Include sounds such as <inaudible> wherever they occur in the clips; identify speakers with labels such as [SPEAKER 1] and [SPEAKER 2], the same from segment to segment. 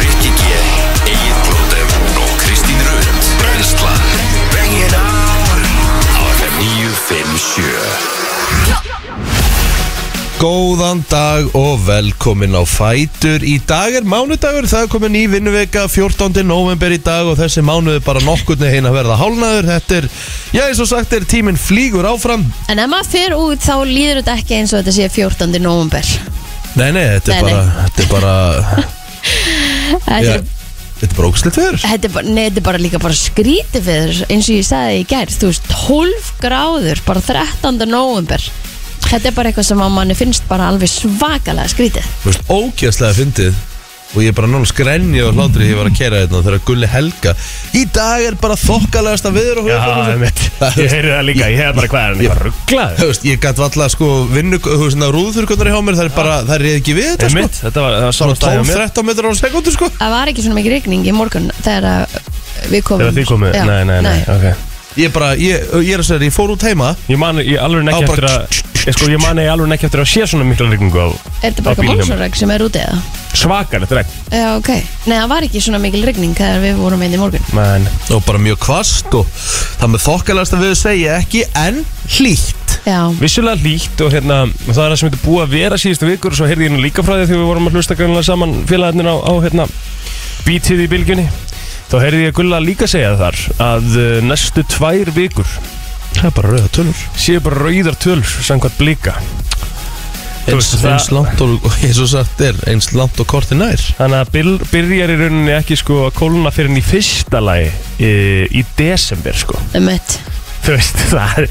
[SPEAKER 1] Rikki G, Egil Blóter og Kristín Rund Brenslan Bring it on Á FM 957
[SPEAKER 2] Góðan dag og velkomin á Fætur Í dag er mánudagur, það er komin ný vinnuvika 14. november í dag og þessi mánuð er bara nokkurni heina að verða hálnaður Þetta er, já eins og sagt er, tíminn flýgur áfram
[SPEAKER 3] En ef maður fer út þá líður þetta ekki eins og þetta sé 14. november
[SPEAKER 2] Nei, nei, þetta
[SPEAKER 3] Nei,
[SPEAKER 2] er
[SPEAKER 3] nei.
[SPEAKER 2] bara, þetta er
[SPEAKER 3] <laughs>
[SPEAKER 2] bara,
[SPEAKER 3] Þetta
[SPEAKER 2] já,
[SPEAKER 3] er-
[SPEAKER 2] þetta er bara ógslitt fyrir
[SPEAKER 3] þetta er bara- nei, þetta er bara líka bara skrítið fyrir eins og ég sagði í gær, þú veist 12 gráður, bara 13. november Þetta er bara eitthvað sem að manni finnst bara alveg svakalega skrítið
[SPEAKER 2] Þú veist, ógjastlega fyndið og ég er bara náttúrulega skrenja og hlátri þegar ég var að kera þetta þegar Gulli Helga Í dag er bara þokkalegasta viður og
[SPEAKER 4] Já,
[SPEAKER 2] <laughs>
[SPEAKER 4] einmitt. ég heyri það líka, ég hefði bara hvað er hann, ég var rugglaður
[SPEAKER 2] Þú veist, ég gætt valla sko vinnu, þú veist, rúðurkurnar í hjá mér, það er bara, það er ekki við þetta sko
[SPEAKER 4] Einmitt, þetta var, það var svona stæðið mér
[SPEAKER 2] 12-13 metrar á sekundu sko
[SPEAKER 3] Það var ekki svona mikið rigning í morgun þegar að við komum
[SPEAKER 4] Þegar þið komu,
[SPEAKER 3] Já,
[SPEAKER 4] nei, nei, nei, ok
[SPEAKER 2] Ég bara, ég, ég er að segja, þér, ég fór út heima
[SPEAKER 4] Ég man, ég alveg
[SPEAKER 2] Á,
[SPEAKER 4] ekki
[SPEAKER 2] bara
[SPEAKER 4] eftir að Ég sko, ég man, ég alveg ekki eftir að sé svona mikla rigningu á
[SPEAKER 3] Er þetta
[SPEAKER 4] á
[SPEAKER 3] bara
[SPEAKER 4] bílnum.
[SPEAKER 3] málsarögg sem er úti eða?
[SPEAKER 4] Svakalegt regn,
[SPEAKER 3] Já, ok Nei, það var ekki svona mikil rigning þegar við vorum einn í morgun
[SPEAKER 4] menn
[SPEAKER 2] Og bara mjög kvast og það með þokkalast að við segja ekki en hlýtt
[SPEAKER 3] Já,
[SPEAKER 4] Vissulega lít og hérna, það er það sem þetta búið að vera síðustu vikur og svo heyrði ég nú líka frá því þegar við vorum að hlusta grannlega saman félagarnir á, á hérna, bítið í bylgjunni þá heyrði ég gulla líka segja þar að uh, næstu tvær vikur
[SPEAKER 2] Það er bara rauða tölur
[SPEAKER 4] séu bara rauðar tölur samkvæmt blika Þú
[SPEAKER 2] Eins,
[SPEAKER 4] veist, það-
[SPEAKER 2] eins langt og, <laughs> og eins og sagt er, eins langt og korti nær
[SPEAKER 4] Þannig að byr- byrjar í rauninni ekki sko að kóluna fyrir henni í fyrsta lagi í, í desember sko.
[SPEAKER 3] um mitt
[SPEAKER 4] Þú veist, <laughs> það er,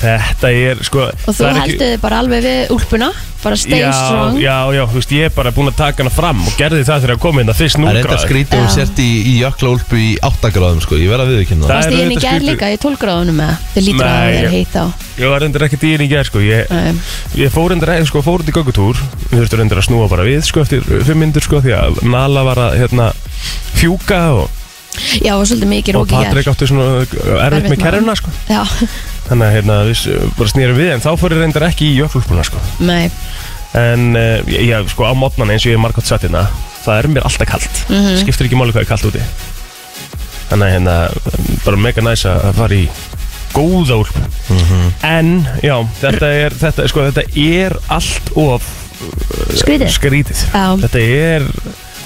[SPEAKER 4] þetta er sko...
[SPEAKER 3] Og þú
[SPEAKER 4] það er ekki-
[SPEAKER 3] heldur þið bara alveg við úlpuna Bara stay
[SPEAKER 4] já,
[SPEAKER 3] strong
[SPEAKER 4] Já, já, þú veist, ég er bara búin að taka hana fram og gerði það þegar að koma hérna fyrst
[SPEAKER 2] Það er
[SPEAKER 4] núgra.
[SPEAKER 2] eitthvað skrítið og
[SPEAKER 3] Já.
[SPEAKER 2] sért hérna. í, í jökla úlpu í 8 gráðum sko, ég verð að viðkynna það
[SPEAKER 4] Það
[SPEAKER 3] Varst
[SPEAKER 4] er
[SPEAKER 3] þið inn í
[SPEAKER 4] auðvitað
[SPEAKER 3] gær
[SPEAKER 4] skrítið.
[SPEAKER 3] líka í 12 gráðunum eða? Þið lítur að
[SPEAKER 4] Nei,
[SPEAKER 3] það er
[SPEAKER 4] ég-
[SPEAKER 3] heitt á
[SPEAKER 4] Ég var reyndir ekkert í henni í gerð sko, ég,
[SPEAKER 3] Nei.
[SPEAKER 4] ég fór reyndir ekki sko, fór út í göggutúr, við þurftum reyndir að snúa bara við sko eftir fimm myndur sko því að Nala var að hérna fjúka og,
[SPEAKER 3] Já, og svolítið mikið
[SPEAKER 4] og
[SPEAKER 3] rók í gær
[SPEAKER 4] Patrik átti svona uh, erfitt
[SPEAKER 3] Erfitt
[SPEAKER 4] með
[SPEAKER 3] mál.
[SPEAKER 4] kerruna sko.
[SPEAKER 3] Já,
[SPEAKER 4] Þannig að hérna, við s- bara snýrum við en þá fór ég reyndar ekki í jökulbúna sko.
[SPEAKER 3] nei
[SPEAKER 4] En uh, ég, ég, sko, á mótnana eins og ég er margótt satt hérna, það er mér alltaf kalt.
[SPEAKER 3] Mhm.
[SPEAKER 4] Skiptir ekki máli hvað er kalt úti. Þannig að hérna, bara mega næs að fara í góða úlp. En, já, þetta er, þetta, sko, þetta er allt of eh,
[SPEAKER 3] Skrítið
[SPEAKER 4] skrítið.
[SPEAKER 3] Já.
[SPEAKER 4] Þetta er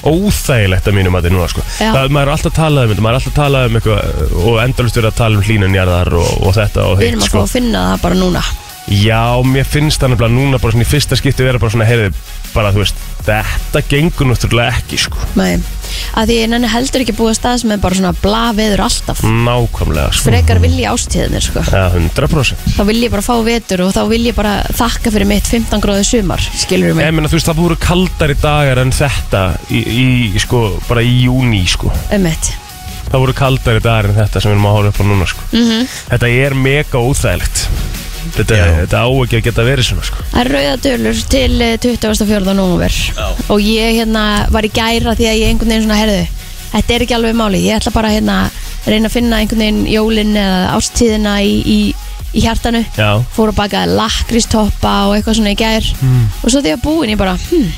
[SPEAKER 4] óþægilegt að mínum að þetta núna sko.
[SPEAKER 3] Já.
[SPEAKER 4] Það, maður er alltaf að tala um þetta, maður er alltaf að tala um eitthvað og endalust verið að tala um hlínunjarðar og, og þetta og
[SPEAKER 3] Við
[SPEAKER 4] hitt
[SPEAKER 3] erum að fá
[SPEAKER 4] sko.
[SPEAKER 3] að finna það bara núna
[SPEAKER 4] Já, mér finnst það nefnilega núna bara svona í fyrsta skipti vera bara svona, heyrðu, bara þú veist, þetta gengur náttúrulega ekki, sko.
[SPEAKER 3] Nei Að því nenni heldur ekki að búa stað sem er bara svona bla veður alltaf
[SPEAKER 4] Nákvæmlega, sko.
[SPEAKER 3] Frekar vilji ástíðinir sko
[SPEAKER 4] Já, 100%.
[SPEAKER 3] Þá vil ég bara fá vetur og þá vil ég bara þakka fyrir mitt 15 gráðu sumar Skilur mig
[SPEAKER 4] Ég meina, þú veist, það voru kaldari dagar en þetta í, í sko, bara í júni, sko.
[SPEAKER 3] um mitt
[SPEAKER 4] Það voru kaldari dagar en þetta sem við erum að horfa upp á núna, sko.
[SPEAKER 3] Mhm.
[SPEAKER 4] -hmm. Þetta er mega óþægilegt. Þetta,
[SPEAKER 2] Já.
[SPEAKER 4] þetta á ekki að geta verið svona, sko.
[SPEAKER 3] Það er rauðadölur til eh, 24. november og ég hérna var í gæra því að ég einhvern veginn svona herðu þetta er ekki alveg máli, ég ætla bara hérna að reyna að finna einhvern veginn jólin eða ástíðina í, í, í hjartanu
[SPEAKER 4] Já. Hm.
[SPEAKER 3] fór að baka lakristoppa og eitthvað svona í gær og svo því að búin ég bara hm,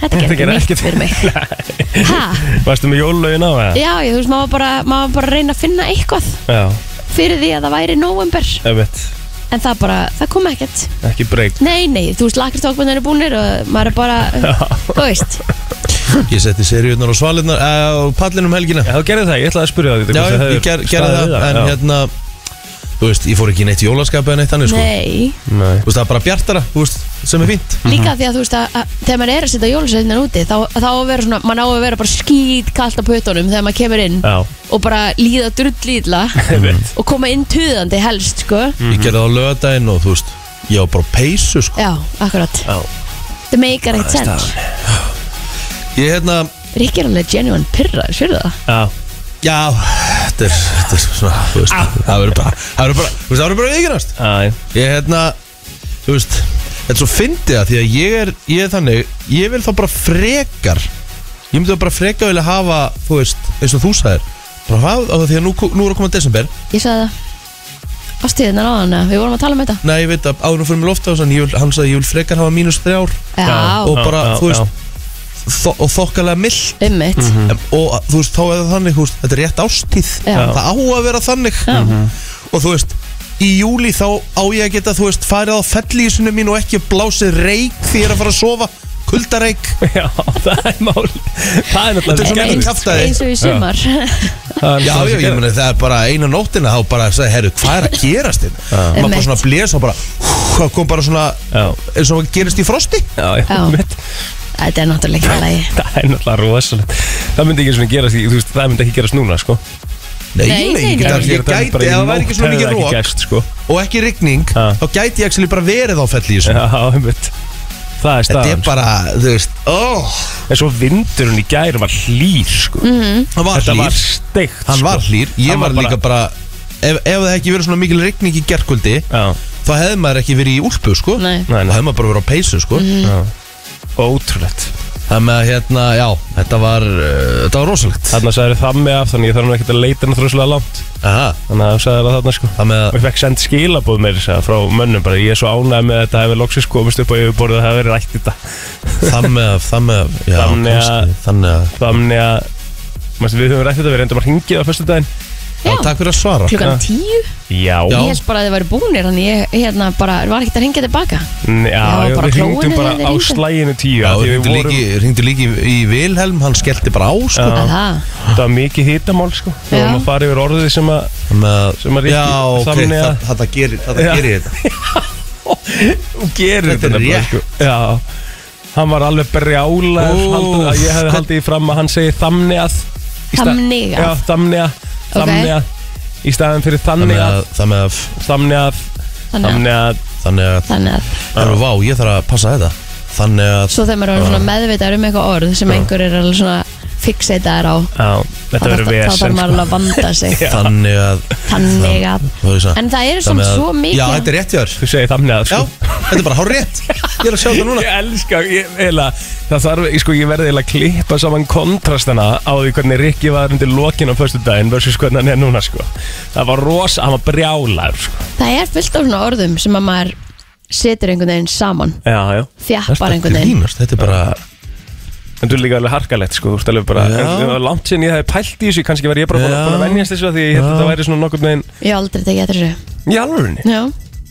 [SPEAKER 3] þetta
[SPEAKER 4] Þetta
[SPEAKER 3] gerir
[SPEAKER 4] gerir
[SPEAKER 3] neitt
[SPEAKER 4] ekkert.
[SPEAKER 3] fyrir
[SPEAKER 4] <laughs>
[SPEAKER 3] mig ha,
[SPEAKER 4] Varstu með jólögin á, eða?
[SPEAKER 3] já, ég, þú veist, maður var bara, maður var bara að reyna að finna eitthvað
[SPEAKER 4] Já,
[SPEAKER 3] fyrir því að það væri november
[SPEAKER 4] ef veit,
[SPEAKER 3] en það bara, það kom ekkert
[SPEAKER 4] ekki breyk.
[SPEAKER 3] Nei, nei, þú veist, lakristokkunar eru búinir og maður er bara,
[SPEAKER 2] <laughs>
[SPEAKER 3] þú veist
[SPEAKER 2] Ég setti seriurnar og svalirnar eh, á pallinum um helgina
[SPEAKER 4] Já, þú gerði það, ég ætlaði að spyrja það.
[SPEAKER 2] Já,
[SPEAKER 4] hvort
[SPEAKER 2] já,
[SPEAKER 4] það hefur
[SPEAKER 2] ég ger, gerði
[SPEAKER 4] staðið
[SPEAKER 2] það,
[SPEAKER 4] við
[SPEAKER 2] en
[SPEAKER 4] já.
[SPEAKER 2] hérna Þú veist, ég fór ekki í neitt jólaskap eða neitt þannig sko
[SPEAKER 3] Nei,
[SPEAKER 4] Nei.
[SPEAKER 2] Þú veist, það er bara bjartara, þú veist, sem er fínt
[SPEAKER 3] líka því að þú veist að, að þegar maður er að setja jólasveitinnar úti þá, þá á að vera svona, maður á að vera bara skýt kallt á pötunum þegar maður kemur
[SPEAKER 2] Mhm.
[SPEAKER 3] inn
[SPEAKER 4] Já,
[SPEAKER 3] og bara líða drullítla
[SPEAKER 4] einmitt.
[SPEAKER 3] og koma inn tuðandi helst, sko
[SPEAKER 2] Ég gerði það á lögadaginn og þú veist Ég var bara á peysu sko
[SPEAKER 3] Já, akkurat,
[SPEAKER 4] Já.
[SPEAKER 3] það meikar eitt sens
[SPEAKER 2] Ég hérna,
[SPEAKER 3] Rikki er alveg genuine pyrraður, sérðu það?
[SPEAKER 4] Já,
[SPEAKER 2] já, þetta er, þetta er svona, þú veist Það verður bara, það verður bara, þú veist, það verður bara viðkynast
[SPEAKER 4] Ah. já,
[SPEAKER 2] Ég hérna, þú veist, þetta er svo fyndið það Því að ég er, ég er þannig, ég vil þá bara frekar Ég myndi þá bara frekar vilja hafa, þú veist, eins og þú sagðir Bara hafa, af því að nú, nú er að koma desember
[SPEAKER 3] Ég sagði það ástíðinan á þannig Við vorum að tala um þetta
[SPEAKER 2] Nei, ég veit að áður fyrir mig lofta hann, hann sagði ég vil frekar hafa mínus þrjár
[SPEAKER 3] Já,
[SPEAKER 2] og bara,
[SPEAKER 4] já,
[SPEAKER 2] þú
[SPEAKER 4] já.
[SPEAKER 2] veist, þo, og þokkalega mild
[SPEAKER 3] ummitt
[SPEAKER 4] Mhm.
[SPEAKER 2] mm. og þú veist, þá er það þannig, þú veist, þetta er rétt ástíð
[SPEAKER 3] Já.
[SPEAKER 2] það á að vera þannig
[SPEAKER 3] Já.
[SPEAKER 4] Mhm.
[SPEAKER 2] og þú veist, í júli þá á ég að geta, þú veist, farið á fellísinu mín og ekki blásið reik því ég er að fara að sofa kuldareik
[SPEAKER 4] <laughs> Já, það er mál Það er
[SPEAKER 2] Þetta er
[SPEAKER 4] náttúrulega
[SPEAKER 2] svo mikið
[SPEAKER 4] skelfilegt.
[SPEAKER 2] kjaft- kjaftaði.
[SPEAKER 3] Eins og í sumar
[SPEAKER 4] Það er
[SPEAKER 2] Já, já,
[SPEAKER 4] náttúrulega
[SPEAKER 2] ég
[SPEAKER 4] skelfilegt.
[SPEAKER 2] meni það er bara eina nóttina þá bara að segja, herru, hvað er að gerast þinn? Maður bara
[SPEAKER 3] Einmitt.
[SPEAKER 2] svona blés og bara, hú, það kom bara svona,
[SPEAKER 4] Já.
[SPEAKER 2] eins og gerist í frosti
[SPEAKER 4] Já, já,
[SPEAKER 3] Já.
[SPEAKER 4] mitt.
[SPEAKER 3] Þetta er náttúrulega ekki að lægi
[SPEAKER 4] <laughs> Það er náttúrulega rosalegt Það myndi ekki svona gerast, í- þú veist, það myndi ekki gerast núna, sko
[SPEAKER 3] Nei,
[SPEAKER 2] Nei, nei,
[SPEAKER 3] nei,
[SPEAKER 2] ég
[SPEAKER 3] nei.
[SPEAKER 2] gæti,
[SPEAKER 4] Ég
[SPEAKER 2] ég gæti, ef það væri ekki svona mikið
[SPEAKER 4] Það er
[SPEAKER 2] rók
[SPEAKER 4] gerst, sko
[SPEAKER 2] og ekki rigning,
[SPEAKER 4] Já.
[SPEAKER 2] þá gæti ég actually bara verið á fellísinu.
[SPEAKER 4] Já, mitt Það er
[SPEAKER 2] Þetta er
[SPEAKER 4] staðan, sko.
[SPEAKER 2] bara, þú veist, oh. óh,
[SPEAKER 4] en svo vindurinn í gær var hlýr, sko
[SPEAKER 2] hann var
[SPEAKER 4] Þetta var
[SPEAKER 2] hlýr,
[SPEAKER 4] steikt,
[SPEAKER 2] hann var
[SPEAKER 4] sko.
[SPEAKER 2] hlýr, ég
[SPEAKER 4] Hann
[SPEAKER 2] var líka bara, ef ef það hefði ekki verið svona mikil rigning í gerkvöldi,
[SPEAKER 4] Já,
[SPEAKER 2] þá hefði maður ekki verið í úlpu, sko,
[SPEAKER 3] Nei.
[SPEAKER 2] og
[SPEAKER 4] Nei, nei.
[SPEAKER 2] hefði maður bara verið á peysu, sko.
[SPEAKER 4] ótrúlegt
[SPEAKER 2] Þannig að, hérna, já, þetta var, uh, þetta var rosalegt.
[SPEAKER 4] Þarna sagði það með af, þannig ég þarf nú ekkert að leita náttúrulega langt
[SPEAKER 2] Aha.
[SPEAKER 4] Þannig að það sagði það þarna, sko
[SPEAKER 2] Það með
[SPEAKER 4] og
[SPEAKER 2] að
[SPEAKER 4] ég fekk send skilabóð með þess að frá mönnum bara ég er svo ánægð með að þetta hefur loksins komist upp á yfirborðið að það hefur verið rætt þetta
[SPEAKER 2] Það með að Það með að já,
[SPEAKER 4] Þannig að-
[SPEAKER 2] kannski, Þannig að
[SPEAKER 4] þannig að manstu, við höfum rætt þetta, við reyndum að hringið á fyrstu daginn
[SPEAKER 2] Já, Takk fyrir að svara
[SPEAKER 3] Klukkan tíu
[SPEAKER 4] já,
[SPEAKER 2] Já.
[SPEAKER 4] já,
[SPEAKER 3] Ég held bara að þið væri búnir Þannig ég hérna bara var ekkert að hringja tilbaka
[SPEAKER 4] já,
[SPEAKER 3] Já, bara
[SPEAKER 4] við
[SPEAKER 3] klóinu
[SPEAKER 4] hringdum bara
[SPEAKER 3] hefði
[SPEAKER 4] á
[SPEAKER 3] hringt.
[SPEAKER 4] slæginu tíu
[SPEAKER 2] Já,
[SPEAKER 4] af því við
[SPEAKER 2] hringdu
[SPEAKER 4] vorum,
[SPEAKER 2] líki, hringdu líki í Vilhelm Hann skellti bara á sko.
[SPEAKER 3] Það er það
[SPEAKER 4] það var mikið hitamál sko.
[SPEAKER 3] Já.
[SPEAKER 4] við vorum að fara yfir orðið sem að
[SPEAKER 2] Þannig að
[SPEAKER 4] Sem að Rikki-
[SPEAKER 2] Já, ok,
[SPEAKER 4] þannig að-
[SPEAKER 2] það- þetta gerir Þetta
[SPEAKER 4] Já.
[SPEAKER 2] gerir
[SPEAKER 4] <laughs>
[SPEAKER 2] þetta
[SPEAKER 4] og gerir
[SPEAKER 2] Þetta er
[SPEAKER 4] nefnilega,
[SPEAKER 2] rétt.
[SPEAKER 4] já hann var alveg brjálæður
[SPEAKER 2] Úff,
[SPEAKER 4] haldið- að ég hefði
[SPEAKER 2] hvað-
[SPEAKER 4] haldið í fram að hann segi þannig að í stað-
[SPEAKER 3] Þannig að.
[SPEAKER 4] já, þannig að þannig að í staðin fyrir þannig
[SPEAKER 2] Þannig
[SPEAKER 4] að
[SPEAKER 2] að Þannig að
[SPEAKER 4] þannig að
[SPEAKER 3] Þannig
[SPEAKER 4] þannig að
[SPEAKER 2] Þannig að
[SPEAKER 3] Þannig að
[SPEAKER 2] Það vá, ég þarf að passa þetta Þannig að
[SPEAKER 3] Svo þegar maður er
[SPEAKER 4] Ah.
[SPEAKER 3] svona meðvitaður um eitthvað orð sem einhver er alveg svona fixeitaður á
[SPEAKER 4] Já,
[SPEAKER 3] þá
[SPEAKER 4] Ah. þetta
[SPEAKER 3] þarf-
[SPEAKER 4] verður vesen
[SPEAKER 3] Þá þarf maður
[SPEAKER 4] sko.
[SPEAKER 3] alveg að vanda
[SPEAKER 4] <laughs>
[SPEAKER 3] sig
[SPEAKER 2] Þannig að
[SPEAKER 3] Þannig að
[SPEAKER 2] Hvað ég sagði?
[SPEAKER 3] En það eru
[SPEAKER 2] Þannig
[SPEAKER 3] svona
[SPEAKER 2] að-
[SPEAKER 3] svo
[SPEAKER 2] Já,
[SPEAKER 3] mikið
[SPEAKER 2] þetta er rétt hjá þér
[SPEAKER 4] Þú segir þannig að
[SPEAKER 2] Já,
[SPEAKER 4] sko.
[SPEAKER 2] þetta er bara hár rétt Ég er að sjá þetta núna
[SPEAKER 4] Ég elska, ég, eila, það þarf, ég, sko, ég verði eila að klippa saman kontrastana á því hvernig Rikki var undir lokin á föstu daginn versus hvernig hann er núna sko. Það var rosa, hann var brjálar sko.
[SPEAKER 3] Það er fullt af svona orðum sem að maður setur einhvern veginn saman
[SPEAKER 4] Já, já
[SPEAKER 3] þjappar
[SPEAKER 2] Þetta
[SPEAKER 3] einhvern
[SPEAKER 2] er
[SPEAKER 3] veginn
[SPEAKER 2] línast, þetta er bara
[SPEAKER 4] En þú er líka alveg harkalegt sko, þú stælum bara
[SPEAKER 2] Já.
[SPEAKER 4] en, það var Langt sinn ég hefði pælt í þessu, kannski var ég bara búin
[SPEAKER 2] Já.
[SPEAKER 4] að- búin að venjast þessu af Því ég held að
[SPEAKER 2] Já.
[SPEAKER 4] þetta væri svona nokkur neginn
[SPEAKER 3] Ég hef aldrei tekið eftir þessu
[SPEAKER 4] Í alvörunni,
[SPEAKER 3] Já,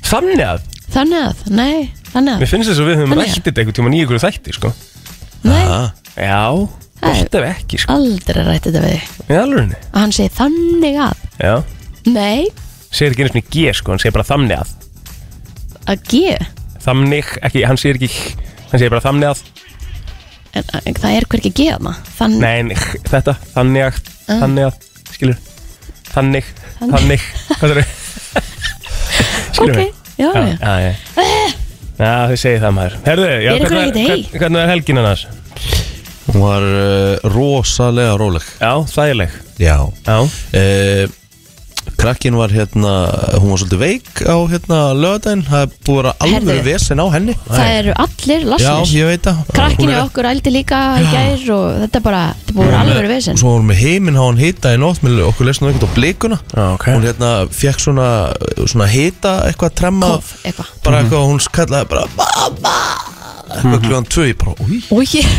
[SPEAKER 4] þannig að
[SPEAKER 3] þannig að, nei, þannig
[SPEAKER 4] Mér
[SPEAKER 3] að
[SPEAKER 4] finnst þess að við höfum
[SPEAKER 3] Þannig að.
[SPEAKER 4] rætt þetta einhvern tíma nýjur þætti sko.
[SPEAKER 3] Nei,
[SPEAKER 4] Já,
[SPEAKER 3] Það er-
[SPEAKER 4] gott ef ekki sko.
[SPEAKER 3] aldrei rætt þetta við þig.
[SPEAKER 4] Í alvörunni,
[SPEAKER 3] Að hann segi þannig að
[SPEAKER 4] já
[SPEAKER 3] Nei,
[SPEAKER 4] segir ekki einu svona G sko, hann segir bara þannig að
[SPEAKER 3] að G
[SPEAKER 4] þannig, ekki, hann segir ekki h, hann segir bara þannig að,
[SPEAKER 3] En, en það er hvergi G þarna Þannig,
[SPEAKER 4] nei, en h, þetta þannig að, þannig að, skilur þannig, þannig
[SPEAKER 3] <laughs>
[SPEAKER 4] hvað það er, skilur
[SPEAKER 3] ok, já, já,
[SPEAKER 4] já, já, já Já, þau segir það maður Herðu,
[SPEAKER 3] Er
[SPEAKER 4] já,
[SPEAKER 3] ykkur
[SPEAKER 4] hvernig,
[SPEAKER 3] ekkert hey?
[SPEAKER 4] hvernig, hvernig er helgin annars?
[SPEAKER 2] Hún var uh, rosalega róleg
[SPEAKER 4] Já, þægileg
[SPEAKER 2] Já
[SPEAKER 4] Já,
[SPEAKER 2] Eh, krakkin var hérna hún var svolítið veik á hérna lögadaginn, það er búið að vera alveg
[SPEAKER 3] Herðu.
[SPEAKER 2] vesen á henni
[SPEAKER 3] það eru allir
[SPEAKER 2] Já,
[SPEAKER 3] lasnir
[SPEAKER 2] ég veit það
[SPEAKER 3] Krakkinu
[SPEAKER 2] Hún er-
[SPEAKER 3] okkur ældi líka í gær og þetta er bara, þetta er búin alveg verið vesen
[SPEAKER 2] Svo vorum við heiminn á hann hita í nótt með okkur lesnum ekkert á blikuna
[SPEAKER 4] Já, ok.
[SPEAKER 2] Hún hérna fekk svona, svona hita eitthvað tremma
[SPEAKER 3] Kof, eitthvað
[SPEAKER 4] Mhm.
[SPEAKER 2] Bara eitthvað, hún kallaði bara Mamma Eitthvað kljóðan tvö, ég bara, úi
[SPEAKER 3] Og ég,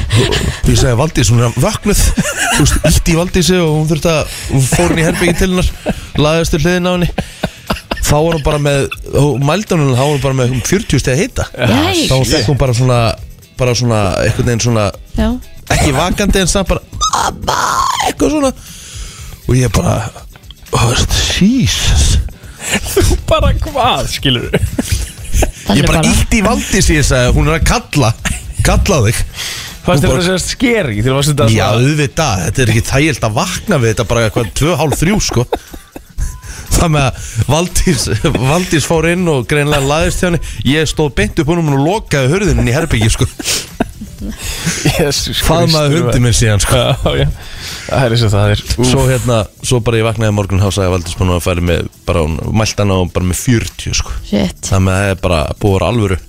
[SPEAKER 2] Ég segi Valdís, hún er vaknuð Þú veist, ítti í Valdísi og hún þurfti að Hún fór henni í herbyggi til hennar Laðist til hliðin á henni Þá var hún bara með, hún mældi hún Þá var hún bara með um 40 steg að hita
[SPEAKER 3] Jæks.
[SPEAKER 2] Þá fekk hún bara svona Bara svona, einhvern veginn svona
[SPEAKER 3] já,
[SPEAKER 2] Ekki vakandi en samt bara Mamma, eitthvað svona Og ég bara Þú veist, Jesus
[SPEAKER 4] bara hvað, skilur
[SPEAKER 3] það
[SPEAKER 2] Ég
[SPEAKER 3] er
[SPEAKER 2] bara
[SPEAKER 3] bara
[SPEAKER 2] ítti í Valdísi, ég segi Hún er að kalla, kalla á þig
[SPEAKER 4] Fannst
[SPEAKER 2] Hún
[SPEAKER 4] þér þetta sérst skeri? Þegar varst þetta
[SPEAKER 2] Já,
[SPEAKER 4] svona-
[SPEAKER 2] auðvitað, þetta er ekki þægild að vakna við þetta bara eitthvað tvö, hálf, þrjú, sko Það með að Valdís, Valdís fór inn og greinlega laðist hjá henni Ég stóð beint upp húnum og lokaði hurðinni í herbyggju, sko
[SPEAKER 4] Jesús
[SPEAKER 2] Faðmaði
[SPEAKER 4] Kristur,
[SPEAKER 2] hundi minn síðan, sko
[SPEAKER 4] Já, já Það er eins og það er
[SPEAKER 2] Svo hérna, svo bara ég vaknaði í morgun Há sagði Valdís búin að færi með, bara hún Mælt hann á bara með 40, sko
[SPEAKER 3] Shit,
[SPEAKER 2] Það með að það er bara búið að vera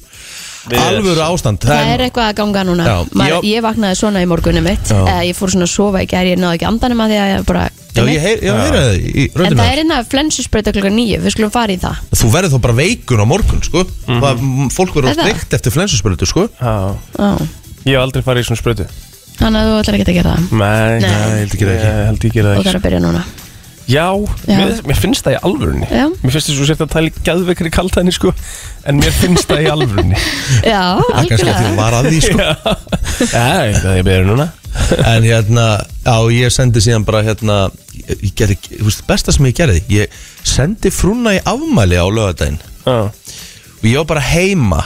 [SPEAKER 2] alvöru alvöru ástand
[SPEAKER 3] Það er eitthvað að ganga núna
[SPEAKER 2] Já.
[SPEAKER 3] Maður,
[SPEAKER 2] Já.
[SPEAKER 3] Ég vaknaði svona í morgunum mitt
[SPEAKER 2] Já.
[SPEAKER 3] eða ég fór svona að sofa í gær, ég náði ekki andanum að því að ég bara
[SPEAKER 2] Já, ég heyr, já, heyra það í
[SPEAKER 3] En
[SPEAKER 2] röndinu
[SPEAKER 3] það er hérna flensusbreyta klukka nýju, við skulum fara í það
[SPEAKER 2] Þú verður þá bara veikun á morgun, sko það, Fólk verður
[SPEAKER 3] Er það?
[SPEAKER 2] steikt eftir flensuspölutu, sko
[SPEAKER 4] Mhm. Já.
[SPEAKER 3] Já.
[SPEAKER 4] Ég hef aldrei farið í svona sprötu
[SPEAKER 3] Þannig að þú ætlar ekki að gera það
[SPEAKER 4] Nei,
[SPEAKER 3] Nei.
[SPEAKER 4] ég held ekki það ekki Ég held ekki það
[SPEAKER 3] og það
[SPEAKER 4] ekki
[SPEAKER 3] er að byrja núna
[SPEAKER 4] Já,
[SPEAKER 3] Já.
[SPEAKER 4] Mér, mér finnst það í alvörunni
[SPEAKER 3] Já.
[SPEAKER 4] Mér finnst það svo sért að tala í gæðveikri kaltæni sko En mér finnst það í
[SPEAKER 3] <laughs>
[SPEAKER 4] alvörunni
[SPEAKER 3] Já,
[SPEAKER 2] <laughs> Það er kannski að því
[SPEAKER 3] algjörlega
[SPEAKER 2] var að því, sko
[SPEAKER 4] Já, ég veit að ég byrja núna
[SPEAKER 2] En hérna, á, ég sendi síðan bara hérna Ég, ég gerði, ekki- þú veist, besta sem ég gerði Ég sendi frúna í afmæli á lögadaginn
[SPEAKER 4] Já,
[SPEAKER 2] og ég var bara heima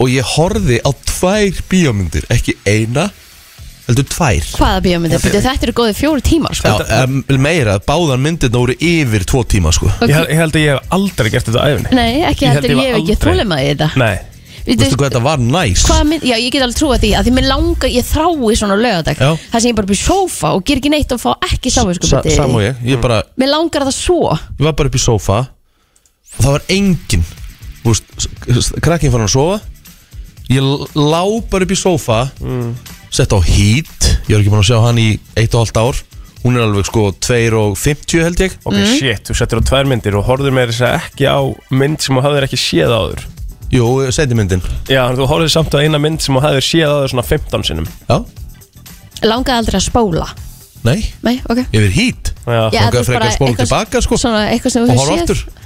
[SPEAKER 2] og ég horfði á tvær bíómyndir, ekki eina heldur tvær
[SPEAKER 3] <laughs> Hvaða bíómyndir? Bíddu, Þetta eru góði fjóri tímar sko.
[SPEAKER 2] Já, em, meira, báðan myndirna voru yfir tvo tíma sko
[SPEAKER 3] Og-
[SPEAKER 4] ég, hel- ég held að ég hef aldrei gert þetta á æfinni
[SPEAKER 3] Nei, ekki
[SPEAKER 4] Ég held
[SPEAKER 3] heldur,
[SPEAKER 4] ég
[SPEAKER 3] ég hef
[SPEAKER 4] var
[SPEAKER 3] ekki
[SPEAKER 4] aldrei-
[SPEAKER 3] þólema í þetta
[SPEAKER 4] Nei,
[SPEAKER 3] Bíddu,
[SPEAKER 2] veistu hvað þetta var næs
[SPEAKER 3] Hvaða mynd, já ég get alveg trúa því að því mér langa, ég þrái svona á laugardag
[SPEAKER 2] Já.
[SPEAKER 3] það sem ég bara byrja sófa og ger ekki neitt og fá ekki
[SPEAKER 2] Sa,
[SPEAKER 3] sáfiskupið
[SPEAKER 2] sam og ég, ég, bara,
[SPEAKER 3] Mér langar það svo
[SPEAKER 2] ég var bara upp í sófa og það var engin veist, s- s- krakkinn fann að sofa ég l- lá bara upp í sófa
[SPEAKER 4] Mm.
[SPEAKER 2] sett á hít ég var ekki búin að sjá hann í eitt og hálft ár hún er alveg sko 2 og 50 held ég
[SPEAKER 4] ok,
[SPEAKER 3] Mm.
[SPEAKER 4] shit, þú settir á tvær myndir og horfður með þess að segja ekki á mynd sem þú hafðir ekki séð áður
[SPEAKER 2] Jú, sendi myndin
[SPEAKER 4] Já, en þú horfður samt á eina mynd sem þú hafðir séð áður svona 15 sinnum
[SPEAKER 2] Já,
[SPEAKER 3] Langaði aldrei að spóla
[SPEAKER 2] nei,
[SPEAKER 3] Nei, ok
[SPEAKER 2] yfir hít
[SPEAKER 4] Já,
[SPEAKER 3] Já,
[SPEAKER 2] langaði
[SPEAKER 3] þú veist
[SPEAKER 2] frekar
[SPEAKER 3] bara
[SPEAKER 2] að spóla
[SPEAKER 3] eitthvað-
[SPEAKER 2] tilbaka, sko,
[SPEAKER 3] Svona eitthvað sem
[SPEAKER 2] Og
[SPEAKER 3] þú
[SPEAKER 2] horfa
[SPEAKER 3] hefur
[SPEAKER 2] aftur
[SPEAKER 3] séð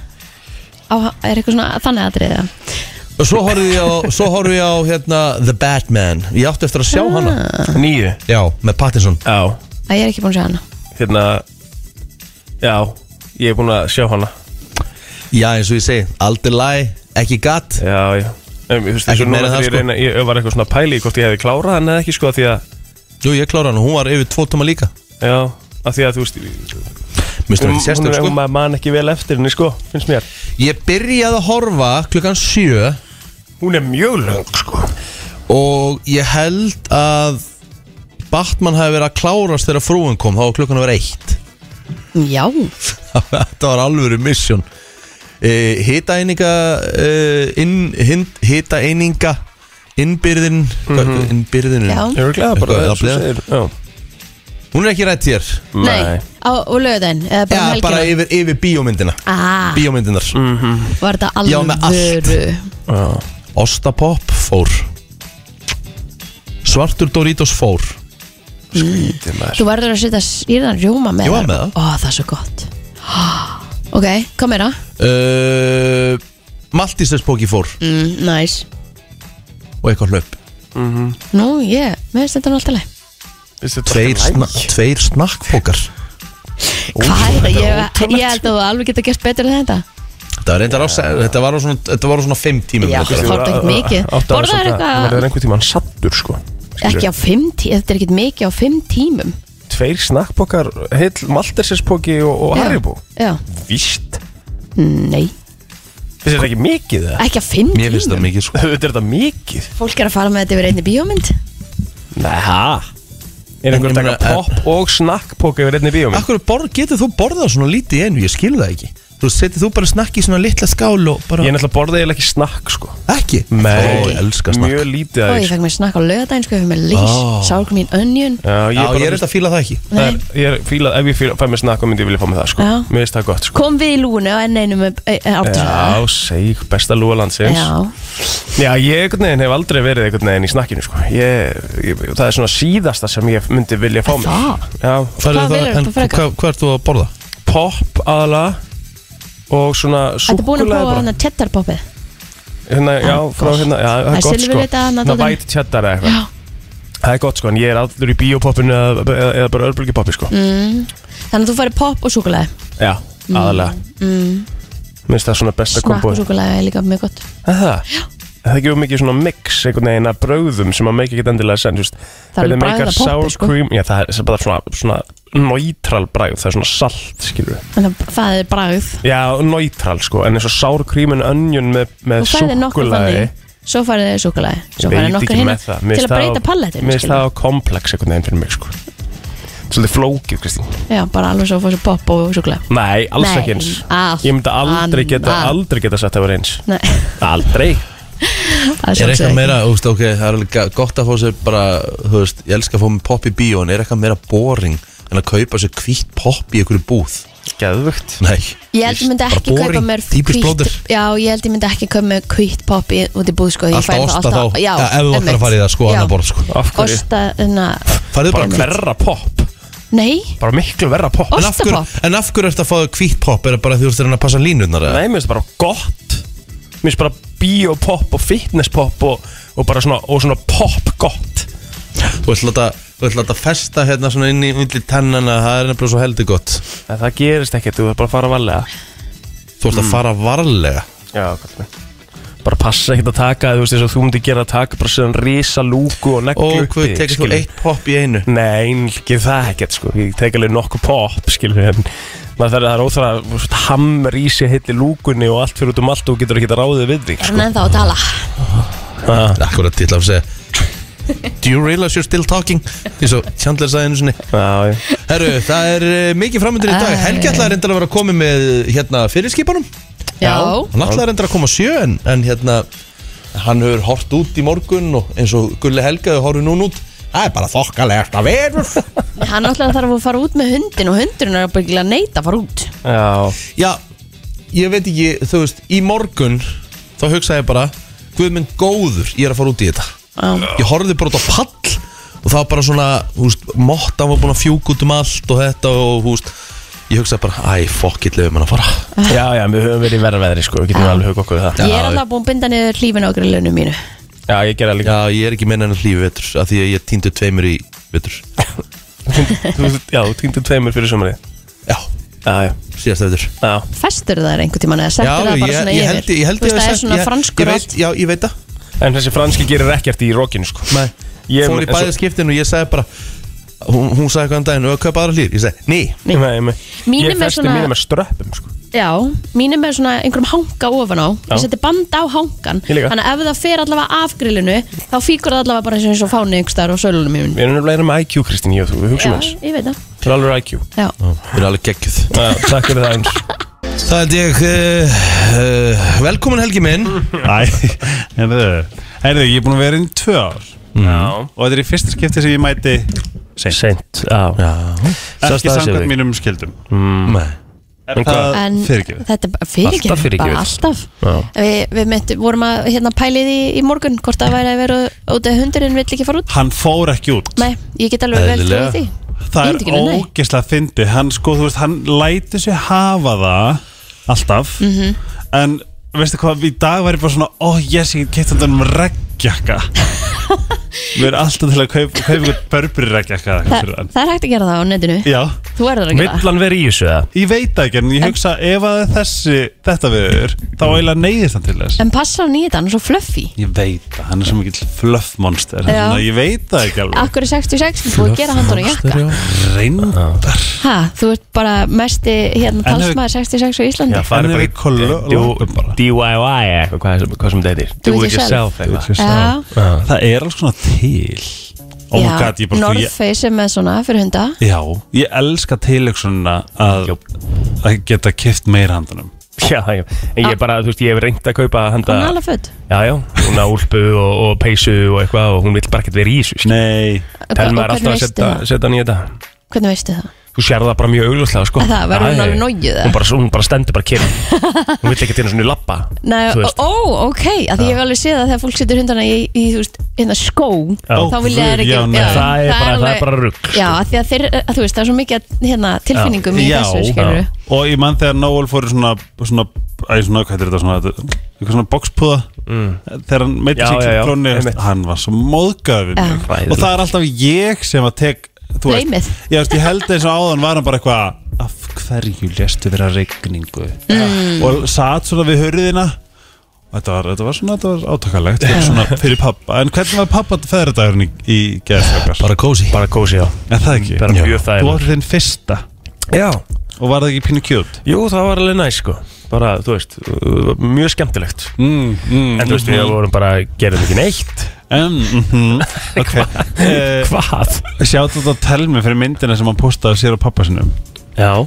[SPEAKER 3] á, Er eitthvað svona þannig aðriða
[SPEAKER 2] Og svo horfði ég á, svo horfði ég á hérna, The Batman Ég átti eftir að sjá hana
[SPEAKER 4] nýju
[SPEAKER 2] Já, með Pattinson
[SPEAKER 4] Já,
[SPEAKER 3] Að ég er ekki búin að sjá hana
[SPEAKER 4] hérna Já, ég er búin að sjá hana
[SPEAKER 2] Já, eins og ég segi, aldrei læ, ekki gatt
[SPEAKER 4] Já, já Um, ég, veist,
[SPEAKER 2] Ekki
[SPEAKER 4] ekki
[SPEAKER 2] meira
[SPEAKER 4] meira
[SPEAKER 2] en það,
[SPEAKER 4] það
[SPEAKER 2] sko.
[SPEAKER 4] sko reyna, Ég var eitthvað svona pæli í hvort ég hefði klárað hann eða ekki sko af Því að,
[SPEAKER 2] Jú, ég klára hana, hún var yfir tvo tóma líka
[SPEAKER 4] já, af því að þú veist Hún,
[SPEAKER 2] Mistum ekki sérstök,
[SPEAKER 4] hún
[SPEAKER 2] sko
[SPEAKER 4] maður man ekki vel eftir henni sko, finnst mér
[SPEAKER 2] Ég byrjaði að horfa klukkan sjö
[SPEAKER 4] Hún er mjög lög sko
[SPEAKER 2] Og ég held að Batman hafi verið að klárast þegar frúin kom Þá var klukkan að vera eitt
[SPEAKER 3] Já,
[SPEAKER 2] <laughs> Þetta var alvöru misjón e, Hitaeininga e, inn, hin, Hitaeininga Innbyrðin mm -hmm. Innbyrðin
[SPEAKER 3] já
[SPEAKER 4] Ég er glæða Mhm. bara
[SPEAKER 2] Eitthvað,
[SPEAKER 4] þessu
[SPEAKER 2] það
[SPEAKER 4] segir Já,
[SPEAKER 2] Hún er ekki rætt hér
[SPEAKER 3] Nei, á, og lögðin Eða bara
[SPEAKER 2] Já,
[SPEAKER 3] um helgina
[SPEAKER 2] bara yfir, yfir bíómyndina
[SPEAKER 3] Ah,
[SPEAKER 2] Bíómyndinar
[SPEAKER 3] var þetta
[SPEAKER 2] Já, með allt.
[SPEAKER 3] alvöru
[SPEAKER 4] Mhm. já
[SPEAKER 2] Ostapopp fór Svartur Doritos fór
[SPEAKER 4] Skrítið maður
[SPEAKER 3] Þú verður að setja sýrðan rjóma með
[SPEAKER 2] Ég var með það.
[SPEAKER 3] Ó, það er svo gott Ok, hvað meira?
[SPEAKER 2] uh, Maltisespóki fór
[SPEAKER 3] Mm, nice
[SPEAKER 2] Og eitthvað hlaup
[SPEAKER 4] Mhm.
[SPEAKER 3] Nú, ég, mér finnst þetta nú alltaf leið
[SPEAKER 4] Finnst þetta
[SPEAKER 2] Tveir,
[SPEAKER 4] alltaf í
[SPEAKER 2] sna
[SPEAKER 4] lagi?
[SPEAKER 2] tveir snakkpókar
[SPEAKER 3] Hvað er það?
[SPEAKER 4] þetta er
[SPEAKER 3] Ég, ég
[SPEAKER 2] sko.
[SPEAKER 3] held að þú alveg geta gert betur en þetta
[SPEAKER 2] Þetta var reyndar á Þetta var á svona, þetta var á svona fimm tímum
[SPEAKER 3] Já,
[SPEAKER 2] þetta.
[SPEAKER 3] þú horfði ekkert mikið.
[SPEAKER 4] Átta ára
[SPEAKER 3] Borðaðir
[SPEAKER 4] samt að-
[SPEAKER 3] eitthvað-
[SPEAKER 4] maður er einhvern tímann sattur sko
[SPEAKER 3] Ekki á fimm tímum, þetta er ekkert mikið á fimm tímum
[SPEAKER 4] Tveir snakkbókar, heill Maltersespóki og, og
[SPEAKER 3] Já.
[SPEAKER 4] Haribo
[SPEAKER 3] Já,
[SPEAKER 4] Víst
[SPEAKER 3] nei,
[SPEAKER 4] Finnst þetta ekki mikið það?
[SPEAKER 3] ekki á fimm
[SPEAKER 2] Mér finnst það
[SPEAKER 3] tímum
[SPEAKER 2] mikið sko
[SPEAKER 4] Þetta er þetta mikið
[SPEAKER 3] Fólk er að fara með þetta yfir einni bíómynd
[SPEAKER 4] Næha Er
[SPEAKER 2] En
[SPEAKER 4] einhver
[SPEAKER 2] ég
[SPEAKER 4] að taka
[SPEAKER 2] meina,
[SPEAKER 4] pop og snakkpóka yfir einni bíómi?
[SPEAKER 2] Akkur borð, getur þú borðað svona lítið í einu, ég skil það ekki Þú setið þú bara snakki í svona litla skál og bara
[SPEAKER 4] Ég er náttúrulega borðið eiginlega ekki snakk sko
[SPEAKER 2] Ekki? Ó, ég elska snakk
[SPEAKER 4] Mjög
[SPEAKER 3] Og
[SPEAKER 4] lítið
[SPEAKER 3] ég
[SPEAKER 4] aðeins
[SPEAKER 3] fekk mér snakk á lögadaginn, sko, ég fekk mér lís
[SPEAKER 2] Ó.
[SPEAKER 3] Sárgum mín önjun
[SPEAKER 4] Já, ég
[SPEAKER 2] Já, ég
[SPEAKER 4] er bara
[SPEAKER 2] er eftir að fíla það ekki
[SPEAKER 4] það er, Ég er fílað, ef ég fíla, fæ mér snakk og myndi ég vilja fá mér það sko
[SPEAKER 3] Já.
[SPEAKER 4] Mér finnst það gott sko
[SPEAKER 3] Kom við í lúinu á eh, enn einu með
[SPEAKER 4] Já,
[SPEAKER 3] Ártursson
[SPEAKER 4] seg, besta lúa landsins Já,
[SPEAKER 3] Já,
[SPEAKER 4] ég einhvern veginn hef aldrei verið einhvern veginn í snakkinu sko ég, ég, Það er svona síðasta sem ég myndi vilja fá mér
[SPEAKER 3] það?
[SPEAKER 4] Já,
[SPEAKER 2] Hvað
[SPEAKER 3] Hvað
[SPEAKER 2] er það,
[SPEAKER 3] velurðu
[SPEAKER 2] en
[SPEAKER 3] upp á frekar?
[SPEAKER 2] hvað, hvað ert þú að borða?
[SPEAKER 4] pop aðalega Og svona
[SPEAKER 3] Þetta er búin að prófa
[SPEAKER 4] súkkulaði
[SPEAKER 3] hann að cheddar poppið
[SPEAKER 4] Hérna, já,
[SPEAKER 3] Ah,
[SPEAKER 4] frá
[SPEAKER 3] gott.
[SPEAKER 4] hérna, já, það
[SPEAKER 3] Það er
[SPEAKER 4] er gott sko
[SPEAKER 3] silfurlitað þarna,
[SPEAKER 4] Ná,
[SPEAKER 3] dóttir.
[SPEAKER 4] white cheddar eða eitthvað
[SPEAKER 3] Já,
[SPEAKER 4] Það er gott sko, en ég er allur í bíópoppinu eða, eða, eða bara örbulgipoppi sko
[SPEAKER 3] Mm. þannig að þú færi popp og súkulæði
[SPEAKER 4] Já, aðalega Minnst það svona besta
[SPEAKER 3] Snakk
[SPEAKER 4] kombo
[SPEAKER 3] og
[SPEAKER 4] Er
[SPEAKER 3] súkulæði er líka mjög Mm. gott
[SPEAKER 4] Það Er Það er ekki um mikið svona mix einhvern veginn að bröðum sem að make ekki endilega senn just,
[SPEAKER 3] Það er alveg bragð af poppi, sko.
[SPEAKER 4] cream, já, það er- það er bara svona, svona neutral bræð, það er svona salt skilur við,
[SPEAKER 3] En það- það er bragð
[SPEAKER 4] já, neutral sko en eins og sour cream and onion með, með
[SPEAKER 3] Þú færði nokkur fannig
[SPEAKER 4] súkkulaði
[SPEAKER 3] Svo færði þið súkulæði Svo
[SPEAKER 4] Ég
[SPEAKER 3] færði
[SPEAKER 4] veit
[SPEAKER 3] nokkur
[SPEAKER 4] ekki
[SPEAKER 3] hinn
[SPEAKER 4] með það. Mér
[SPEAKER 3] Til að
[SPEAKER 4] finnst það á-
[SPEAKER 3] breyta pallettinu
[SPEAKER 4] Mér finnst
[SPEAKER 3] skilur.
[SPEAKER 4] það á komplex einhvern veginn fyrir mig sko Svolítið flókið, Kristín
[SPEAKER 3] Já, bara alveg svo að fá sér popp og sjúkla
[SPEAKER 4] Nei, alls
[SPEAKER 3] Nei,
[SPEAKER 4] ekki eins
[SPEAKER 3] allt
[SPEAKER 4] Ég myndi aldrei
[SPEAKER 3] annað.
[SPEAKER 4] geta, aldrei geta sagt að það var eins
[SPEAKER 3] Nei,
[SPEAKER 4] Aldrei
[SPEAKER 3] það er
[SPEAKER 2] Er
[SPEAKER 3] sjálfsögð
[SPEAKER 2] eitthvað
[SPEAKER 3] ekki.
[SPEAKER 2] meira, úst, ok, það er líka gott að fá sér bara, þú veist, ég elska að fá mér popp í bíón, er eitthvað meira boring en að kaupa sér hvítt popp í einhverju búð?
[SPEAKER 4] Geðvögt
[SPEAKER 2] Nei.
[SPEAKER 3] Ég held ég myndi
[SPEAKER 2] Bara
[SPEAKER 3] ekki kaupa
[SPEAKER 2] boring,
[SPEAKER 3] mér hvítt-
[SPEAKER 2] Típist blóður.
[SPEAKER 3] Já, ég held ég myndi ekki kaupa mér hvitt popp í- út í búð sko. Ég
[SPEAKER 2] Alltaf
[SPEAKER 3] færi það
[SPEAKER 2] osta þá,
[SPEAKER 3] já,
[SPEAKER 2] ja, ef þú ætlar
[SPEAKER 3] einmitt.
[SPEAKER 2] að fara í það, sko,
[SPEAKER 3] Já.
[SPEAKER 2] annar borð, sko.
[SPEAKER 4] Af hverju?
[SPEAKER 3] Osta, enna,
[SPEAKER 2] Farðu bara
[SPEAKER 4] Bara verra popp
[SPEAKER 3] uh, nei,
[SPEAKER 4] Bara miklu verra popp
[SPEAKER 3] Ost-
[SPEAKER 2] En af hverju,
[SPEAKER 3] Ostapopp?
[SPEAKER 2] en af hverju ertu að fá þér hvítt popp? Er það bara því þú ert að reyna að passa línurnar? eða?
[SPEAKER 4] Nei, mér finnst það bara gott Mér finnst bara biopopp og fitnesspopp og, og bara svona, og svona popp gott
[SPEAKER 2] Þú ert láta, þú ert láta festa hérna svona inn í myndli tennana, það er nefnilega svo heldur gott.
[SPEAKER 4] En það gerist ekkert, þú er bara að fara varlega
[SPEAKER 2] Þú ert að fara varlega.
[SPEAKER 4] Já, kallum við bara passa ekkert að taka þú veist þess að þú myndi gera að taka bara svona risa lúku og neglu
[SPEAKER 2] Ó, hvað,
[SPEAKER 4] uppi,
[SPEAKER 2] tekur þú
[SPEAKER 4] skilur.
[SPEAKER 2] eitt popp í einu?
[SPEAKER 4] Nei, ekki það ekkert sko Ég tek alveg nokkuð pop, skilur En maður þarf að það er óþara svona, Hammer í sig heitti lúkunni og allt fyrir út um allt Og getur ekki að ráðið við sko. því
[SPEAKER 3] hann er ennþá að tala
[SPEAKER 4] ah,
[SPEAKER 2] Akkurat til að
[SPEAKER 4] <laughs>
[SPEAKER 2] segja Do you realize you're still talking? Því svo Chandler sagði einu sinni
[SPEAKER 4] á, já.
[SPEAKER 2] Herru, það er eh, mikið framöndir í dag
[SPEAKER 3] Æ.
[SPEAKER 2] Helgi ætlaði reyndar að vera að koma með hérna fyrirskipanum
[SPEAKER 3] Já,
[SPEAKER 2] Hann ætlaði reyndar að koma á sjö en, en hérna, hann hefur hort út í morgun og eins og Gulli Helga hefur horfið núna út Það er bara þokkalegt að verður
[SPEAKER 3] hann alltaf þarf að fara út með hundin og hundurinn er að byrja að neita að fara út
[SPEAKER 4] <laughs> já,
[SPEAKER 2] Já, ég veit ekki, þú veist, í morgun þá hugsaði ég bara Guðmund góður, ég er að fara út í þetta
[SPEAKER 3] Já,
[SPEAKER 2] Ég horfði bara út á pall og það var bara svona, þú veist, mottan var búin að fjúk út um allt og þetta og, þú veist, ég hugsaði bara, æ, fokk, ég lefum hann að fara.
[SPEAKER 4] já, já, við höfum verið í verra veðri sko Við getum alveg hugað okkur við það
[SPEAKER 3] Ég er alltaf búin að binda niður lífin á grillunum mínu
[SPEAKER 4] Já, ég gera líka
[SPEAKER 2] Já, ég er ekki meina hennar hlífi vetur, af því að ég týndi tveimur í vetur.
[SPEAKER 4] <laughs> Þú- Já, þú týndir tveimur fyrir sumari
[SPEAKER 2] Já,
[SPEAKER 4] Já, já,
[SPEAKER 2] síðasta vetur.
[SPEAKER 4] já
[SPEAKER 3] Festur það einhvern tímann eða
[SPEAKER 2] Já,
[SPEAKER 3] settur það bara svona
[SPEAKER 2] ég
[SPEAKER 3] yfir
[SPEAKER 2] held, ég held,
[SPEAKER 3] Þú veist,
[SPEAKER 2] ég
[SPEAKER 3] það
[SPEAKER 2] hef
[SPEAKER 3] er svona
[SPEAKER 2] ég-
[SPEAKER 3] franskur
[SPEAKER 2] ég
[SPEAKER 3] og
[SPEAKER 2] veit-
[SPEAKER 3] allt
[SPEAKER 2] Já, ég veit það.
[SPEAKER 4] En þessi franski gerir ekkert í rokinu sko
[SPEAKER 2] Nei,
[SPEAKER 4] Ég-
[SPEAKER 2] fór í
[SPEAKER 4] en svo-
[SPEAKER 2] bæði skiptin og ég sagði bara, hún, hún sagði hvað um daginn, og að kaupa aðra hlýr, ég sagði, ný.
[SPEAKER 4] Nei, nei,
[SPEAKER 3] Mínum
[SPEAKER 4] Ég
[SPEAKER 3] er
[SPEAKER 4] festi
[SPEAKER 3] svona-
[SPEAKER 4] mínum er ströppum sko
[SPEAKER 3] Já, mínum er svona einhverjum hanga ofan á Ég seti band á hangan
[SPEAKER 4] Ég líka.
[SPEAKER 3] Þannig að ef það fer allavega af grillinu Þá fíkur það allavega bara eins og fáni yngstar og sölunum mínu
[SPEAKER 4] Við erum nefnilega erum IQ Kristín, ég og þú, við
[SPEAKER 3] Já,
[SPEAKER 4] hugsum þess
[SPEAKER 3] ég veit það
[SPEAKER 4] Við erum alveg IQ
[SPEAKER 3] Já,
[SPEAKER 2] Það er alveg geggjuð.
[SPEAKER 4] Já, Takk fyrir það eins
[SPEAKER 2] Það held ég, uh, uh, velkomin Helgi
[SPEAKER 4] <laughs>
[SPEAKER 2] minn.
[SPEAKER 5] Æ, herðu, herðu, ég er búin að vera inn í tvö ár
[SPEAKER 4] Já
[SPEAKER 5] og þetta er í fyrsta skipti sem ég mæti seint,
[SPEAKER 4] Seint, já
[SPEAKER 2] Já,
[SPEAKER 5] ekki
[SPEAKER 4] staðsett
[SPEAKER 5] samkvæmt
[SPEAKER 4] þig.
[SPEAKER 5] mínum skildum
[SPEAKER 2] nei.
[SPEAKER 5] Er
[SPEAKER 4] Mm. hvað-
[SPEAKER 5] það
[SPEAKER 3] en
[SPEAKER 5] fyrirgefið?
[SPEAKER 3] þetta er bara fyrirgefið
[SPEAKER 4] Alltaf fyrirgefið.
[SPEAKER 3] bara Alltaf
[SPEAKER 4] Já.
[SPEAKER 3] Við, við myndi, vorum að hérna, pælið í, í morgun Hvort það væri að vera út að hundurinn vill ekki fara út
[SPEAKER 5] Hann fór ekki út
[SPEAKER 3] Nei, ég get alveg vel
[SPEAKER 2] Eðlilega.
[SPEAKER 3] trúið því
[SPEAKER 5] Það
[SPEAKER 3] Ég myndi ekki,
[SPEAKER 5] er
[SPEAKER 3] nei.
[SPEAKER 5] ógeðslega fyndið Hann sko, þú veist, hann læti sig hafa það alltaf
[SPEAKER 3] Mhm.
[SPEAKER 5] en veistu hvað, í dag var ég bara svona ó, oh, yes, ég get þetta um
[SPEAKER 3] <laughs>
[SPEAKER 5] regnjakka Við erum alltaf til að kaupa kaupa eitthvað börbri regnjakka
[SPEAKER 3] Þa, Það er hægt að gera það á netinu
[SPEAKER 5] Já,
[SPEAKER 3] Þú erður að
[SPEAKER 4] Vill
[SPEAKER 3] gera það
[SPEAKER 4] hann vera í þessu eða?
[SPEAKER 5] ég veit það ekki en ég hugsa ef að þessi, þetta viður þá eiginlega neyðist hann til þess
[SPEAKER 3] En passa á nýta, hann er svo fluffy
[SPEAKER 5] Ég veit það, hann er svo mikill fluffmonster
[SPEAKER 3] Já.
[SPEAKER 5] Þannig að ég veit það ekki alveg
[SPEAKER 3] Akkur er 66, þú búið að gera handan á jakka
[SPEAKER 5] Reyndar
[SPEAKER 3] Ha, þú ert bara mesti hérna
[SPEAKER 5] En hefur-
[SPEAKER 3] talsmaður 66 á Íslandi
[SPEAKER 4] Já, farið
[SPEAKER 5] En
[SPEAKER 4] bara
[SPEAKER 5] við kollo-
[SPEAKER 4] í eh,
[SPEAKER 5] látum bara.
[SPEAKER 4] DIY eða eitthvað, hvað sem- hvað sem þetta heitir
[SPEAKER 3] Do it yourself.
[SPEAKER 4] eitthvað
[SPEAKER 3] Já,
[SPEAKER 5] Það er alls svona til Oh my god, ég bara
[SPEAKER 3] North
[SPEAKER 5] ég,
[SPEAKER 3] Face er með svona fyrir hunda
[SPEAKER 5] Já, ég elska tilöksunna að,
[SPEAKER 4] Jú.
[SPEAKER 5] að geta kift meira handunum
[SPEAKER 4] Já, já, en ég bara, þú veist, ég hef reynd að kaupa handa
[SPEAKER 3] Hún er alveg född
[SPEAKER 4] Já, já, hún á úlpu og, og peysu og eitthvað og hún vill bara ekkert vera í þessu skilur.
[SPEAKER 5] Nei
[SPEAKER 4] Telma
[SPEAKER 3] Og
[SPEAKER 4] er alltaf
[SPEAKER 3] hvernig
[SPEAKER 4] að
[SPEAKER 3] veistu
[SPEAKER 4] setja,
[SPEAKER 3] það?
[SPEAKER 4] setja hann í þetta
[SPEAKER 3] Hvernig veistu það?
[SPEAKER 4] Þú sér það bara mjög augljóslega, sko
[SPEAKER 3] Að það, verður hún
[SPEAKER 4] Æ,
[SPEAKER 3] alveg nógjuð, eða?
[SPEAKER 4] Hún bara, hún bara stendur bara
[SPEAKER 3] <laughs>
[SPEAKER 4] kyrr Hún vill ekki til svona lappa
[SPEAKER 3] Nei,
[SPEAKER 4] þú
[SPEAKER 3] ó,
[SPEAKER 4] veist.
[SPEAKER 3] ó, ok, að því ég hef alveg séð að þegar fólk setur hundana í, í þú veist, hérna skó
[SPEAKER 4] Já.
[SPEAKER 3] þá vil ég
[SPEAKER 5] Guð,
[SPEAKER 3] ekki
[SPEAKER 5] já,
[SPEAKER 4] Það
[SPEAKER 5] nei.
[SPEAKER 4] er bara- það er bara rugl,
[SPEAKER 3] Já, að því að þeir, að þú veist, það er svo mikið hérna, tilfinningum í
[SPEAKER 5] Já,
[SPEAKER 3] þessu, skilur
[SPEAKER 4] já.
[SPEAKER 5] Og ég mann þegar Noel fór í svona, svona Æ, svona, hvað er þetta svona þetta- Eitthvað svona bokspúða Þegar hann meiti
[SPEAKER 4] Mm. Já,
[SPEAKER 5] sig
[SPEAKER 4] já, já,
[SPEAKER 5] klónni
[SPEAKER 4] einmitt.
[SPEAKER 5] Hann var svo móðgöfin
[SPEAKER 3] Já.
[SPEAKER 5] Og það er alltaf ég sem að tek þú veist-
[SPEAKER 3] Blameið.
[SPEAKER 5] Já, veist, ég held eins og áðan var hann bara eitthvað Af hverju lestu vera regningu mm. Og satt svona við hurðina Og Þetta var, þetta var svona, þetta var átakalegt Svona fyrir pappa En hvernig var pappa feðradagurinn í, í gerðsökar?
[SPEAKER 2] Bara kósi.
[SPEAKER 4] Bara kósi á
[SPEAKER 5] En það ekki
[SPEAKER 4] Bara mjög
[SPEAKER 5] Þú
[SPEAKER 4] þægileg.
[SPEAKER 5] áttir þinn fyrsta
[SPEAKER 4] Já,
[SPEAKER 5] Og var það ekki pínu kjút?
[SPEAKER 4] Jú, það var alveg næst sko bara, þú veist, uh, mjög skemmtilegt
[SPEAKER 5] Mm, mm,
[SPEAKER 4] en þú veist, við vorum bara, gerðum ekki neitt
[SPEAKER 5] En En,
[SPEAKER 4] <laughs>
[SPEAKER 5] mhm, ok uh,
[SPEAKER 4] Hvað?
[SPEAKER 5] Sjáttu þetta að tel mig fyrir myndina sem hann postaði sér og pappa sinum
[SPEAKER 4] Já,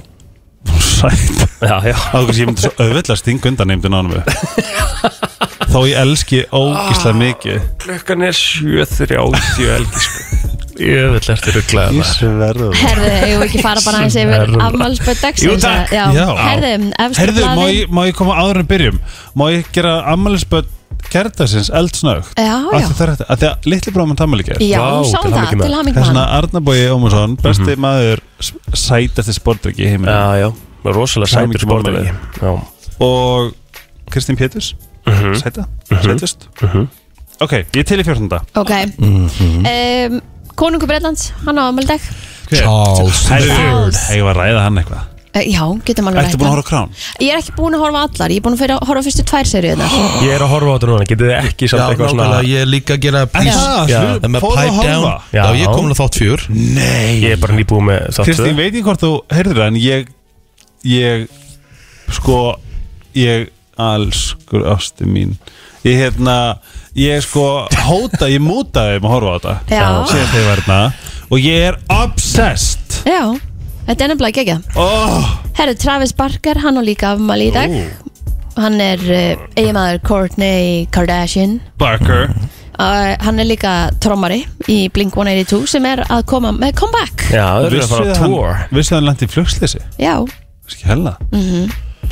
[SPEAKER 5] Sætt
[SPEAKER 4] já, já
[SPEAKER 5] Ákveðs ég myndi svo auðvitað að stinga undan nefndin á hann
[SPEAKER 4] <laughs>
[SPEAKER 5] við Þó ég elski ógislega mikið
[SPEAKER 4] Ah, Klukkan er 7.30 elgi sko Ég vil eftir rugglaða það
[SPEAKER 5] Ísverður
[SPEAKER 3] Herðu, eigum við ekki fara bara aðeins yfir
[SPEAKER 4] Herðu.
[SPEAKER 3] afmálsböð dagsins?
[SPEAKER 4] Jú, takk.
[SPEAKER 3] Já,
[SPEAKER 5] Já.
[SPEAKER 3] herðu, efstu
[SPEAKER 5] Herðu, má
[SPEAKER 3] blaðin-
[SPEAKER 5] ég, má ég koma áður en byrjum? Má ég gera ammælisböld kertasins eldsnögt?
[SPEAKER 3] Já, já.
[SPEAKER 5] Af því það er þetta- af því að litli bróðum hann tammæli gerð
[SPEAKER 3] Já,
[SPEAKER 4] Vá,
[SPEAKER 3] sá
[SPEAKER 4] til
[SPEAKER 3] það,
[SPEAKER 4] hamingju með.
[SPEAKER 3] til hamingju
[SPEAKER 5] Það er
[SPEAKER 3] með
[SPEAKER 5] svona
[SPEAKER 3] hann
[SPEAKER 5] Arnabói Ómarsson, besti maður s- sætasti sportryggi í heiminu
[SPEAKER 4] Mhm. Já, já Rosalega sætur
[SPEAKER 5] Hamingju með
[SPEAKER 4] sportið
[SPEAKER 5] afmælið.
[SPEAKER 4] Já Mhm.
[SPEAKER 5] og Kristín Péturs sæta, sætust Ok, ég er til í 14.
[SPEAKER 3] Ok
[SPEAKER 4] Mhm.
[SPEAKER 3] um, Konungu Breitlands, hann á afmáldag
[SPEAKER 2] Charles
[SPEAKER 5] Herðu,
[SPEAKER 3] Charles.
[SPEAKER 5] ég var að ræða hann eitthvað
[SPEAKER 3] uh, Já, getum alveg rætt
[SPEAKER 5] Ertu
[SPEAKER 3] það.
[SPEAKER 5] búin að horfa á krán?
[SPEAKER 3] Ég er ekki búin að horfa á allar, ég er búin að fyrir- horfa á fyrstu tvær seríunar
[SPEAKER 4] Ég er að horfa á þetta núna Getið þið ekki
[SPEAKER 2] Já,
[SPEAKER 4] samt eitthvað
[SPEAKER 2] nákvæmlega,
[SPEAKER 4] svona
[SPEAKER 2] ég er líka að gera
[SPEAKER 5] Já,
[SPEAKER 4] Já.
[SPEAKER 5] slu-
[SPEAKER 2] Það með
[SPEAKER 5] fóðu að
[SPEAKER 2] pipe down
[SPEAKER 5] horfa
[SPEAKER 2] Já, ég er komin að þátt fjör
[SPEAKER 5] Nei
[SPEAKER 4] Ég er bara nýbúið með þátt
[SPEAKER 5] Kristín, veit ég hvort þú heyrður það, en ég ég, sko ég, allskur ástu mín ég hérna ég sko hóta, ég mútaði um að horfa á þetta
[SPEAKER 3] Já.
[SPEAKER 5] síðan þegar ég var hérna og ég er obsessed
[SPEAKER 3] Já, þetta er nefnilega gegja
[SPEAKER 5] oh,
[SPEAKER 3] Herru, Travis Barker, hann á líka afmæli í dag Hann er uh, eiginmaður Kourtney Kardashian
[SPEAKER 5] Barker
[SPEAKER 3] uh, Hann er líka trommari í Blink-182 sem er að koma með comeback
[SPEAKER 4] Já, það eru að
[SPEAKER 5] Vissuð
[SPEAKER 4] fara á
[SPEAKER 5] hann,
[SPEAKER 4] tour
[SPEAKER 5] vissuð hann landi í flugslýsi
[SPEAKER 3] Já,
[SPEAKER 5] Ski hella
[SPEAKER 3] Mhm.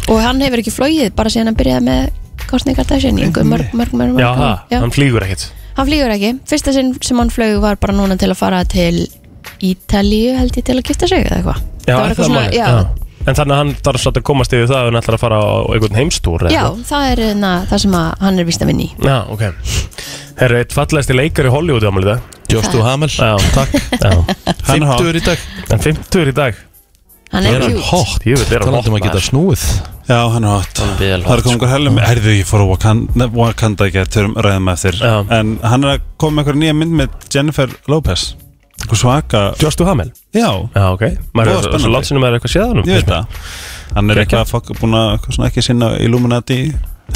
[SPEAKER 3] og hann hefur ekki flóið bara síðan hann byrjaði með Kourtney Kardashian í einhver mörg, mörg, mörg, mörg
[SPEAKER 4] Já,
[SPEAKER 3] ár.
[SPEAKER 4] það,
[SPEAKER 3] Já.
[SPEAKER 4] hann flýgur ekkert
[SPEAKER 3] Hann flýgur ekki. Fyrsta sinn sem hann flög var bara núna til að fara til Ítalíu held ég til að gifta sig eða eitthvað.
[SPEAKER 4] Já,
[SPEAKER 3] var
[SPEAKER 4] er
[SPEAKER 3] eitthvað
[SPEAKER 4] það málið?
[SPEAKER 3] já,
[SPEAKER 4] Já. En þannig að hann þarf svolítið að komast yfir það ef hann ætlar að fara á einhvern heimstúr eða
[SPEAKER 3] já,
[SPEAKER 4] eitthvað.
[SPEAKER 3] það er na, það sem að, hann er vist að vinni í.
[SPEAKER 4] Já, ok Herru, eitt fallegasti leikar í Hollywood ámælið það
[SPEAKER 2] Jostu Hamel,
[SPEAKER 4] Já.
[SPEAKER 2] takk
[SPEAKER 4] Já
[SPEAKER 5] Hann er
[SPEAKER 2] 50 í dag,
[SPEAKER 4] En 50 í dag
[SPEAKER 3] Hann er
[SPEAKER 2] er hann
[SPEAKER 3] cute.
[SPEAKER 2] hot
[SPEAKER 4] Ég veit, er hann
[SPEAKER 2] Talandi um
[SPEAKER 4] hot,
[SPEAKER 2] að geta
[SPEAKER 4] maður.
[SPEAKER 2] snúið
[SPEAKER 5] Já, hann er hot
[SPEAKER 2] vel hot,
[SPEAKER 5] Það er
[SPEAKER 4] sko.
[SPEAKER 5] komingur hella með Herðu, ég fór á Wakanda, Wakanda ekki að törum ræðum eftir
[SPEAKER 4] Já.
[SPEAKER 5] En hann er að koma með einhverja nýja mynd með Jennifer Lopez Einhver svaka
[SPEAKER 4] Jostu Hamel
[SPEAKER 5] Já,
[SPEAKER 4] Já, ok
[SPEAKER 5] Voða
[SPEAKER 4] Maður er svo
[SPEAKER 5] spennandi.
[SPEAKER 4] lansinum maður er eitthvað séð á hann
[SPEAKER 5] Ég veit það Hann er eitthvað að fokka búin að eitthvað svona ekki sinna Illuminati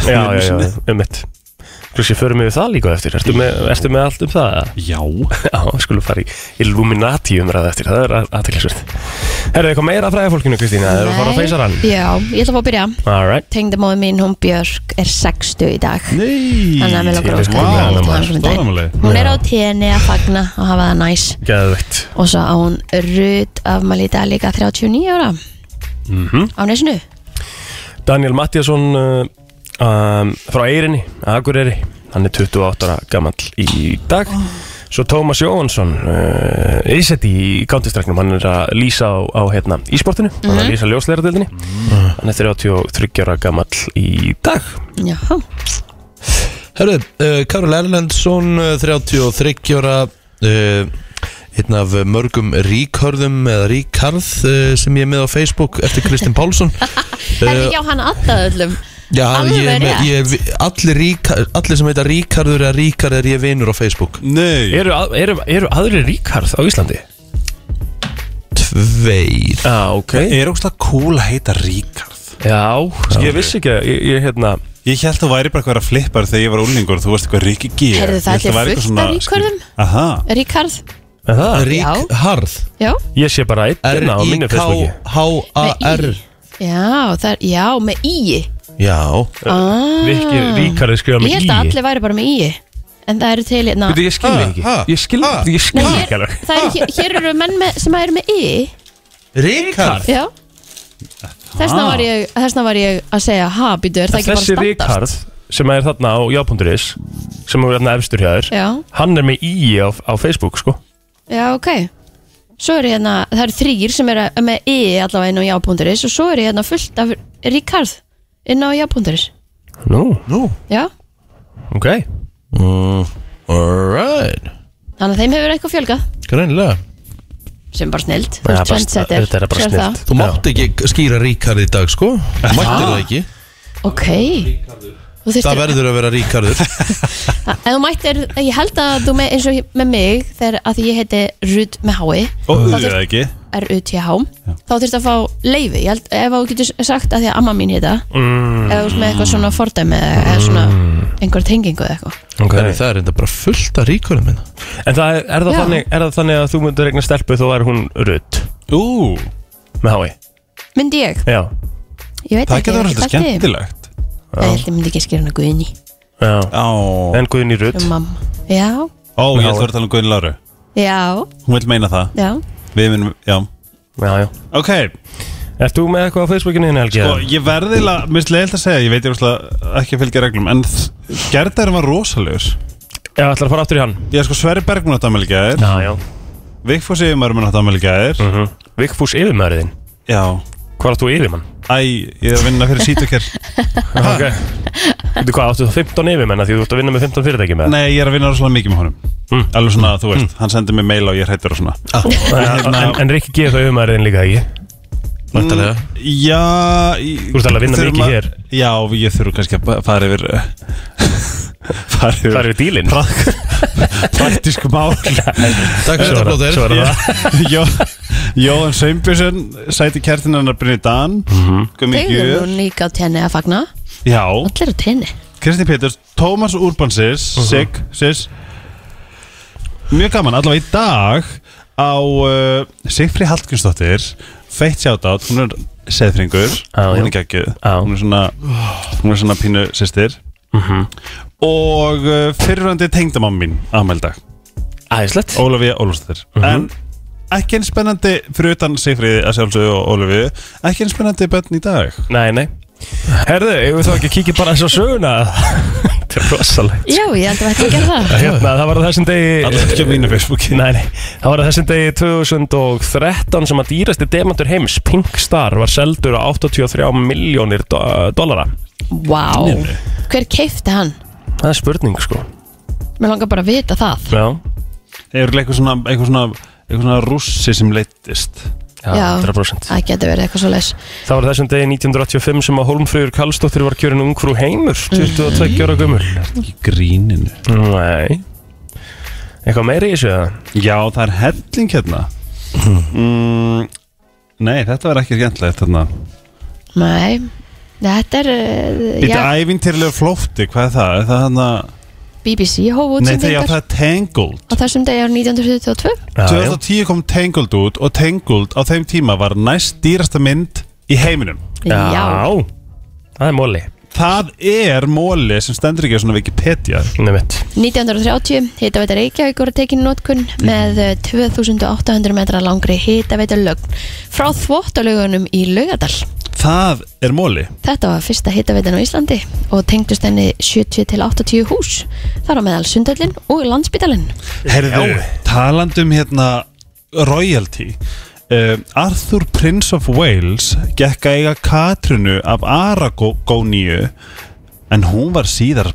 [SPEAKER 4] Já, já, já, um mitt Kanski förum við það líka á eftir Ertu með, ertu með allt um það? eða?
[SPEAKER 5] Já
[SPEAKER 4] <laughs> Já, skulum fara í Illuminati umræða eftir Það er aðteklisvert Herru, eitthvað meira að fræða fólkinu, Kristína Það er að fara að feysa hann
[SPEAKER 3] Já, ég ætla að fá að byrja.
[SPEAKER 4] Alright
[SPEAKER 3] Tengdamóði mín, hún Björk, er 60 í dag.
[SPEAKER 5] Nei
[SPEAKER 3] Þannig að mér langar að
[SPEAKER 4] ég
[SPEAKER 3] óska henni
[SPEAKER 4] er
[SPEAKER 3] til
[SPEAKER 4] sko með
[SPEAKER 3] hamingju með daginn.
[SPEAKER 5] Stóramali
[SPEAKER 3] Hún er á tenni að fagna og hafa það næs
[SPEAKER 4] Geðveikt
[SPEAKER 3] og svo á hún Rut af Malita líka 39 ára á nesinu.
[SPEAKER 4] Mhm. Daniel Mattiasson uh, um, frá Eirinni, Akureyri hann er 28 ára gamall í dag svo Tómas Jóhansson uh, Ísetti í kántistræknum hann er að lýsa á, á hérna ísportinu hann er að lýsa ljósleiradildinni hann er 33 ára gamall í dag
[SPEAKER 3] Já,
[SPEAKER 2] Herru, uh, Karol Erlendsson, uh, 33 ára, uh, einn af mörgum ríkörðum eða ríkarð uh, sem ég er með á Facebook eftir Kristinn Pálsson.
[SPEAKER 3] <laughs>
[SPEAKER 2] Uh,
[SPEAKER 3] herri, já, hann aðtað öllum.
[SPEAKER 2] Já,
[SPEAKER 3] alveg
[SPEAKER 2] ég, er með-
[SPEAKER 3] rétt.
[SPEAKER 2] ég, er- allir, ríka, allir sem heita ríkarður eða ríkarð er ég vinur á Facebook.
[SPEAKER 5] Nei
[SPEAKER 4] eru, að- eru, eru aðri ríkarð á Íslandi?
[SPEAKER 2] Tveir.
[SPEAKER 4] Já, ah, ok
[SPEAKER 5] Er ógstlega cool að heita Ríkard
[SPEAKER 4] Já, Sko, ég vissi ekki að ég, ég hérna
[SPEAKER 5] Ég held þú væri bara eitthvað að flippar þegar ég var úlingur Þú varst eitthvað Ríki G
[SPEAKER 3] Heyrðu, það er fullt af Ríkharðum.
[SPEAKER 5] Aha
[SPEAKER 3] Ríkard,
[SPEAKER 4] er það,
[SPEAKER 2] Ríkharð.
[SPEAKER 3] já.
[SPEAKER 4] ég sé bara einn hérna á mínu Facebooki
[SPEAKER 2] R-I-K-H-A-R.
[SPEAKER 3] Með í. Já, það er, já, með í
[SPEAKER 2] Já.
[SPEAKER 3] ah,
[SPEAKER 4] Viki ríkarði skrifa
[SPEAKER 3] Ég
[SPEAKER 4] með í
[SPEAKER 3] held að allir væri bara með í En það eru til, na,
[SPEAKER 4] Veitu, ég skil
[SPEAKER 2] Ha,
[SPEAKER 4] þig ekki
[SPEAKER 2] ha,
[SPEAKER 4] Ég skil
[SPEAKER 2] ha.
[SPEAKER 4] þig, ég skil þig ekki
[SPEAKER 3] hér,
[SPEAKER 4] alveg
[SPEAKER 3] það eru, hér, hér eru menn með, sem eru með í
[SPEAKER 2] Ríkarð.
[SPEAKER 3] Já Þessna var ég, þessna var ég að segja Ha, býtu, er það ekki bara
[SPEAKER 4] Þessi
[SPEAKER 3] standart?
[SPEAKER 4] Ríkard sem er þarna á já.is sem er þarna efstur hjá þér
[SPEAKER 3] Já,
[SPEAKER 4] hann er með í á, á Facebook sko
[SPEAKER 3] já, ok Svo eru hérna, það eru þrýr sem eru með í allavega inn á já.is og svo eru hérna fullt af Ríkard inn á já.is
[SPEAKER 4] Nú,
[SPEAKER 2] Nú.
[SPEAKER 3] Já,
[SPEAKER 4] ok
[SPEAKER 2] Mm, Alright.
[SPEAKER 3] þannig að þeim hefur eitthvað fjölgað
[SPEAKER 2] Greinilega.
[SPEAKER 3] sem er bara snild, þú veist,
[SPEAKER 4] Ja, bara-
[SPEAKER 3] trendsetter
[SPEAKER 4] þetta er bara
[SPEAKER 3] sér það.
[SPEAKER 4] snillt.
[SPEAKER 2] Þú mátt ekki skýra ríkarð í dag, sko. Þú mættir það ekki.
[SPEAKER 3] Ok Þú
[SPEAKER 2] Það
[SPEAKER 3] þurftir,
[SPEAKER 2] verður að vera
[SPEAKER 3] <laughs>
[SPEAKER 2] ríkarður
[SPEAKER 3] ef þú mættir, ég held að þú með, eins og með mig, þegar að því ég heiti Rud með hái
[SPEAKER 5] Og
[SPEAKER 3] Það
[SPEAKER 5] auðvitað ekki
[SPEAKER 3] R-U-T-H þá þurfti að fá leifi held, ef þú getur sagt að því að amma mín heita mm. eða þú veist með eitthvað svona fordæmi eða eða svona einhver tengingu eða eitthvað
[SPEAKER 2] Þannig Mm, það er enda bara fullt af ríkurum hérna. minna
[SPEAKER 4] En það er, er, það
[SPEAKER 3] Já.
[SPEAKER 4] þannig, er það þannig að þú myndir regna stelpu þá er hún rutt
[SPEAKER 5] Ú,
[SPEAKER 4] með hái
[SPEAKER 3] myndi ég,
[SPEAKER 4] Já,
[SPEAKER 3] ég veit
[SPEAKER 5] það
[SPEAKER 3] ekki ég
[SPEAKER 5] getur
[SPEAKER 3] hef ekki pælt
[SPEAKER 5] alltaf
[SPEAKER 3] í því.
[SPEAKER 5] skemmtilegt
[SPEAKER 3] Ég held ég myndi ekki skýra hana guðinni
[SPEAKER 4] já
[SPEAKER 5] Á,
[SPEAKER 4] En Guðni rutt
[SPEAKER 3] um mamma, já,
[SPEAKER 5] ó, ég ætla að vera að tala um Guðin Láru
[SPEAKER 3] já,
[SPEAKER 5] Hún vil meina það
[SPEAKER 3] já
[SPEAKER 5] Við minnum, já
[SPEAKER 4] Já, já
[SPEAKER 5] Ok, Sko,
[SPEAKER 4] Ert þú með eitthvað á Facebookinu þínu, Helgi?
[SPEAKER 5] og ég verði la- Mér finnst leiðilt að segja, ég veit ég rosalega ekki að fylgja reglum En gerðarinn var rosalegur
[SPEAKER 4] Já, ætlar að fara aftur í hann
[SPEAKER 5] Ég er sko Sverri Bergman átt afmæli í gær
[SPEAKER 4] Já, já
[SPEAKER 5] Vigfús Yfirmarum átt afmæli í gær
[SPEAKER 4] mm -hmm. Vigfús yfirmaðurðinn
[SPEAKER 5] Já,
[SPEAKER 4] Hvað áttu yfirmann?
[SPEAKER 5] æ, ég er að vinna fyrir sítukær
[SPEAKER 4] <laughs> Ok Veitu hvað, áttu þú 15 yfirmenn að því þú ert að vinna með 15 fyrirtæki með Hmm.
[SPEAKER 5] Nei, ég er að vinna rosalega mikið með honum Alveg svona, þú veist, hann sendir mér mail og ég hrættur og svona
[SPEAKER 4] Ah.
[SPEAKER 5] hérna-
[SPEAKER 4] En, en, en Rikki gerir það yfirmaðurðinn líka ekki Mm.
[SPEAKER 2] Væntalega
[SPEAKER 5] Mm, Já Þú
[SPEAKER 4] ert alveg að vinna mikið
[SPEAKER 5] <laughs>
[SPEAKER 4] hér.
[SPEAKER 5] Já, ég þurfu kannski að ba- fara yfir uh, Fara yfir,
[SPEAKER 4] Það er við dílinn
[SPEAKER 5] <laughs> praktísku
[SPEAKER 4] <laughs>
[SPEAKER 5] mál
[SPEAKER 2] Takk fyrir þetta blóðir
[SPEAKER 4] Svo er það
[SPEAKER 5] <laughs> Jó, Jóhann Sveinbjörnsson Sæti kertin hennar Brynni Dan
[SPEAKER 4] Mhm.
[SPEAKER 5] Gumi
[SPEAKER 3] Þegar eru
[SPEAKER 5] Gjur
[SPEAKER 3] nú líka á tenni að fagna
[SPEAKER 5] Já,
[SPEAKER 3] Allir á tenni
[SPEAKER 5] Kristi Péturs, Tómas Urbansis
[SPEAKER 4] Mhm.
[SPEAKER 5] Sig, Sis Mjög gaman, allavega í dag á uh, Sigfri Hallgrímsdóttir feitt sjátátt, hún er seðfringur,
[SPEAKER 4] Já,
[SPEAKER 5] hún er
[SPEAKER 4] já.
[SPEAKER 5] geggjuð
[SPEAKER 4] Já.
[SPEAKER 5] hún er svona, hún er svona pínu sýstir
[SPEAKER 4] Mhm.
[SPEAKER 5] og uh, fyrirrandi tengdamann mín afmældag,
[SPEAKER 4] Æðislegt Mhm.
[SPEAKER 5] Ólafía Ólafsdóttir en ekki eins spennandi fyrir utan Sigfriði að sjálfsögðu og Ólafíu ekki eins spennandi börn í dag
[SPEAKER 4] Nei, nei Herðu, ég vil þá ekki kíkja bara þess að söguna
[SPEAKER 5] <laughs>
[SPEAKER 4] Þetta er rosalegt
[SPEAKER 3] Já, ég held að þetta gera það
[SPEAKER 4] Hérna, það var á þessum degi
[SPEAKER 5] allavega ekki á mínu Facebooki
[SPEAKER 4] Nei, nei, það var á þessum degi 2013 sem að dýrasti demantur heims Pinkstar var seldur á 83 miljónir do dollara
[SPEAKER 3] Vá, hver keifti hann?
[SPEAKER 4] Það er spurning sko
[SPEAKER 3] Mér langar bara að vita það
[SPEAKER 4] Já,
[SPEAKER 5] er eitthvað svona, eitthvað svona, eitthvað svona rússi sem leittist
[SPEAKER 4] já,
[SPEAKER 3] Já.
[SPEAKER 4] 100%
[SPEAKER 3] Það getur verið eitthvað svo leis
[SPEAKER 4] Það var á þessum degi 1985 sem að Holmfröður Karlsdóttir var kjörin ungfrú heimur 22 ára gömul
[SPEAKER 5] í gríninu
[SPEAKER 4] Nei Eitthvað meiri í þessu eða?
[SPEAKER 5] Já, það er helling hérna mm, Nei, þetta var ekki skemmtilegt hérna. þarna
[SPEAKER 3] Nei, þetta er uh,
[SPEAKER 5] Býta
[SPEAKER 3] já,
[SPEAKER 5] ævintýrlega flófti, hvað er það? Er það hana...
[SPEAKER 3] BBC hóf
[SPEAKER 5] Nei, það, já, það
[SPEAKER 3] útsendingar
[SPEAKER 5] er Tangled
[SPEAKER 3] á þessum degi árið 1972
[SPEAKER 4] Já, já.
[SPEAKER 5] 2010 kom Tangled út og Tangled á þeim tíma var næst dýrasta mynd í heiminum
[SPEAKER 3] Já,
[SPEAKER 4] Já, það er móli
[SPEAKER 5] Það er móli sem stendur ekki á svona Wikipedia
[SPEAKER 4] Nei mitt
[SPEAKER 3] 1930 hitaveita Reykjavík voru tekin í notkun með eh, 2800 metra langri hitaveita lögn frá þvottalögunum í Laugadal
[SPEAKER 5] Það er móli
[SPEAKER 3] Þetta var fyrsta hitaveitan á Íslandi og tengdust henni 70 til 80 hús þar á meðal Sundhöllin og Landspítalinn
[SPEAKER 5] Herðu, talandum hérna royalty uh, Arthur Prince of Wales gekk að eiga Katrinu af Aragóníu en hún var síðar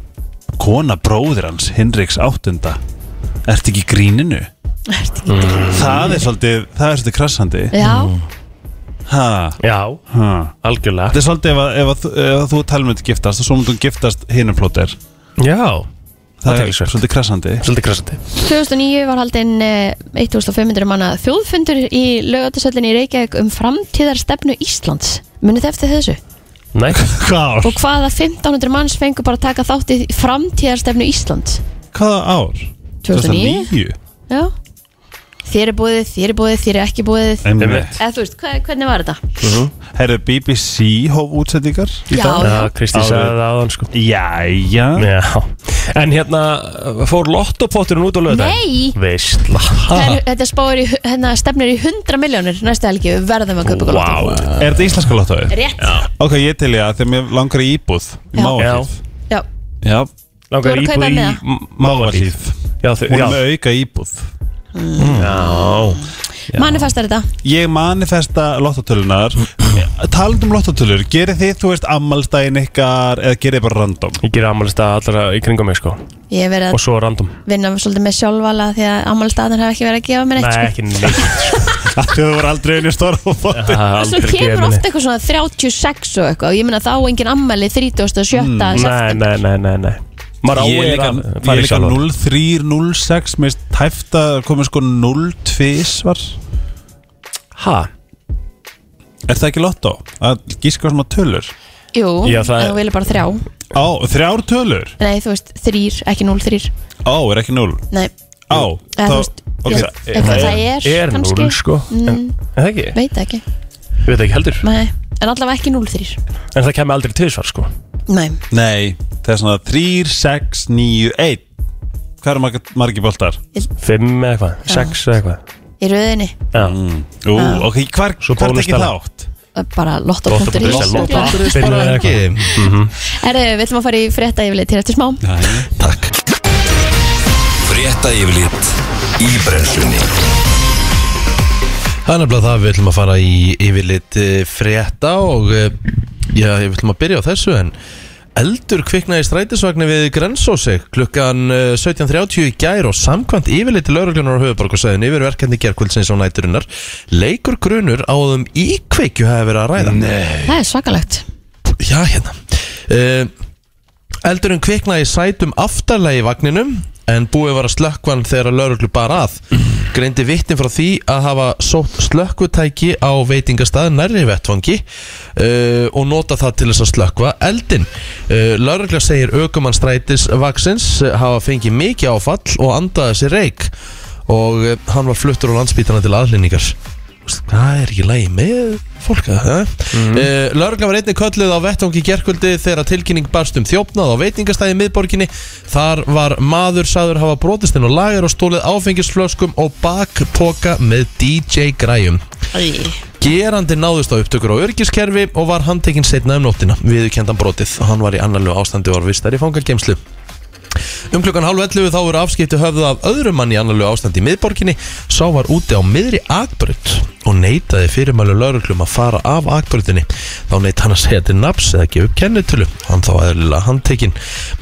[SPEAKER 5] kona bróðir hans Hinriks áttunda Ertu ekki í gríninu?
[SPEAKER 3] Ertu ekki dýr?
[SPEAKER 4] Mm.
[SPEAKER 5] Það er svolítið, það er svolítið krassandi
[SPEAKER 3] Já,
[SPEAKER 5] ha,
[SPEAKER 4] Já,
[SPEAKER 5] ha.
[SPEAKER 4] algjörlega
[SPEAKER 5] Þetta er svolítið ef, að- ef, ef, ef að þú talum þetta giftast og svo myndum giftast hinum flóter
[SPEAKER 4] Já,
[SPEAKER 5] Það er
[SPEAKER 4] athyglisvert.
[SPEAKER 5] svolítið krassandi
[SPEAKER 4] svolítið krassandi
[SPEAKER 3] 2009 var haldinn eh, 1500 manna þjóðfundur í lögatasöllinni í Reykjavík um framtíðarstefnu Íslands. Munið þið eftir þessu?
[SPEAKER 4] Nei,
[SPEAKER 5] Hvað ár?
[SPEAKER 3] Og hvaða 1500 manns fengur bara að taka þátt í framtíðarstefnu Íslands?
[SPEAKER 5] Hvaða ár?
[SPEAKER 3] 2009? Já. Þér er búið, þér er búið, þér er ekki búið.
[SPEAKER 5] Einmitt.
[SPEAKER 4] Einmitt.
[SPEAKER 3] Eða þú veist, hva, hvernig var þetta?
[SPEAKER 4] Mhm.
[SPEAKER 5] Herðu BBC hóf útsendingar í
[SPEAKER 3] Já.
[SPEAKER 5] dag?
[SPEAKER 4] Já, Kristi
[SPEAKER 5] Árið.
[SPEAKER 4] sagði það áðan sko
[SPEAKER 5] Jæja
[SPEAKER 4] Já, en hérna fór lottopotturinn út á lögða
[SPEAKER 3] Nei!
[SPEAKER 4] Veistla
[SPEAKER 3] Það er- Þetta spáir í, hu- hérna, stefnir í 100 miljónir næstu helgi, við verðum að kaupa gólóta.
[SPEAKER 4] Vá,
[SPEAKER 5] Er þetta íslenska lottóið?
[SPEAKER 3] Rétt. Já.
[SPEAKER 5] Ok, ég til ég að þegar mér langar í íbúð
[SPEAKER 3] Já.
[SPEAKER 5] Mávalíf Já,
[SPEAKER 3] Þú voru
[SPEAKER 4] langar
[SPEAKER 3] að
[SPEAKER 4] íbúð
[SPEAKER 3] kaupa
[SPEAKER 4] í
[SPEAKER 3] með
[SPEAKER 4] Mávalíf
[SPEAKER 5] Mávalíf
[SPEAKER 4] Já, þau-
[SPEAKER 5] Hún
[SPEAKER 4] já, Mm.
[SPEAKER 5] er með auka íbúð Mm.
[SPEAKER 4] já
[SPEAKER 3] Manifestar þetta.
[SPEAKER 5] Ég manifesta lottotölunar Talandi um lottotölur, gerir þið, þú veist, ammálstæðin ykkar eða gerir þið bara random?
[SPEAKER 4] Ég ger ammælist að allra í kringum mig sko
[SPEAKER 3] Ég hef verið
[SPEAKER 4] Og
[SPEAKER 3] að
[SPEAKER 4] svo random
[SPEAKER 3] vinna svolítið með sjálfvala því að ammálstæðan hef ekki verið að gefa mér sko. eitt.
[SPEAKER 4] Nei, ekki neitt
[SPEAKER 5] <laughs> Þau voru aldrei einu stóra og fótt
[SPEAKER 4] Það er
[SPEAKER 3] Svo
[SPEAKER 4] aldrei
[SPEAKER 3] kemur
[SPEAKER 4] gefið
[SPEAKER 3] ofta
[SPEAKER 4] neitt
[SPEAKER 3] eitthvað svona 36 og eitthvað og ég meina þá engin ammæli 37. Mm,
[SPEAKER 4] Nei, nei, nei, nei, nei Maður á
[SPEAKER 5] Ég er
[SPEAKER 4] er
[SPEAKER 5] líka,
[SPEAKER 4] að
[SPEAKER 5] ég
[SPEAKER 4] fara
[SPEAKER 5] er
[SPEAKER 4] í
[SPEAKER 5] líka
[SPEAKER 4] sjálfan
[SPEAKER 5] 03, 06 Mér finnst tæft að komið sko 02 svar
[SPEAKER 4] Ha?
[SPEAKER 5] Er það ekki lottó? Að gíska svona tölur?
[SPEAKER 3] Jú,
[SPEAKER 4] Já, það
[SPEAKER 3] en
[SPEAKER 4] er-
[SPEAKER 3] þú vilja bara þrjá
[SPEAKER 5] Á, þrjár tölur?
[SPEAKER 3] Nei, þú veist, þrýr, ekki núl þrýr
[SPEAKER 5] Á, er ekki núl?
[SPEAKER 3] Nei,
[SPEAKER 5] Á,
[SPEAKER 3] eða þú veist
[SPEAKER 5] ok,
[SPEAKER 3] jú,
[SPEAKER 5] það-
[SPEAKER 3] ef það, það er,
[SPEAKER 4] Er
[SPEAKER 3] kannski
[SPEAKER 4] núl, sko En
[SPEAKER 3] mm,
[SPEAKER 4] en það ekki,
[SPEAKER 3] Veit ekki,
[SPEAKER 4] við veit ekki heldur
[SPEAKER 3] nei En allavega ekki núl þrýr
[SPEAKER 4] En það kemur aldrei tvisvar, sko
[SPEAKER 3] Nei,
[SPEAKER 5] Nei, það er svona 3, 6, 9, 1 Hvað eru margir, margir boltar?
[SPEAKER 4] Fimm eða eitthvað, sex eða eitthvað
[SPEAKER 3] í röðinni
[SPEAKER 4] Já,
[SPEAKER 5] Mm. Ú, ok, hvar,
[SPEAKER 4] Svo
[SPEAKER 5] hvar er ekki
[SPEAKER 4] bónustala.
[SPEAKER 5] þátt?
[SPEAKER 3] Bara lotto.is
[SPEAKER 4] Lotto.is,
[SPEAKER 3] Erðu,
[SPEAKER 4] lotto.
[SPEAKER 2] Bara ekki Mhm.
[SPEAKER 3] við ætlum að fara í frétta yfirleitt til eftir smá
[SPEAKER 2] Takk
[SPEAKER 1] Frétta yfirlit í brennslunni
[SPEAKER 2] Það er nefnilega það við ætlum að fara í yfirlit eh, frétta og eh, já, við ætlum að byrja á þessu en eldur kviknaði í strætisvagni við Grensósi klukkan eh, 17.30 í gær og samkvæmt yfirlit lauruglunar á höfuborgarsæðin yfir verkefni gerkvöldsins á næturinnar leikur grunur á að um íkveikju hafi verið að ræða Nei.
[SPEAKER 3] Það er svakalegt
[SPEAKER 2] Já, hérna uh, Eldurinn kviknaði í sætum aftarlega í vagninum en búið var að slökkvan þegar lauruglu bara að greindi vittin frá því að hafa sótt slökkutæki á veitingastað nærri vettvangi uh, og nota það til þess að slökkva eldin uh, Laurugla segir aukumann strætis vaksins hafa fengið mikið áfall og andaði sér reik og uh, hann var fluttur á landsbítana til aðlýningar það er ekki lægi með fólka mm. uh, Lörgla var einnig kölluð á vettvangi gerkvöldi þegar tilkynning barst um þjófnað á veitingastæði í miðborginni þar var maður saður hafa brotist inn á lagar og stólið áfengisflöskum og bakpoka með DJ græjum Gerandi náðust á upptökur á örgiskerfi og var handtekinn setna um nóttina viðurkendan brotið hann var í annarlegu ástandi og var vistar í fangagemslu Um klukkan hálf 11 þá voru afskipti höfðu af öðrum mann í annarlegu ástandi í miðborginni sá var úti á miðri akbrut og neitaði fyrirmælu lauruglum að fara af akbrutinni þá neitt hann að segja til naps eða gefa upp kennitölu hann þá eðlilega handtekinn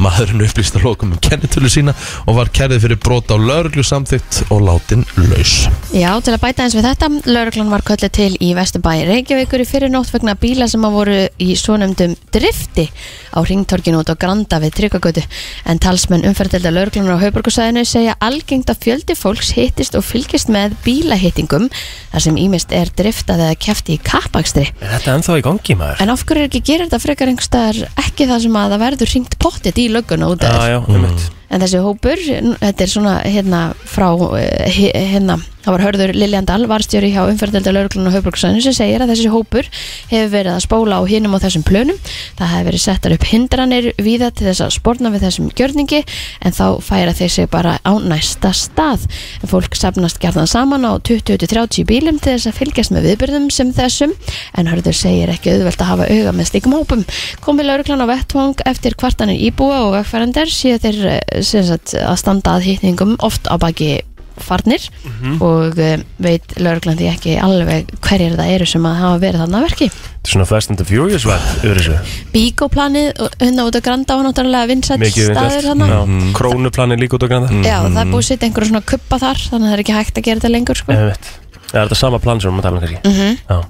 [SPEAKER 2] maðurinn upplýst að lokum um kennitölu sína og var kærið fyrir brot á lauruglu samþygt og látin laus
[SPEAKER 3] Já, til að bæta eins við þetta, lauruglan var kölluð til í Vesturbæi Reykjavíkur í fyrir nótt vegna bíla sem að voru í svonumdum drifti á ringtorkinu út á Granda við Tryggagötu. En talsmenn umferdelda lauruglunar á Haubergusæðinu segja algengt að fjöldi fólks hittist og fylgist með bílahittingum þar sem ímist er driftað eða kefti í kappakstri.
[SPEAKER 4] er þetta ennþá í gangi, maður?
[SPEAKER 3] En af hverju er ekki gerir þetta frekar einhverstaðar ekki það sem að það verður ringt pottet í lögguna út af
[SPEAKER 4] Já,
[SPEAKER 3] þér?
[SPEAKER 4] já, um mitt
[SPEAKER 3] En þessi hópur, n- þetta er svona hérna frá, eh, he- hérna, það var hörður Liljan Dahl, varstjóri hjá umferðelda lauruglun og höfbruksvæðinu sem segir að þessi hópur hefur verið að spóla á hinum og þessum plönum. Það hefur verið settar upp hindranir víða til þess að spórna við þessum gjörningi en þá færa þeir sig bara á næsta stað. En Fólk safnast gerðan saman á 20-30 bílum til þess að fylgjast með viðbyrðum sem þessum en hörður segir ekki auðvelt að hafa auga með slíkum hópum. Komið lauruglan á vettvang eftir kvartanir íbúa og vegfærandir séu þeir eh, sem sagt, að standa að hýtningum oft á baki farnir
[SPEAKER 4] Mhm.
[SPEAKER 3] og eh, veit lauruglan því ekki alveg hverjir það eru sem að hafa verið þarna að verki.
[SPEAKER 4] Þetta er svona Fast and the Furious vært yfir þessu
[SPEAKER 3] Bíkóplanið og- hérna út á Granda var náttúrulega vinsætt
[SPEAKER 4] Mikið
[SPEAKER 3] staður þarna.
[SPEAKER 4] vinsælt
[SPEAKER 5] Mm.
[SPEAKER 4] Já. Mm. Krónuplanin líka út á grænda
[SPEAKER 3] Já, það er búið sko. að setja einhverjum svona kuppa þar þannig að það er ekki hægt að gera þetta lengur sko. Mhm.
[SPEAKER 4] Ég veit Það er þetta sama plan sem við erum að tala um kannski
[SPEAKER 3] Mm.
[SPEAKER 4] Já.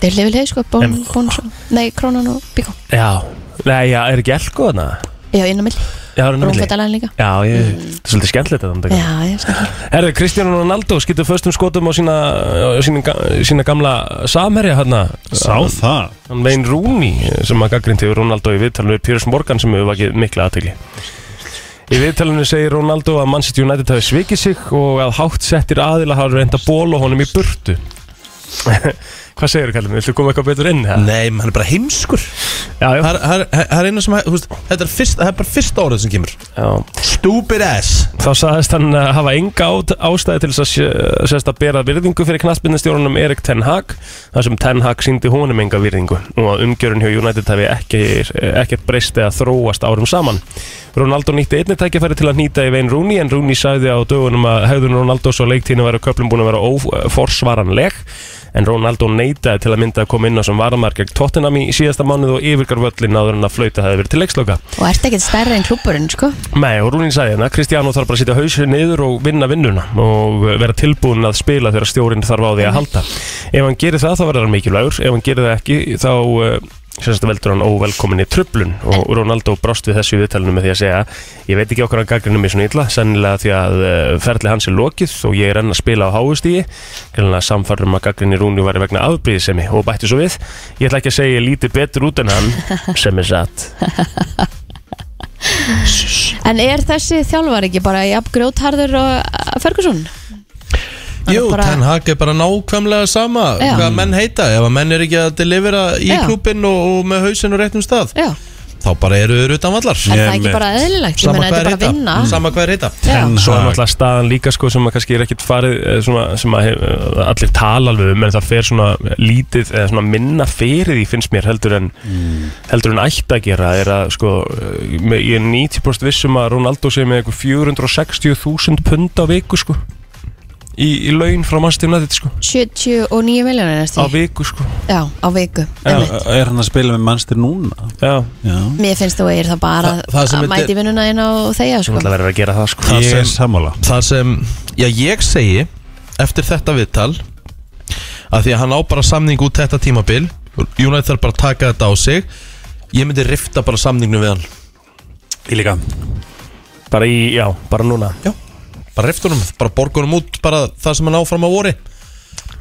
[SPEAKER 3] Þeir lifið leið sko, bón, bón, svo, nei, krónan og bíkó.
[SPEAKER 4] Já Nei, já, er ekki elko þarna?
[SPEAKER 3] Já, inn á milli,
[SPEAKER 4] Já, er hann á milli?
[SPEAKER 3] rúmfættalæðin líka. Mm.
[SPEAKER 4] Já, ég, þetta er svolítið skemmtilegt þetta
[SPEAKER 3] Já, sko. ég skil.
[SPEAKER 4] Herðu, Kristján Ronaldo skýttu föstum skotum á sína, á sína, ga- sína gamla samherja hérna
[SPEAKER 5] Sá það?
[SPEAKER 4] Hann Vein Rúni sem að gaggrindi við Ronaldo í viðtalinu við Pyrrhus Morgan sem hefur vakið mikla aðtöki Í viðtalinu segir Ronaldo að Manchester United hafi svikið sig og að hátt settir aðila hafa reynda ból og honum í burtu <laughs> Hvað segir þú kallum? Viltu koma eitthvað betur inn? eða?
[SPEAKER 2] Nei, hann er bara heimskur
[SPEAKER 4] Já, já,
[SPEAKER 2] Það er- það er- það er eina sem, þú veist, þetta er, fyrst, það er bara fyrsta orðið sem kemur
[SPEAKER 4] já
[SPEAKER 2] Stupid ass
[SPEAKER 4] Þá saðist hann að hafa enga át- ástæði til þess að sé- sérst að bera virðingu fyrir knattbyrnastjórunum Erik Ten Hag þar sem Ten Hag síndi honum enga virðingu og að umgjörun hjá United hafi ekki, ekkert breyst eða þróast árum saman. Ronaldo nýtti einnig tækifæri til að nýta í veginn Rooney en Rooney sagði á dögunum að hefðun Ronaldo svo leiktíðinu væri á köflum búin að vera óforsvaranleg en Ronaldo neitaði til að mynda að koma inn á sem varamar gegn Tottenham í síðasta mánuð og yfirgar völlin áður en að flauta hefði verið til leiksloka.
[SPEAKER 3] Og ert ekkert stærri en klúburinn, sko?
[SPEAKER 4] Nei, og Rúnin sagði hérna, Kristjánó þarf bara að setja hausu niður og vinna vinnuna og vera tilbúin að spila þegar stjórinn þarf á því að halda. Ef hann gerir það, þá verður hann mikilvægur. Ef hann gerir það ekki, þá uh, sérst veldur hann óvelkomin í tröflun og Ronaldo brást við þessu viðtalinu með því að segja ég veit ekki okkur hann gagninu mér svona illa sennilega því að eh, ferli hans er lokið og ég er enn að spila á háustígi greinlega samfarrum að gagninu Rúni væri vegna afbríðisemi og bætti svo við ég ætla ekki að segja ég líti betur út en
[SPEAKER 2] <laughs>
[SPEAKER 4] hann sem er satt
[SPEAKER 3] En er þessi þjálfar ekki bara jafn grjótharður og uh, Ferguson? Hann er
[SPEAKER 2] Jú,
[SPEAKER 3] bara-
[SPEAKER 2] Ten Hag er bara nákvæmlega sama
[SPEAKER 3] Já.
[SPEAKER 2] hvað menn heita, ef að menn er ekki að delivera í
[SPEAKER 3] Já.
[SPEAKER 2] klúbin og, og með hausinn á réttum stað
[SPEAKER 3] Já,
[SPEAKER 2] þá bara eru þeir utan vallar eh,
[SPEAKER 3] er
[SPEAKER 5] Ég
[SPEAKER 3] það ekki
[SPEAKER 5] mitt.
[SPEAKER 3] bara eðlilegt? Ég
[SPEAKER 2] sama
[SPEAKER 3] meina, þetta
[SPEAKER 2] hvað er
[SPEAKER 3] er bara
[SPEAKER 2] heita
[SPEAKER 3] vinna
[SPEAKER 2] sama hvað er heita
[SPEAKER 3] Já.
[SPEAKER 5] Ten
[SPEAKER 4] Svo er
[SPEAKER 5] Hag.
[SPEAKER 4] náttúrulega staðan líka sko sem að kannski er ekkit farið eh, svona, sem að hef, eh, allir tala alveg um en það fer svona lítið eða svona minna fyrir því finnst mér heldur en
[SPEAKER 2] Mm.
[SPEAKER 4] heldur en ætti að gera er að sko eh, með- ég er 90% vissum um að Ronaldo sé með eitthvað 460.000 pund á viku sko í, í laun frá mannstjóna þetta sko
[SPEAKER 3] 79 miljónir næstu
[SPEAKER 4] á viku sko
[SPEAKER 3] Já, á viku einmitt.
[SPEAKER 5] Er hann að spila með mannstir núna?
[SPEAKER 4] Já,
[SPEAKER 5] Já
[SPEAKER 3] Mér finnst þú að ég er það bara
[SPEAKER 2] Þa- það sem
[SPEAKER 3] að
[SPEAKER 2] þetta-
[SPEAKER 3] mæti vinnuna inn á þeia
[SPEAKER 4] sem
[SPEAKER 3] sko.
[SPEAKER 4] alltaf verður að gera það sko
[SPEAKER 5] Það
[SPEAKER 2] Ég-
[SPEAKER 5] sem sammála
[SPEAKER 2] það sem, já ég segi eftir þetta viðtal að því að hann á bara samning út þetta tímabil United þarf bara að taka þetta á sig ég myndi rifta bara samningnum við hann
[SPEAKER 5] Ég líka
[SPEAKER 4] Bara í, já, bara núna
[SPEAKER 2] já, bara riftunum, bara borgunum út bara það sem hann áfram á vori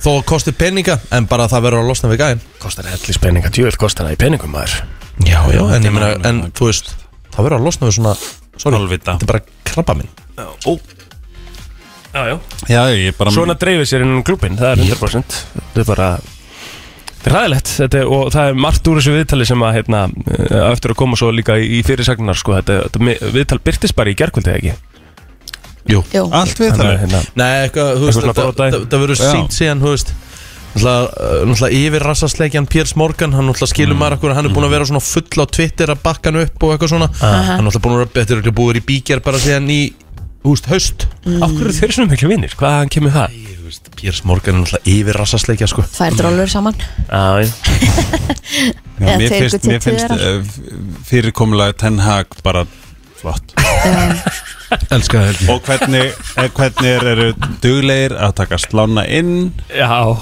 [SPEAKER 2] þó að kosti peninga, en bara það verður að losna við gæðin
[SPEAKER 4] Kostar hellis peninga, djúvel kostar það í peningum maður
[SPEAKER 2] já, já, en ég meina, en þú veist það verður að losna við svona sorry,
[SPEAKER 5] Hálfvita.
[SPEAKER 2] þetta er bara krabba minn
[SPEAKER 4] Já, já
[SPEAKER 5] Já, ég bara
[SPEAKER 4] Svona dreifir sér innan klubin, það er 100% Þetta er bara Þetta er ræðilegt þetta er, og það er margt úr þessu viðtali sem að hérna, eh, á eftir að koma svo líka í fyrirsagnar sko, þetta, þetta mi- viðtal byrtist bara í gerkvöldi ekki
[SPEAKER 2] jú,
[SPEAKER 3] Jú,
[SPEAKER 5] Allt við
[SPEAKER 4] Þannig að,
[SPEAKER 5] það
[SPEAKER 4] hérna,
[SPEAKER 2] Nei, eitthvað, þú veist,
[SPEAKER 4] Eitthvað svona
[SPEAKER 2] þetta-
[SPEAKER 4] brotæði.
[SPEAKER 2] þetta þetta verður
[SPEAKER 5] Já.
[SPEAKER 2] sínt síðan, þú veist Náttúrulega, uh, náttúrulega yfir rassasleikjan Piers Morgan, hann náttúrulega skilur
[SPEAKER 5] Mm.
[SPEAKER 2] maður akkur hann er búin að vera svona full á Twitter að bakka hann upp og eitthvað svona, hann er náttúrulega búin að vera þetta er örugglega búið í bíkjar bara síðan í húst, haust,
[SPEAKER 4] Af hverju eru þeir svona miklu vinnir? Hvaðan kemur það?
[SPEAKER 2] Piers Morgan er náttúrulega yfir rassasleikja sko
[SPEAKER 3] tvær drólur saman
[SPEAKER 4] Æ,
[SPEAKER 5] Já,
[SPEAKER 3] Eða
[SPEAKER 5] mér
[SPEAKER 3] tveir
[SPEAKER 5] finnst,
[SPEAKER 3] guttir
[SPEAKER 5] mér finnst
[SPEAKER 3] tverar.
[SPEAKER 5] uh, fyrirkomulega Ten Hag bara flott
[SPEAKER 2] Elskar það helgi
[SPEAKER 5] Og hvernig, eh, hvernig er, eru duglegir að taka slána inn
[SPEAKER 4] já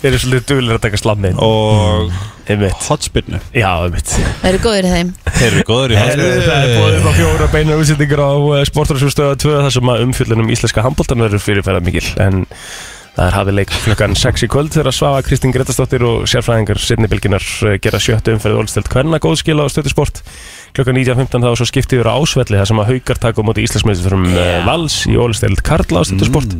[SPEAKER 4] Þeir eru svolítið duðlir að taka slammin
[SPEAKER 5] og
[SPEAKER 4] Einmitt,
[SPEAKER 5] hotspinnu
[SPEAKER 4] já, einmitt
[SPEAKER 3] Það eru góðir í þeim
[SPEAKER 5] Þeir eru góður í
[SPEAKER 4] Það
[SPEAKER 5] hotspinnu
[SPEAKER 4] er búið upp á fjóra beina útsendingar á sportarsjóðstöða 2 þar sem að umfyllunum íslenska handbóltan verður fyrirferða mikil en það er hafið leik klukkan 6 í kvöld þegar Svava Kristín Gretastóttir og sérfræðingar Sirnibilginar gera sjöttu umferð Olstöld Kvenna góðskil á stöðusport klukkan 19.15 þá er svo skiptið yfir á ásvelli þar sem að haukar taka á móti íslensmjöðurum yeah. Vals í Olstöld Karla á stöðusport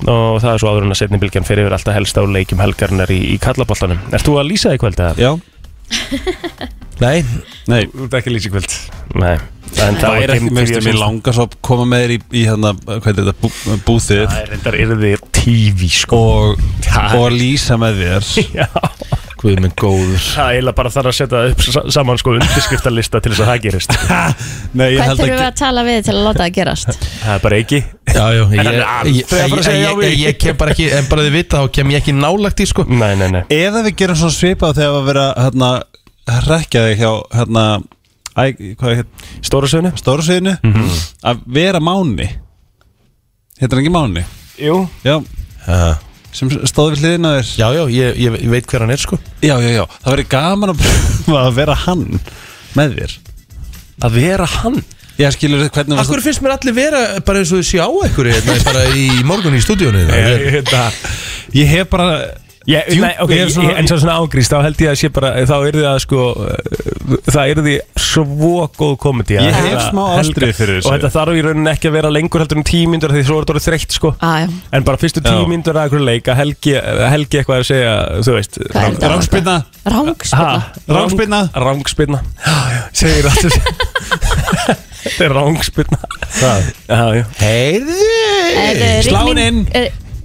[SPEAKER 4] og það er svo áður en að Sirnibilgjan fer yfir alltaf helst á leikjum helgarnar í, í Karlaboltanum Ert þú að lýsa í kvöld? eða?
[SPEAKER 5] Já,
[SPEAKER 2] Nei,
[SPEAKER 5] nei
[SPEAKER 4] Þú ert ekki að lýsa í kvöld Nei En þá
[SPEAKER 5] Það er ekki,
[SPEAKER 4] kemur
[SPEAKER 5] mér finnst,
[SPEAKER 4] þriðja
[SPEAKER 5] mér
[SPEAKER 4] sinn.
[SPEAKER 5] langar svo að koma með þér í, í hérna, hvað er þetta, bú, búþið
[SPEAKER 4] Það er reyndar yrði TV sko
[SPEAKER 5] og,
[SPEAKER 4] Það-
[SPEAKER 5] og lýsa með þér
[SPEAKER 4] <laughs> Já,
[SPEAKER 2] hvað er minn góður
[SPEAKER 4] það er eiginlega bara þarf að setja upp sa- saman sko undirskriftalista til þess að það
[SPEAKER 2] <laughs>
[SPEAKER 4] gerist
[SPEAKER 5] Nei, ég
[SPEAKER 3] Hvað
[SPEAKER 5] held
[SPEAKER 3] þurfum við
[SPEAKER 5] ekki
[SPEAKER 3] að tala við til að láta það gerast?
[SPEAKER 4] Það er bara ekki
[SPEAKER 2] Já, já, ég,
[SPEAKER 4] hann er aldrei
[SPEAKER 2] ég,
[SPEAKER 4] að fara að segja já
[SPEAKER 2] ég,
[SPEAKER 4] við.
[SPEAKER 2] ég, ég kem bara ekki, en bara þið vita þá kem ég ekki nálægt í sko
[SPEAKER 4] Nei, nei, nei
[SPEAKER 5] Eða við gerum svo svipað þegar að vera hérna, rekja þig hjá hérna, æ, hvað er hérna,
[SPEAKER 4] Stóra sögnu?
[SPEAKER 5] stóru sviðinu
[SPEAKER 2] Mhm.
[SPEAKER 5] að vera máni Hérna er ekki máni
[SPEAKER 4] Jú
[SPEAKER 5] Já,
[SPEAKER 2] Já,
[SPEAKER 5] sem stóð við hliðina á þér
[SPEAKER 2] já, já, ég, ég, ég veit hver hann er sko
[SPEAKER 5] Já, já, já, það verið gaman að, pröfa að vera hann með þér
[SPEAKER 4] Að vera hann
[SPEAKER 5] Ég skilur þið hvernig
[SPEAKER 2] Akkur finnst mér allir vera bara eins og þið sjá ekkur hérna, bara í morgun í hérna? stúdíónu
[SPEAKER 4] Þetta
[SPEAKER 5] Ég hef bara
[SPEAKER 4] Ég,
[SPEAKER 5] Djú-
[SPEAKER 4] nei, ok,
[SPEAKER 5] ég er
[SPEAKER 4] ég,
[SPEAKER 5] svona-
[SPEAKER 4] en svo svona ágrýst þá held ég að sé bara, þá yrði það sko uh, það yrði svo góð komedi
[SPEAKER 5] Ég hef smá ástríðu fyrir þessu.
[SPEAKER 4] og þetta þarf í rauninni ekki að vera lengur heldur um tímyndur því svo er þetta orðið þreytt sko
[SPEAKER 3] Ah, já.
[SPEAKER 4] en bara fyrstu
[SPEAKER 5] Já.
[SPEAKER 4] tímyndur að einhverju leik að helgi, helgi eitthvað að segja þú veist,
[SPEAKER 3] Hvað er þetta?
[SPEAKER 5] Rangspyrna.
[SPEAKER 3] Rangspinna
[SPEAKER 5] Rangspyrna.
[SPEAKER 4] Rángspinna Segir alltaf <laughs> Þetta er rángspinna Já, já
[SPEAKER 3] Eh,
[SPEAKER 2] Heyrðu
[SPEAKER 5] Slán inn.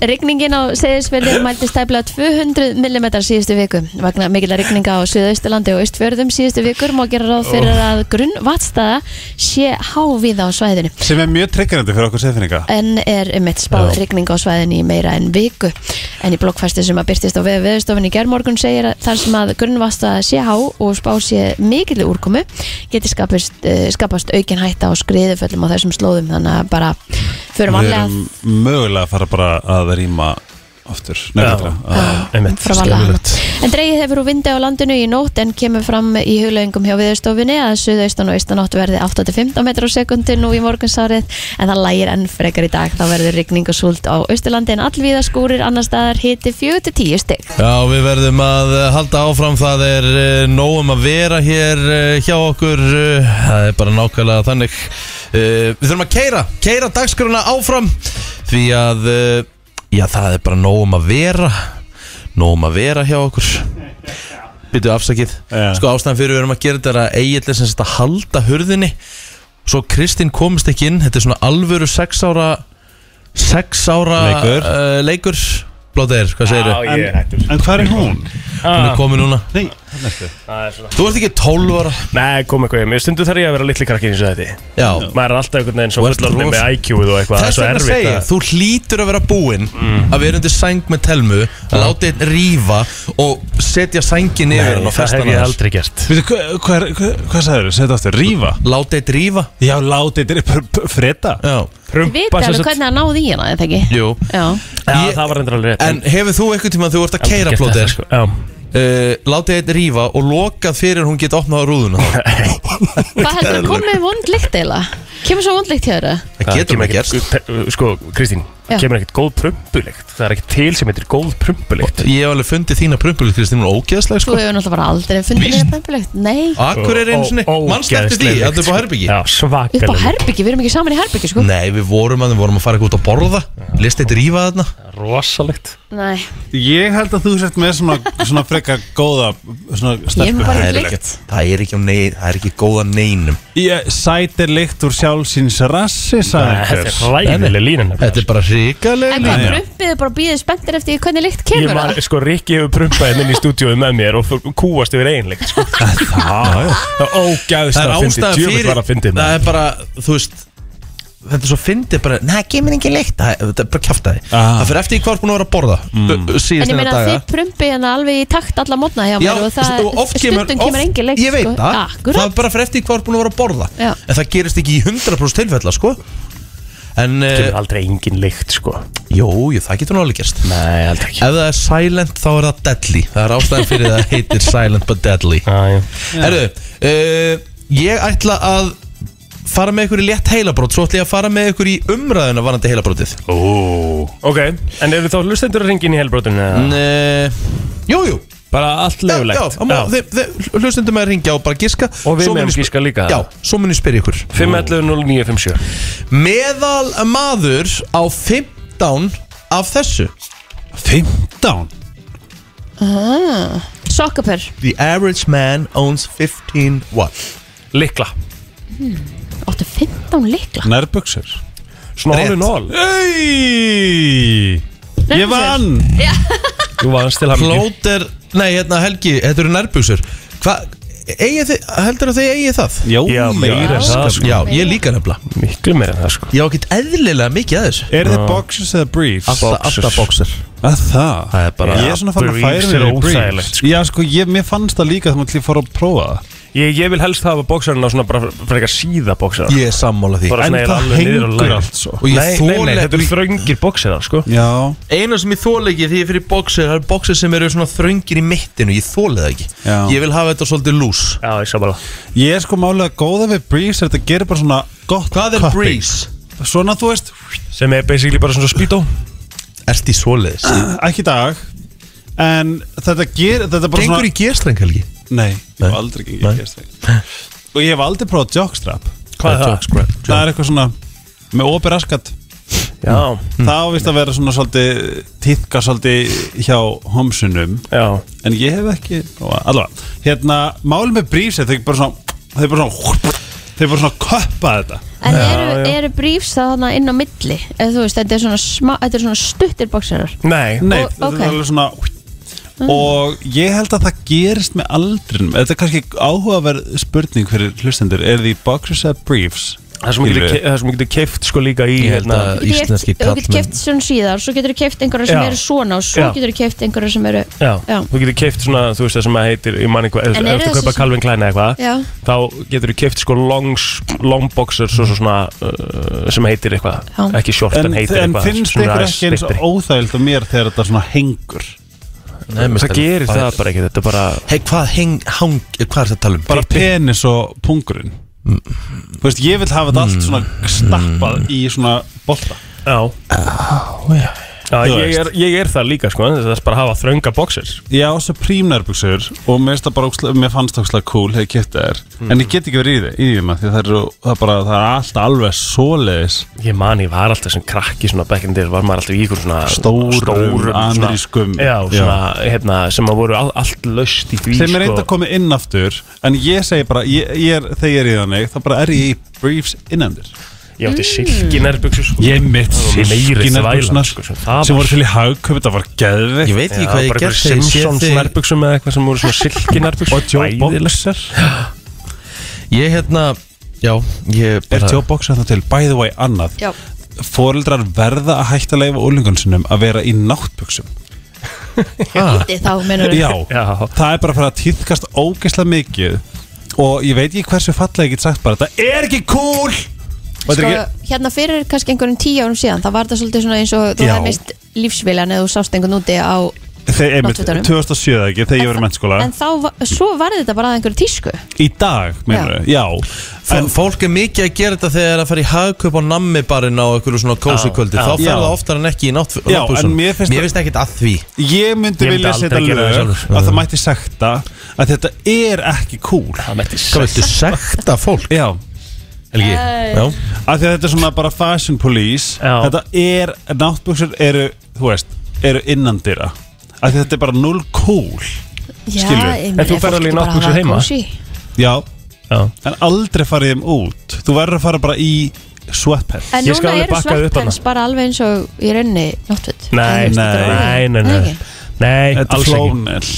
[SPEAKER 3] Rigningin á seðisfjörðin mælti stæpla 200 mm síðustu viku. Vagna mikilvæg rigninga á Suðausturlandi og Ístfjörðum síðustu vikur má gera ráð fyrir
[SPEAKER 5] Oh.
[SPEAKER 3] að grunn vatstaða sé hávíða á svæðinu.
[SPEAKER 5] Sem er mjög tryggjandi fyrir okkur seðfinninga
[SPEAKER 3] en er um eitt spáð rigning á svæðinni í meira en viku. En í blokkfæsti sem að byrtist á veðu veðustofinni í gerðmorgun segir að þar sem að grunnvasta sé há og spá sé mikil úrkomu geti skapist, uh, skapast aukin hætta á skriðuföllum á þessum slóðum þannig að bara förum
[SPEAKER 5] Við
[SPEAKER 3] allega
[SPEAKER 5] erum mögulega að fara bara að rýma aftur Nei,
[SPEAKER 4] Já.
[SPEAKER 5] betra. Ah. að
[SPEAKER 4] Einmitt
[SPEAKER 3] frá varlega hana. En dreigið hefur úr vindi á landinu í nótt en kemur fram í huglaugingum hjá viðstofinni að suðaustan og austanótt verði 8-15 metrar á sekundi nú í morgunsárið en það lægir enn frekar í dag. Þá verður rigning og súld á austurlandi en allvíða skúrir annar staðar hiti 4-10 stygg.
[SPEAKER 2] Já, við verðum að eh, halda áfram, það er eh, nóg um að vera hér eh, hjá okkur, eh, það er bara nákvæmlega þannig. Eh, Við þurfum að keira, keira dagskruna áfram því að, eh, já, það er bara nóg um að vera, nóg um að vera hjá okkur. Býtu afsakið,
[SPEAKER 5] Já.
[SPEAKER 2] sko ástæðan fyrir við erum að gera þetta er að eiginlega sem þetta halda hurðinni, svo Kristinn komist ekki inn, þetta er svona alvöru sex ára, sex ára
[SPEAKER 5] Leikur.
[SPEAKER 2] uh, leikur. sko. Blóðir, hvað segirðu?
[SPEAKER 4] Já, ég er hættur
[SPEAKER 5] En hvað er hún?
[SPEAKER 2] Hún er
[SPEAKER 4] Ah,
[SPEAKER 2] komið núna
[SPEAKER 5] Nei, hann eftir
[SPEAKER 4] það er svona.
[SPEAKER 2] Þú ert ekki 12 ára
[SPEAKER 4] Nei, kom eitthvað hjá mér Stundu þarf ég að vera litli krakki eins og þetta
[SPEAKER 2] Já
[SPEAKER 4] Maður er alltaf einhvern veginn svo
[SPEAKER 2] Þú ert
[SPEAKER 4] fullorðin
[SPEAKER 2] rosa-
[SPEAKER 4] með IQ-uð og eitthvað Það er
[SPEAKER 2] Þess
[SPEAKER 4] svo
[SPEAKER 2] vegna
[SPEAKER 4] erfitt
[SPEAKER 2] segja,
[SPEAKER 4] að- Mm.
[SPEAKER 2] þú hlýtur að vera búinn að vera undir sæng með telmu
[SPEAKER 4] Ah.
[SPEAKER 2] að láta einn rífa og setja sængin yfir hann og
[SPEAKER 4] Það
[SPEAKER 2] festa
[SPEAKER 4] hef
[SPEAKER 2] hann
[SPEAKER 4] ég
[SPEAKER 2] aðeins.
[SPEAKER 4] aldrei gert
[SPEAKER 5] Veitu, hvað, hvað, er- hvað, hvað sagður þú? Segðu aftur, rífa?
[SPEAKER 2] Láta einn rífa
[SPEAKER 5] Já, látið, þetta er freda
[SPEAKER 2] Já,
[SPEAKER 3] Þið vita alveg hvernig hérna, það náði í hana, þetta ekki?
[SPEAKER 2] jú
[SPEAKER 3] Já,
[SPEAKER 4] Já,
[SPEAKER 2] Ég-
[SPEAKER 4] það var reyndar alveg rétt
[SPEAKER 2] En hefur þú eitthvað tíma að þú ert að
[SPEAKER 4] aldrei
[SPEAKER 2] keira
[SPEAKER 4] gert
[SPEAKER 2] plótir
[SPEAKER 4] þetta,
[SPEAKER 2] sko.
[SPEAKER 4] sko. Já,
[SPEAKER 2] uh, Láta einn rífa og lokað fyrir hún geta opnað á rúðuna þá.
[SPEAKER 4] <laughs>
[SPEAKER 3] hvað heldur að komið vond lykt eiginlega? Kemur svo vond lykt hjá þeirra?
[SPEAKER 2] Það getur
[SPEAKER 4] kemur
[SPEAKER 2] maður
[SPEAKER 4] ekkert-
[SPEAKER 2] gerst
[SPEAKER 4] pe- Sko, Kristín,
[SPEAKER 3] Já.
[SPEAKER 4] kemur ekkert góð prumpulikt Það er ekkert til sem heitir góð prumpulikt
[SPEAKER 2] Ég hef alveg fundið þína prumpulit Kristín og ógeðslega
[SPEAKER 3] Þú
[SPEAKER 2] sko
[SPEAKER 3] hefur náttúrulega bara aldrei fundið
[SPEAKER 2] Víst.
[SPEAKER 3] neitt pömpulikt Nei,
[SPEAKER 2] Akkur er einu sinni
[SPEAKER 4] Ó-
[SPEAKER 2] Mannstættist í, þetta
[SPEAKER 4] ógeðslega
[SPEAKER 2] er
[SPEAKER 4] lykt,
[SPEAKER 2] bara
[SPEAKER 4] sko.
[SPEAKER 2] herbyggi
[SPEAKER 4] Já,
[SPEAKER 3] upp á
[SPEAKER 4] svakalega lykt.
[SPEAKER 3] herbyggi, við erum ekki saman í herbyggi sko
[SPEAKER 2] Nei, við vorum að við vorum að fara eitthvað út að borða List eitt rífa þarna
[SPEAKER 4] Rosalegt
[SPEAKER 3] Nei,
[SPEAKER 5] Ég held að þú sért með svona, svona frekar góða svona
[SPEAKER 3] ég hef
[SPEAKER 5] stelpu
[SPEAKER 3] bara
[SPEAKER 2] Það er
[SPEAKER 3] lykt
[SPEAKER 2] ekki- Það er ekki, á nei, það er ekki góða neinum
[SPEAKER 5] Ég sætir lykt úr sjálfsins rassi,
[SPEAKER 4] Þetta
[SPEAKER 5] sagður
[SPEAKER 4] er hræðileg línan
[SPEAKER 2] Þetta er bara ríkalega
[SPEAKER 3] En hvað, prumpið er bara býðið spenntir eftir því hvernig lykt
[SPEAKER 4] Ég
[SPEAKER 3] kemur
[SPEAKER 4] man,
[SPEAKER 3] það?
[SPEAKER 4] sko, Rikki hefur prumpaði minn í stúdíóið með mér og fór- kúast yfir einleikt, sko.
[SPEAKER 5] Það,
[SPEAKER 4] Það er ógæðist
[SPEAKER 2] Það er
[SPEAKER 4] að fyndi,
[SPEAKER 2] ástæða
[SPEAKER 4] djöfitt
[SPEAKER 2] fyrir
[SPEAKER 4] var að fyndi
[SPEAKER 2] Það er bara, þú veist Þetta er svo fyndið bara Nei, kemur engin leikt Það þetta er bara kjaftaði
[SPEAKER 5] Ah.
[SPEAKER 2] Það fyrir eftir í hvað er búin að vera að borða mm.
[SPEAKER 3] En
[SPEAKER 2] Síðast
[SPEAKER 3] ég
[SPEAKER 2] en
[SPEAKER 3] meina að þið prumpið hérna alveg í takt alla mótna hjá mér og það
[SPEAKER 2] oft kemur,
[SPEAKER 3] stundum kemur engin lykt
[SPEAKER 2] Ég veit
[SPEAKER 3] sko.
[SPEAKER 2] það, það
[SPEAKER 3] Akkurat,
[SPEAKER 2] er bara fyrir eftir í hvað er búin að vera að borða
[SPEAKER 3] Já.
[SPEAKER 2] En það gerist ekki í 100% tilfella, sko En,
[SPEAKER 4] Kemur
[SPEAKER 2] uh,
[SPEAKER 4] aldrei engin lykt, sko.
[SPEAKER 2] jú, jú, það getur nú alveg gerst
[SPEAKER 4] Nei, aldrei ekki.
[SPEAKER 2] Ef það er silent þá er það deadly Það er ástæðan fyrir það heitir silent but
[SPEAKER 4] <laughs>
[SPEAKER 2] deadly
[SPEAKER 4] Ah, Já, já.
[SPEAKER 2] Herru, uh, ég ætla að fara með ykkur í létt heilabrót Svo ætla ég að fara með ykkur í umræðuna varandi heilabrótið
[SPEAKER 5] Ó,
[SPEAKER 4] Ok, en eru þá hlustendur að ringin í helbrótinu? eða?
[SPEAKER 2] uh, Jú, jú
[SPEAKER 4] Bara allt
[SPEAKER 2] Já,
[SPEAKER 4] lögulegt.
[SPEAKER 2] já, já. Þeir, þeir, hlustundum að ringja og bara giska
[SPEAKER 4] Og við
[SPEAKER 2] Svo mun
[SPEAKER 4] meðum
[SPEAKER 2] ég sp-
[SPEAKER 4] gíska líka.
[SPEAKER 2] Já, svo mun ég spyrja ykkur
[SPEAKER 4] 511-0957.
[SPEAKER 2] Meðal maður á 15 af þessu
[SPEAKER 5] 15
[SPEAKER 3] sokkapör
[SPEAKER 2] The average man owns 15 what?
[SPEAKER 4] Likla.
[SPEAKER 3] Óttu 15 lykla
[SPEAKER 5] Nærbuxur
[SPEAKER 4] Svona
[SPEAKER 2] Rétt.
[SPEAKER 4] all in all.
[SPEAKER 5] Ei Ég vann
[SPEAKER 4] Þú varst til hann ekki.
[SPEAKER 2] Plóter, nei hérna Helgi, þetta eru nærbúsur Hvað, eigið þið, heldur að þið eigið það?
[SPEAKER 5] Jó,
[SPEAKER 4] Já, meira en það, sko.
[SPEAKER 2] Já, ég líka nefnilega
[SPEAKER 4] Miklu meira en það, sko.
[SPEAKER 2] Ég á ekkert eðlilega mikið að þessu
[SPEAKER 5] Er þið boxers eða briefs?
[SPEAKER 2] Alltaf, alltaf boxer
[SPEAKER 5] Að það?
[SPEAKER 2] Það er bara-
[SPEAKER 5] Ég er svona fann að
[SPEAKER 4] Briefs
[SPEAKER 5] færa mér
[SPEAKER 4] eru
[SPEAKER 5] í
[SPEAKER 4] óþægilegt,
[SPEAKER 5] briefs
[SPEAKER 4] sko.
[SPEAKER 5] Já, sko, ég, mér fannst það líka þannig að ég fór að prófa það
[SPEAKER 4] Ég, ég vil helst hafa bóksarinn á svona bara frekar síða bóksarinn.
[SPEAKER 2] Ég er sammála því
[SPEAKER 4] Bara
[SPEAKER 5] En
[SPEAKER 4] svona eiginlega
[SPEAKER 5] það
[SPEAKER 4] alveg niður á
[SPEAKER 5] hengur
[SPEAKER 4] læri.
[SPEAKER 5] allt sko. svo
[SPEAKER 2] Og ég
[SPEAKER 4] Nei, nei,
[SPEAKER 2] þoli
[SPEAKER 4] nei, þetta eru
[SPEAKER 2] ekki-
[SPEAKER 4] þröngir bóksirar, sko.
[SPEAKER 5] Já
[SPEAKER 2] Einu sem ég þóla ekki því ég fyrir boxer Það eru boxer sem eru svona þröngir í mittinu Ég þóla það ekki
[SPEAKER 5] Já.
[SPEAKER 2] Ég vil hafa þetta svolítið lús
[SPEAKER 4] Já, ég sá bara.
[SPEAKER 5] Ég er sko málega góða við briefs er Þetta gerir bara svona gott
[SPEAKER 2] Hvað er
[SPEAKER 5] cupping.
[SPEAKER 2] breeze?
[SPEAKER 5] Svona, þú veist,
[SPEAKER 4] Sem er basically bara svona speedo.
[SPEAKER 2] Ert í svoleiðis?
[SPEAKER 5] ekki í dag En þetta gerir, þetta er bara
[SPEAKER 2] Gengur
[SPEAKER 5] svona
[SPEAKER 2] í gerstreng Helgi?
[SPEAKER 5] Nei, ég hef
[SPEAKER 2] Nei.
[SPEAKER 5] aldrei gengið
[SPEAKER 2] Nei.
[SPEAKER 5] í gerstveig Og ég hef aldrei prófað jockstrap
[SPEAKER 4] Hvað er það?
[SPEAKER 2] Scrap
[SPEAKER 5] Það er eitthvað svona með opið raskat
[SPEAKER 4] Já,
[SPEAKER 5] Það á vist að vera svona svolítið tíðka svolítið hjá homsunum
[SPEAKER 4] já.
[SPEAKER 5] En ég hef ekki prófað Allavega, hérna, málið með brísið Þau bara svona Þau bara svona Þau bara svona köppa þetta
[SPEAKER 3] En eru,
[SPEAKER 4] já.
[SPEAKER 3] eru brífs það þarna inn á milli? Eða þú veist, þetta er svona, smá, þetta er svona stuttir bóksarar
[SPEAKER 4] Nei.
[SPEAKER 5] Nei,
[SPEAKER 3] Og-
[SPEAKER 5] þetta
[SPEAKER 3] ok.
[SPEAKER 5] er alveg svona
[SPEAKER 2] Mm.
[SPEAKER 5] Og ég held að það gerist með aldrinum Þetta er kannski áhugaverð spurning fyrir hlustendur Er því boxers eða briefs?
[SPEAKER 4] Það sem getur,
[SPEAKER 5] Skilurðu?
[SPEAKER 4] það sem getur keift sko líka í
[SPEAKER 2] Ég held
[SPEAKER 4] hérna,
[SPEAKER 5] Uh,
[SPEAKER 2] að-
[SPEAKER 3] Þú
[SPEAKER 2] Íslenski
[SPEAKER 3] getur
[SPEAKER 2] karlmenn.
[SPEAKER 3] keft svona síðar, svo getur þú keft einhverja sem
[SPEAKER 4] Já.
[SPEAKER 3] eru svona og svo
[SPEAKER 4] Já.
[SPEAKER 3] getur þú keft einhverja sem eru
[SPEAKER 4] já,
[SPEAKER 3] Já.
[SPEAKER 4] þú getur keift svona, þú veist það sem að heitir ég man eitthvað,
[SPEAKER 3] En
[SPEAKER 4] ef ef
[SPEAKER 3] eru
[SPEAKER 4] þú
[SPEAKER 3] þessi
[SPEAKER 4] kaupa
[SPEAKER 3] sem-
[SPEAKER 4] Calvin Klein eða eitthvað
[SPEAKER 3] Já.
[SPEAKER 4] þá getur þú keift sko longs, long boxers og svo svona uh, sem heitir eitthvað,
[SPEAKER 3] Já.
[SPEAKER 4] ekki short en,
[SPEAKER 5] En,
[SPEAKER 4] heitir
[SPEAKER 5] en
[SPEAKER 4] eitthvað
[SPEAKER 5] finnst
[SPEAKER 4] svona
[SPEAKER 5] ykkur
[SPEAKER 4] aðeins
[SPEAKER 5] ekki eins
[SPEAKER 4] styttri.
[SPEAKER 5] óþægild á mér þegar þetta svona hengur?
[SPEAKER 2] Nei, mér
[SPEAKER 4] það
[SPEAKER 2] stelur.
[SPEAKER 4] gerir
[SPEAKER 2] Bara-
[SPEAKER 4] það bara ekki Þetta er bara
[SPEAKER 2] Hei, hvað heng, hang, hvað er það að tala um?
[SPEAKER 5] bara
[SPEAKER 2] Pippi?
[SPEAKER 5] penis og pungurinn Þú veist, ég vil hafa þetta allt svona stappað í svona bolta
[SPEAKER 4] Já
[SPEAKER 2] já.
[SPEAKER 4] Já,
[SPEAKER 5] Þú
[SPEAKER 4] ég
[SPEAKER 5] veist.
[SPEAKER 4] er, ég er það líka sko Það er bara að hafa þrönga boxers
[SPEAKER 5] Ég á Supreme nærbuxur og mér, finnst það bara, ógeðslega- mér fannst það ógeðslega cool hefði kiptið þær en ég get ekki verið í þeim, í þeim af því það er, það, er bara, það er allt alveg svoleiðis
[SPEAKER 4] Ég man, ég var alltaf sem krakki svona back in the day Var maður alltaf í ykkur svona
[SPEAKER 5] Stórum,
[SPEAKER 4] svona-
[SPEAKER 5] amerískum.
[SPEAKER 4] Já, svona, hérna, sem að voru all, allt löst í því sko.
[SPEAKER 5] þeim er reynda að koma inn aftur en ég segi bara, ég, ég er, þegar ég er í þannig þá bara er ég í briefs innandir
[SPEAKER 4] Ég átti silki nærbuxur sko
[SPEAKER 5] Ég mitt
[SPEAKER 4] Það var meiri
[SPEAKER 5] silki
[SPEAKER 4] þvælan,
[SPEAKER 5] nærbuxurnar
[SPEAKER 4] sko, sem það var.
[SPEAKER 5] sem voru til í hagköp, það var geðveikt
[SPEAKER 2] Ég veit ekki hvað ég gert þegar ég sé
[SPEAKER 4] Simpsons
[SPEAKER 2] þig-
[SPEAKER 4] nærbuxum eða eitthvað sem voru svona silki nærbuxum
[SPEAKER 5] og Joe Boxer
[SPEAKER 2] Ég hérna, já, ég
[SPEAKER 5] er
[SPEAKER 2] bara
[SPEAKER 5] Joe Boxer það til, by the way, annað
[SPEAKER 3] Já.
[SPEAKER 5] foreldrar verða að hætta að leifa úlingun sinum að vera í náttbuksum
[SPEAKER 2] ah,
[SPEAKER 3] Þið þá mennur
[SPEAKER 5] já,
[SPEAKER 4] Já.
[SPEAKER 5] það er bara að fara að týðkast ógeðslega mikið og ég veit ekki hversu fallega ég get sagt bara þetta er ekki cool og þetta
[SPEAKER 3] Sko,
[SPEAKER 5] er ekki
[SPEAKER 3] hérna fyrir kannski einhverjum tíu árum síðan það var það svolítið svona eins og þú
[SPEAKER 5] Já.
[SPEAKER 3] hefði mist lífsviljan eða þú sást einhvern úti á
[SPEAKER 5] Þegar, einmitt,
[SPEAKER 3] Náttfötunum.
[SPEAKER 5] 2007 eða ekki, þegar ég var í mennskóla
[SPEAKER 3] en þá, va- svo var þetta bara að einhverju tísku
[SPEAKER 5] Í dag, meinur við, já
[SPEAKER 2] En fólk er mikið að gera þetta þegar það er að fara í hagkaup á nammi barinn á einhverju svona kósi kvöldi Þá fer
[SPEAKER 5] Já.
[SPEAKER 2] það oftar en ekki í náttbúsum
[SPEAKER 5] Já, en mér finnst það-
[SPEAKER 2] ekkit að því
[SPEAKER 5] Ég myndi
[SPEAKER 4] Ég myndi
[SPEAKER 5] vilja
[SPEAKER 4] aldrei
[SPEAKER 5] setja
[SPEAKER 4] gera
[SPEAKER 5] lög
[SPEAKER 4] það
[SPEAKER 5] að
[SPEAKER 2] sjálfur.
[SPEAKER 5] það mætti sekta að þetta er ekki cool
[SPEAKER 4] Það mætti
[SPEAKER 2] Hvað viltu sekta fólk?
[SPEAKER 5] Já,
[SPEAKER 2] Helgi, já
[SPEAKER 5] af því að þetta er svona bara fashion police
[SPEAKER 4] Já.
[SPEAKER 5] Þetta er, náttbuksur eru, þú veist, eru innandýra af því að þetta er bara null cool
[SPEAKER 3] já,
[SPEAKER 5] Skilur.
[SPEAKER 3] ég
[SPEAKER 4] En
[SPEAKER 3] meina,
[SPEAKER 4] þú ferð
[SPEAKER 3] fólk
[SPEAKER 4] alveg í
[SPEAKER 3] getur bara
[SPEAKER 4] náttbuxur
[SPEAKER 3] hafa
[SPEAKER 4] heima?
[SPEAKER 3] kósí.
[SPEAKER 5] Já,
[SPEAKER 4] Já
[SPEAKER 5] en aldrei farið þeim út Þú verður að fara bara í sweatpants
[SPEAKER 3] en
[SPEAKER 4] Ég skal
[SPEAKER 3] núna
[SPEAKER 4] alveg
[SPEAKER 3] eru
[SPEAKER 4] bakka þig upp
[SPEAKER 3] sweatpants bara alveg eins og í raunni náttföt
[SPEAKER 4] Nei,
[SPEAKER 5] Nei,
[SPEAKER 4] nei, nei,
[SPEAKER 3] Nei, ekki.
[SPEAKER 4] nei, nei
[SPEAKER 5] Þetta er
[SPEAKER 4] alls ekki
[SPEAKER 5] flónel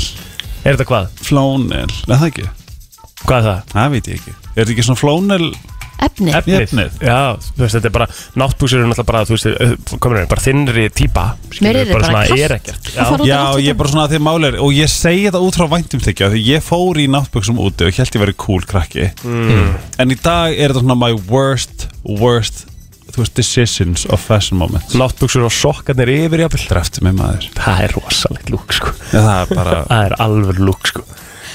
[SPEAKER 4] Er þetta hvað?
[SPEAKER 5] Flónel, er það ekki?
[SPEAKER 4] Hvað er það?
[SPEAKER 5] Það veit ég ekki Er þetta ekki svona flónel?
[SPEAKER 3] efni
[SPEAKER 5] Efnið.
[SPEAKER 4] Já, þú veist, þetta er bara Náttbúsur eru náttúrulega bara, þú veist, eh, komur hérna, bara þinnri típa skilur,
[SPEAKER 3] Mér er þetta bara
[SPEAKER 4] svona
[SPEAKER 3] kalt.
[SPEAKER 4] er ekkert
[SPEAKER 3] Að fara út
[SPEAKER 4] Já,
[SPEAKER 3] í
[SPEAKER 5] Já,
[SPEAKER 3] náttfötum.
[SPEAKER 5] ég er bara svona að því máli er Og ég segi þetta út frá væntumþykja Því ég fór í náttböksum úti og held ég verið cool krakki
[SPEAKER 4] Mm.
[SPEAKER 5] En í dag er þetta svona my worst, worst Þú veist, decisions of fashion moments
[SPEAKER 4] náttbúsur og sokkarnir yfir jafnvel
[SPEAKER 5] Drefti mig maður
[SPEAKER 4] Það er rosalegt lúk, sko
[SPEAKER 5] ja, Það er bara
[SPEAKER 4] <laughs> Það er alveg lúk, sko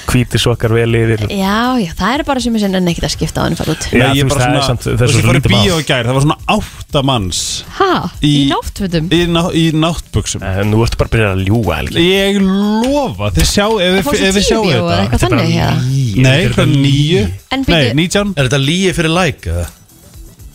[SPEAKER 4] Hvíti sokkar vel yfir
[SPEAKER 3] já, já, það er bara sem ég sinna en ekkert að skipta á hann fara út
[SPEAKER 4] Já,
[SPEAKER 5] Nei, ég
[SPEAKER 4] þú
[SPEAKER 5] er
[SPEAKER 4] veist,
[SPEAKER 5] bara
[SPEAKER 4] það er
[SPEAKER 5] svona-
[SPEAKER 4] samt- það er
[SPEAKER 5] Þú veist,
[SPEAKER 4] svo
[SPEAKER 5] ég fór í
[SPEAKER 4] lítið mál.
[SPEAKER 5] bíó í gær Það var svona áttamanns
[SPEAKER 3] ha, í,
[SPEAKER 5] Í-
[SPEAKER 3] náttfötum
[SPEAKER 5] Í, ná, í náttböksum
[SPEAKER 4] Eh, Nú ertu bara að byrja að ljúa, Helgi
[SPEAKER 5] Ég lofa, þið sjá Ef,
[SPEAKER 3] Það fórst
[SPEAKER 5] við-
[SPEAKER 3] í
[SPEAKER 5] ef við sjáum
[SPEAKER 3] tíubíó eða
[SPEAKER 5] þetta
[SPEAKER 3] eitthvað þannig ja.
[SPEAKER 5] Nei, hvað nýju?
[SPEAKER 3] En
[SPEAKER 5] Nei,
[SPEAKER 3] bíddu-
[SPEAKER 5] nítján
[SPEAKER 2] Er þetta líi fyrir læk? Like,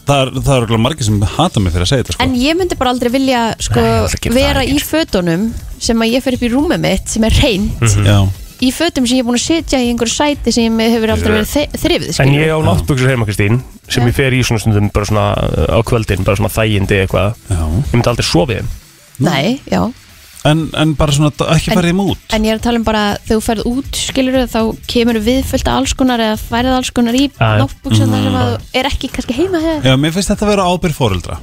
[SPEAKER 5] Það er- það eru örugglega margir sem hata mig fyrir að segja þetta sko.
[SPEAKER 3] en ég myndi bara aldrei vilja sko,
[SPEAKER 4] Nei, ég ætla ekki að
[SPEAKER 3] vera
[SPEAKER 4] fara í
[SPEAKER 3] í fötunum sem að ég fer upp í rúmið mitt sem er reynd
[SPEAKER 5] Já
[SPEAKER 3] í fötum sem ég er búin að setja í einhverju sæti sem ég hefur aldrei verið þe- þrifið
[SPEAKER 4] En
[SPEAKER 3] skilur.
[SPEAKER 4] ég á náttbúksur heima, Kristín sem ég fer í svona stundum bara svona eh, á kvöldin, bara svona þægindi eitthvað
[SPEAKER 5] Já.
[SPEAKER 4] Ég myndi aldrei sofið þeim
[SPEAKER 3] Nei, já
[SPEAKER 5] En, en bara svona, ekki
[SPEAKER 3] En-
[SPEAKER 5] farið þeim út
[SPEAKER 3] En ég er að tala um bara þegar þú ferð út skilur þá kemur viðfullt af alls konar eða færið alls konar í
[SPEAKER 4] Já.
[SPEAKER 3] náttbuksan þar
[SPEAKER 2] Mm.
[SPEAKER 3] sem að þú er ekki kannski heima hefur
[SPEAKER 5] Já, mér finnst þetta að vera ábyrð fóreldra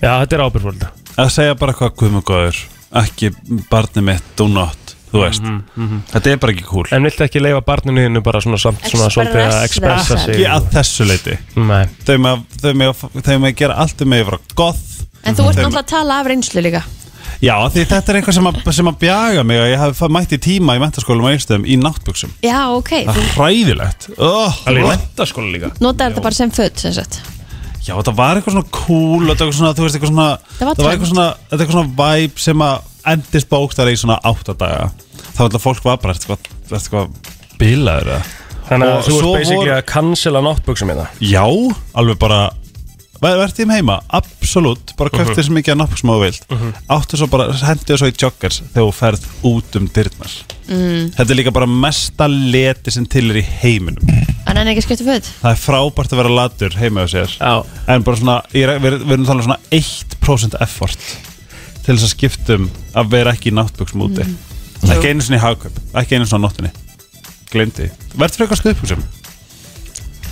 [SPEAKER 4] Já, þetta er ábyrgfólda
[SPEAKER 5] Að segja bara hvað guðmugóður Ekki barni mitt, do not Þú veist, þetta er bara ekki cool
[SPEAKER 4] Mhm, En viltu ekki leifa barninu þínu bara svona samt svona
[SPEAKER 3] Express
[SPEAKER 4] svolítið að expressa
[SPEAKER 3] þessa.
[SPEAKER 4] sig?
[SPEAKER 5] Ekki að þessu leiti
[SPEAKER 4] Nei,
[SPEAKER 5] Þau með, þau með, þau með að gera allt um með yfir að goth
[SPEAKER 3] En
[SPEAKER 2] Mm.
[SPEAKER 3] þú ert
[SPEAKER 5] Þeim-
[SPEAKER 3] náttúrulega að tala af reynslu líka
[SPEAKER 5] Já, því þetta er eitthvað sem að, sem að bjaga mig og ég hafi fa- mætt í tíma í mentaskólum á einstöðum í náttbuksum
[SPEAKER 3] Já, ok,
[SPEAKER 5] Það
[SPEAKER 2] Ah.
[SPEAKER 3] þú
[SPEAKER 5] er hræðilegt oh,
[SPEAKER 4] alveg mentaskóla líka
[SPEAKER 3] notar þetta bara sem föt sem sagt.
[SPEAKER 5] Já, þetta var eitthvað svona cool og þetta var eitthvað svona, þú veist, eitthvað svona
[SPEAKER 3] Það var
[SPEAKER 5] eitthvað svona, þetta var eitthvað svona vibe sem að endist bókstara í svona áttadaga þá var alltaf fólk var bara, ertu hvað, ertu hvað bilaður eða?
[SPEAKER 4] Þannig
[SPEAKER 5] Og
[SPEAKER 4] að þú ert
[SPEAKER 5] svo
[SPEAKER 4] basically
[SPEAKER 5] voru-
[SPEAKER 4] að cancela náttbuksum hérna
[SPEAKER 5] Já, alveg bara verði þeim heima, absolutt bara köfti
[SPEAKER 4] Mhm.
[SPEAKER 5] þér sem mikið að napp sem þú vilt áttu svo bara, hendu þér svo í joggers þegar þú ferð út um dyrnar
[SPEAKER 3] Mm.
[SPEAKER 5] þetta er líka bara mesta leti sem til er í heiminum
[SPEAKER 3] En en ekki að skipta um föt
[SPEAKER 5] það er frábært að vera latur heima á sér
[SPEAKER 4] Já.
[SPEAKER 5] en bara svona, ég er- við við erum talað um svona 1% effort til þess að skiptum að vera ekki í náttbuksum úti
[SPEAKER 2] Mm.
[SPEAKER 5] ekki einu sinni í hagkaup ekki einu sinni á nóttinni glemdi, verður frekar stuðbuksum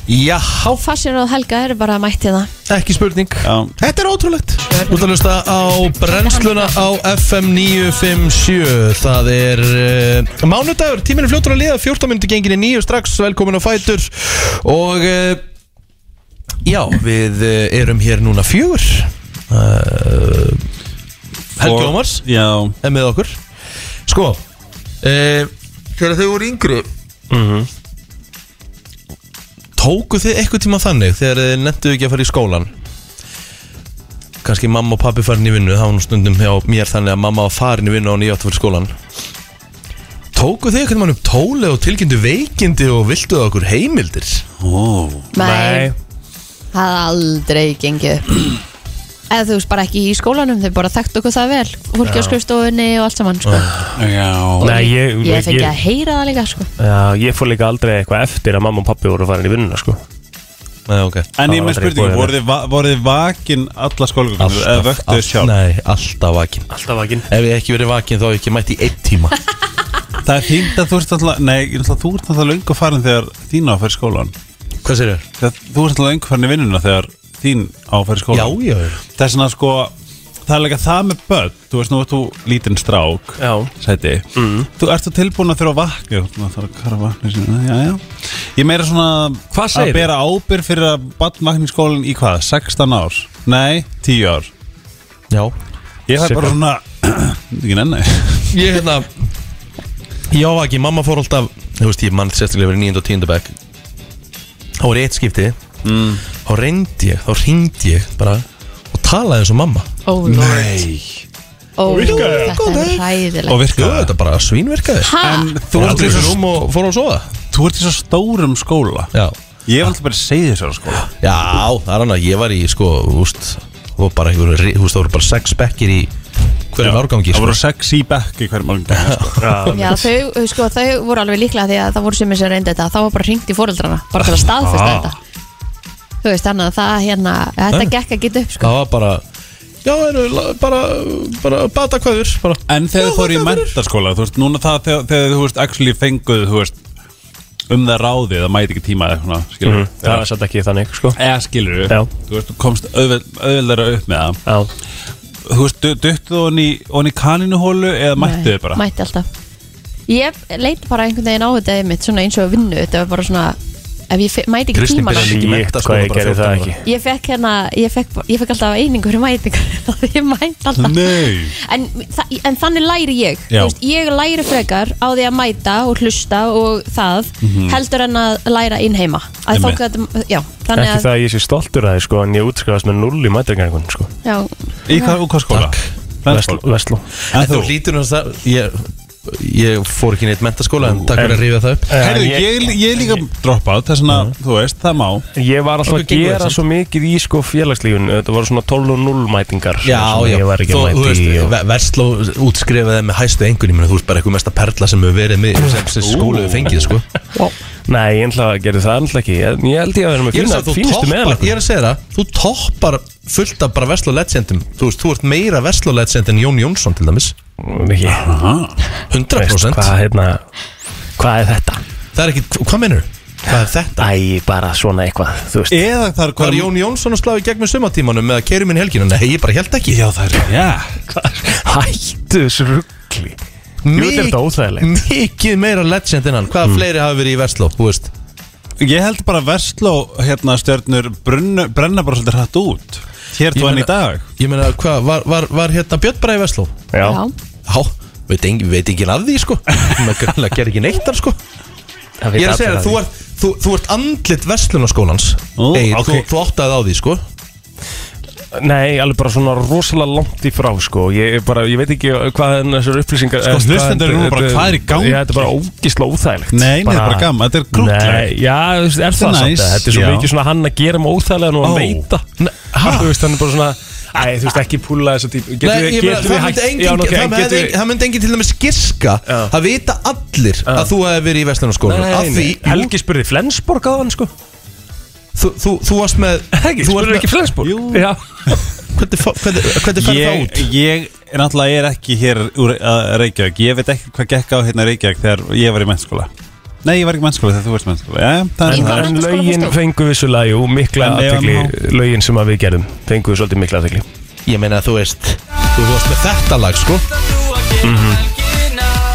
[SPEAKER 2] já,
[SPEAKER 3] Fassir og Helga eru bara mætt hérna
[SPEAKER 2] ekki spurning
[SPEAKER 5] Já.
[SPEAKER 2] Þetta er ótrúlegt Þú ert að hlusta á brennsluna á FM 957 Það er uh, mánudagur, tíminn er fljótur að liða 14 minúti gengin í nýju strax, velkomin á Fætur Og uh, já, við uh, erum hér núna fjögur uh, Helgi Ómars
[SPEAKER 5] já,
[SPEAKER 2] er með okkur Sko, Eh, Þegar þau voru yngri Tóku þið eitthvað tíma þannig Þegar þið nettuðu ekki að fara í skólan Kanski mamma og pappi farin í vinnu Það var nú stundum hjá mér þannig að mamma var farin í vinnu Og nýjátt að fara í skólan Tóku þið eitthvað mann upp tóli og tilkynntu veikindi Og vilduðu okkur heimildir
[SPEAKER 5] Ó,
[SPEAKER 3] Nei, það hafði aldrei gengið upp Eða þú veist bara ekki í skólanum Þau bara þekkt okkur það vel Fólki á skrifstofunni og allt saman sko.
[SPEAKER 5] já
[SPEAKER 4] Nei, ég,
[SPEAKER 3] Ég fengi að heyra það líka sko.
[SPEAKER 4] Já, ég fór líka aldrei eitthvað eftir að mamma og pappi voru farin í vinnuna sko.
[SPEAKER 2] Nei, ok
[SPEAKER 5] En
[SPEAKER 4] Það var aldrei
[SPEAKER 5] ég með
[SPEAKER 4] hérna.
[SPEAKER 5] spurningu,
[SPEAKER 4] búið
[SPEAKER 5] voruð þið va- voruð þið vakin alla skólagöngunum eða vöktuð
[SPEAKER 2] all-
[SPEAKER 5] sjálf?
[SPEAKER 2] Nei, alltaf vakin
[SPEAKER 4] Alltaf vakinn
[SPEAKER 2] Ef ég ekki verið vakin þá hef ég ekki mætt í einn tíma
[SPEAKER 5] <laughs> Það er fínt að þú ert alltaf, nei, ég ætla að þú ert alltaf löngu farin þegar þín á að fara í skólan
[SPEAKER 2] Hvað sér þér?
[SPEAKER 5] Þegar Þú ert alltaf löngu farin í vinnuna þegar þín á að fara
[SPEAKER 2] Já,
[SPEAKER 5] í skólan
[SPEAKER 2] já
[SPEAKER 5] Það er svona sko, það er líka það með börn, þú veist nú ert þú lítinn strák
[SPEAKER 4] Já, Mm.
[SPEAKER 5] sæti Þú ert þú tilbúin að þurfa að vakna Þú ert að þurfa að vakna sína, já, já. Ég meira svona
[SPEAKER 2] Hvað segirðu?
[SPEAKER 5] að bera ábyrg fyrir að barn vakna í skólan í hvað? 16 ár? Nei, 10 ár
[SPEAKER 2] Já
[SPEAKER 5] Ég fæ bara
[SPEAKER 4] Cirka.
[SPEAKER 5] svona <clears throat> ekki nenni
[SPEAKER 2] Ég hérna Ég á ekki, mamma fór alltaf Þú veist, ég mann sérstaklega verið 9. og 10. bekk Þá var ég eitt skipti Þá reyndi ég, þá ringdi ég bara Og talaði eins og mamma
[SPEAKER 3] oh, Lord. Oh, Lord, Þetta er
[SPEAKER 5] Og
[SPEAKER 3] hræðilegt
[SPEAKER 2] Jú,
[SPEAKER 5] virkaði
[SPEAKER 2] þetta bara svínverkaði
[SPEAKER 3] Ha?
[SPEAKER 5] En þú
[SPEAKER 2] Þú
[SPEAKER 5] ert
[SPEAKER 2] varst
[SPEAKER 5] í
[SPEAKER 2] í
[SPEAKER 5] svo,
[SPEAKER 2] rúm og fór að sofa
[SPEAKER 5] þú ert í svo stórum skóla
[SPEAKER 2] Já
[SPEAKER 5] Ég var alltaf bara að segja þessara skóla
[SPEAKER 2] Já, það er hann að ég var í, sko, úst Og bara, þú veist, það voru bara sex bekkir í Hverjum árgangi,
[SPEAKER 5] Það
[SPEAKER 2] sko
[SPEAKER 5] voru sex í bekk í hverjum árgangi sko.
[SPEAKER 3] Já, þau, sko, þau voru alveg líklega því að það voru sem sem reyndi þetta þá var bara hringt í fóreldrana bara til að staðfesta
[SPEAKER 5] Ah.
[SPEAKER 3] þetta Þú veist, þannig að það hérna þetta
[SPEAKER 2] Nei.
[SPEAKER 3] gekk að geta upp sko.
[SPEAKER 2] Það var bara Já, það eru la- bara, bara bata hvaður bara.
[SPEAKER 5] En þegar
[SPEAKER 2] Já,
[SPEAKER 5] þú fór í
[SPEAKER 2] þakka fyrir.
[SPEAKER 5] mentaskóla Þú veist, núna það þegar, þegar þú veist actually fenguð, þú veist um það ráðið, það mæti ekki tíma eða svona, skilur
[SPEAKER 4] Mhm. það er satt ekki þannig sko.
[SPEAKER 5] eða skilur
[SPEAKER 4] Já.
[SPEAKER 5] þú veist, þú komst auðveld, auðveldara upp með það
[SPEAKER 4] Já,
[SPEAKER 5] þú veist, du- duttu þú honni honni kaninuhólu eða mættu þið bara
[SPEAKER 3] Mætti alltaf Ég leit bara einhvern veginn á þetta einmitt svona eins og að vinnu þetta var bara svona ef ég fe- mæti ekki
[SPEAKER 2] Kristín
[SPEAKER 3] tíman
[SPEAKER 2] byrjaði-
[SPEAKER 4] ég
[SPEAKER 2] Ekki
[SPEAKER 4] veit
[SPEAKER 2] menntaskóla,
[SPEAKER 4] hvað ég
[SPEAKER 2] bara
[SPEAKER 4] gerði
[SPEAKER 2] 14
[SPEAKER 4] það
[SPEAKER 2] ára.
[SPEAKER 4] ekki
[SPEAKER 3] ég fekk hérna ég fekk, ég fekk alltaf einingu fyrir mætingu <laughs> ég mæti alltaf
[SPEAKER 5] Nei.
[SPEAKER 3] en, þa- en þannig læri ég
[SPEAKER 5] Já.
[SPEAKER 3] Þú veist, ég læri frekar á því að mæta og hlusta og það heldur en að læra inn heima að þá
[SPEAKER 5] Einmitt.
[SPEAKER 3] gæti, já, þannig
[SPEAKER 4] Ekki
[SPEAKER 3] að
[SPEAKER 4] það að ég sé stoltur að þið sko, en ég útskrifast með null í mætringarinn sko.
[SPEAKER 3] já,
[SPEAKER 5] í hvað, úr hvað skóla?
[SPEAKER 4] Vestló,
[SPEAKER 5] Menntaskóla.
[SPEAKER 4] Vestló.
[SPEAKER 5] en
[SPEAKER 2] En þú
[SPEAKER 5] þú,
[SPEAKER 2] hlýtur hans það ég, ég fór ekki í neitt mentaskóla En takk fyrir að rífa það upp
[SPEAKER 5] herru,
[SPEAKER 4] En
[SPEAKER 5] ég,
[SPEAKER 4] ég,
[SPEAKER 5] ég er líka droppa át, þess að, þú veist, það má
[SPEAKER 4] ég var alltaf
[SPEAKER 2] Okkur
[SPEAKER 4] að
[SPEAKER 2] gengur
[SPEAKER 4] gera
[SPEAKER 2] það
[SPEAKER 4] svo mikið í sko, félagslífun Þetta voru svona 12 og 0 mætingar
[SPEAKER 2] Já,
[SPEAKER 4] svona
[SPEAKER 2] já,
[SPEAKER 4] Ég var ekki
[SPEAKER 2] þú,
[SPEAKER 4] að
[SPEAKER 2] þú
[SPEAKER 4] mæti
[SPEAKER 2] veist,
[SPEAKER 4] í og...
[SPEAKER 2] Ve- Versló útskrifaði með hæstu engun Ég meina, þú veist bara eitthvað mesta perla sem hefur verið með sem, sem skólu hefur fengið, sko
[SPEAKER 4] Nei, ég ætla að gera það alltaf ekki Ég ég held ég að vera með
[SPEAKER 2] Ég er að
[SPEAKER 4] fína,
[SPEAKER 2] segja, þú
[SPEAKER 4] fínustu
[SPEAKER 2] toppar,
[SPEAKER 4] meðalegum
[SPEAKER 2] ég er að segja það, þú toppar fullt af bara Versló legendum Þú veist, þú ert meira Versló legend en Jón Jónsson til dæmis
[SPEAKER 4] Viki, veist,
[SPEAKER 2] 100%
[SPEAKER 4] Hvað hérna, hvað er þetta?
[SPEAKER 2] Það er ekki, hvað menur? Hvað er þetta?
[SPEAKER 4] Æ, bara svona eitthvað, þú veist
[SPEAKER 5] eða það er
[SPEAKER 2] Hvað er Jón Jónsson að slá í gegn með sumatímanum með að keri minn helginu? Nei, ég bara held ekki
[SPEAKER 5] já, það er, já,
[SPEAKER 4] <laughs> Hættu þessu ruggli Jú, þetta er þetta óþægilegt
[SPEAKER 2] Mikið meira legend en hann Hvaða
[SPEAKER 4] Hmm.
[SPEAKER 2] fleiri hafa verið í Vestló, þú veist
[SPEAKER 5] ég held bara Vestló, hérna, stjörnur brunnu, brenna bara svolítið hratt út hér
[SPEAKER 2] Ég
[SPEAKER 5] þú enn í
[SPEAKER 2] meina-
[SPEAKER 5] dag
[SPEAKER 2] Ég meina, hvað, var, var, var hérna Björn bara í Vestló?
[SPEAKER 4] Já,
[SPEAKER 3] já.
[SPEAKER 2] Já, veit, engin, veit engin af því, sko Maður greinlega gerir ekki neittar, sko Ég er
[SPEAKER 4] það vita
[SPEAKER 2] að segja
[SPEAKER 4] allir
[SPEAKER 2] það, þú,
[SPEAKER 4] því.
[SPEAKER 2] ert- þú, þú ert andlit Vestlunaskólans
[SPEAKER 5] Ó,
[SPEAKER 2] Egil,
[SPEAKER 5] ok.
[SPEAKER 2] þú, þú áttaði á því, sko
[SPEAKER 4] Nei, alveg bara svona rosalega langt í frá sko. ég, er bara, ég veit ekki uh, hvað en þessar upplýsingar
[SPEAKER 5] Sko, hlustendur eru nú bara, hvað er í gangi?
[SPEAKER 4] Já, þetta er bara ógisla óþægilegt
[SPEAKER 5] Nei, nei, þetta er bara gaman, þetta er krúttlegt.
[SPEAKER 4] Nei, Já, þú veist, er
[SPEAKER 5] Þetta er
[SPEAKER 4] það
[SPEAKER 5] næs,
[SPEAKER 4] samt að Þetta er svo
[SPEAKER 5] já.
[SPEAKER 4] mikið svona hann að gera með óþægilega og
[SPEAKER 5] Ó.
[SPEAKER 4] hann veita Þú veist, hann er bara svona Æ, þú veist, ekki púla þessa típu Getum
[SPEAKER 2] Nei,
[SPEAKER 4] við-
[SPEAKER 2] ég meina, það
[SPEAKER 4] getum við
[SPEAKER 2] myndi
[SPEAKER 4] hætt-
[SPEAKER 2] engin-
[SPEAKER 4] Já, ok,
[SPEAKER 2] það
[SPEAKER 4] getum
[SPEAKER 2] myndi
[SPEAKER 4] við-
[SPEAKER 2] engin- það myndi engin til dæmis giska
[SPEAKER 4] Já.
[SPEAKER 2] Það vita allir að þú hefði verið í Vestlunarskólanum
[SPEAKER 4] Nei,
[SPEAKER 2] Af því,
[SPEAKER 4] nei, Helgi spurði Flensborg á hann sko
[SPEAKER 2] þú, þú, þú varst með
[SPEAKER 4] Helgi
[SPEAKER 2] þú varst
[SPEAKER 4] spurði
[SPEAKER 2] með-
[SPEAKER 4] ekki Flensborg
[SPEAKER 5] Jú.
[SPEAKER 4] Já.
[SPEAKER 2] Hvernig fó- hvernig- hvernig færði það
[SPEAKER 5] ég,
[SPEAKER 2] út?
[SPEAKER 5] ég er náttúrulega er ekki hér úr að Reykjavík ég veit ekki hvað gekk á hérna í Reykjavík þegar ég var í mennskóla nei, ég var ekki í mennskóla þegar þú varst í mennskóla já, það
[SPEAKER 3] Í
[SPEAKER 5] er
[SPEAKER 3] hvaða
[SPEAKER 5] það
[SPEAKER 4] En
[SPEAKER 3] menntaskóla
[SPEAKER 4] lögin
[SPEAKER 3] fórstu?
[SPEAKER 4] fengu vissulega, jú, mikla
[SPEAKER 5] En ef hann
[SPEAKER 4] aðtegli Lögin sem að við gerðum fengu svolítið mikla aðtegli
[SPEAKER 2] Ég meina að þú veist Þú varst með þetta lag sko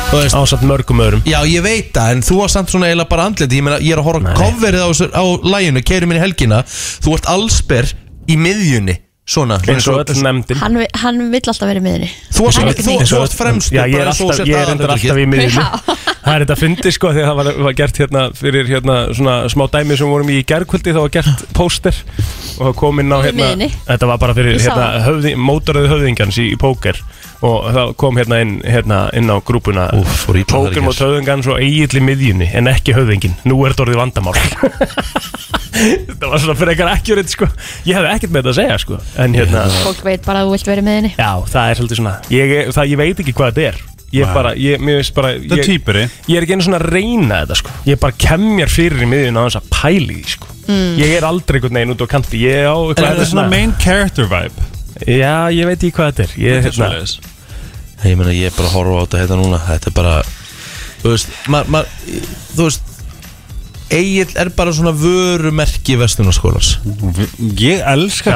[SPEAKER 2] Þú veist
[SPEAKER 4] Ásamt mörgum öðrum
[SPEAKER 2] Já ég veit það en þú var samt svona eiginlega bara andlit Ég meina ég er að horfa á coverið á, þessu- á læginu Keirum minni helgina Þú ert allsber í miðjunni svona
[SPEAKER 4] eins og öll nefndin
[SPEAKER 3] Hann, vi- hann vill alltaf vera í miðinni
[SPEAKER 2] Þú varst-
[SPEAKER 3] Hann er ekki
[SPEAKER 2] þú-
[SPEAKER 3] nýr.
[SPEAKER 2] þú varst fremstur,
[SPEAKER 4] Já, ég er
[SPEAKER 2] bara eins og
[SPEAKER 4] alltaf,
[SPEAKER 2] sért
[SPEAKER 4] ég er endur
[SPEAKER 2] aðalhlutverkið.
[SPEAKER 4] alltaf í miðinni
[SPEAKER 3] Já.
[SPEAKER 4] Það er þetta að fyndi sko Þegar það var, var gert hérna fyrir hérna svona smá dæmi sem vorum í í gærkvöldi Það var gert póster og það kom inn á
[SPEAKER 3] Í
[SPEAKER 4] hérna
[SPEAKER 3] miðjunni.
[SPEAKER 4] Þetta var bara fyrir
[SPEAKER 3] Ég sá
[SPEAKER 4] hérna
[SPEAKER 3] það.
[SPEAKER 4] höfði, mótaröðu höfðingjans í, í póker Og það kom hérna inn, hérna inn á grúpuna
[SPEAKER 2] Úff, fór illa þar í
[SPEAKER 4] Póker
[SPEAKER 2] gær.
[SPEAKER 4] mót höfðingjans og eigiðli miðjunni En ekki höfðingin, nú er þetta orðið
[SPEAKER 2] <laughs>
[SPEAKER 4] vandamál Þetta var svona fyrir ekkert ekkjuritt sko Ég hefði ekkert með þetta að segja sko En hérna
[SPEAKER 3] Fólk veit bara að þú vilt vera í miðinni
[SPEAKER 4] Já, það er svolítið svona Ég, er- það, ég veit ekki hvað þetta er Ég
[SPEAKER 5] Nei.
[SPEAKER 4] bara, ég, mér veist bara
[SPEAKER 5] Þetta er
[SPEAKER 4] ég,
[SPEAKER 5] týpuri
[SPEAKER 4] ég er ekki einu svona að reyna þetta sko Ég bara kem mér fyrir í miðjun á þess að pæli því sko Ég er aldrei einhvern veginn út á kanti Ég á eitthvað
[SPEAKER 5] Þetta er svona main character vibe
[SPEAKER 4] Já, ég veit ekki hvað þetta er Ég,
[SPEAKER 5] Þetta er
[SPEAKER 4] hérna,
[SPEAKER 5] svoleiðis.
[SPEAKER 2] Ég meina ég er bara að horfa á þetta hérna núna Þetta er bara Þú veist, ma, ma, þú veist Egil er bara svona vörumerki Vestunarskólas
[SPEAKER 5] Ég elska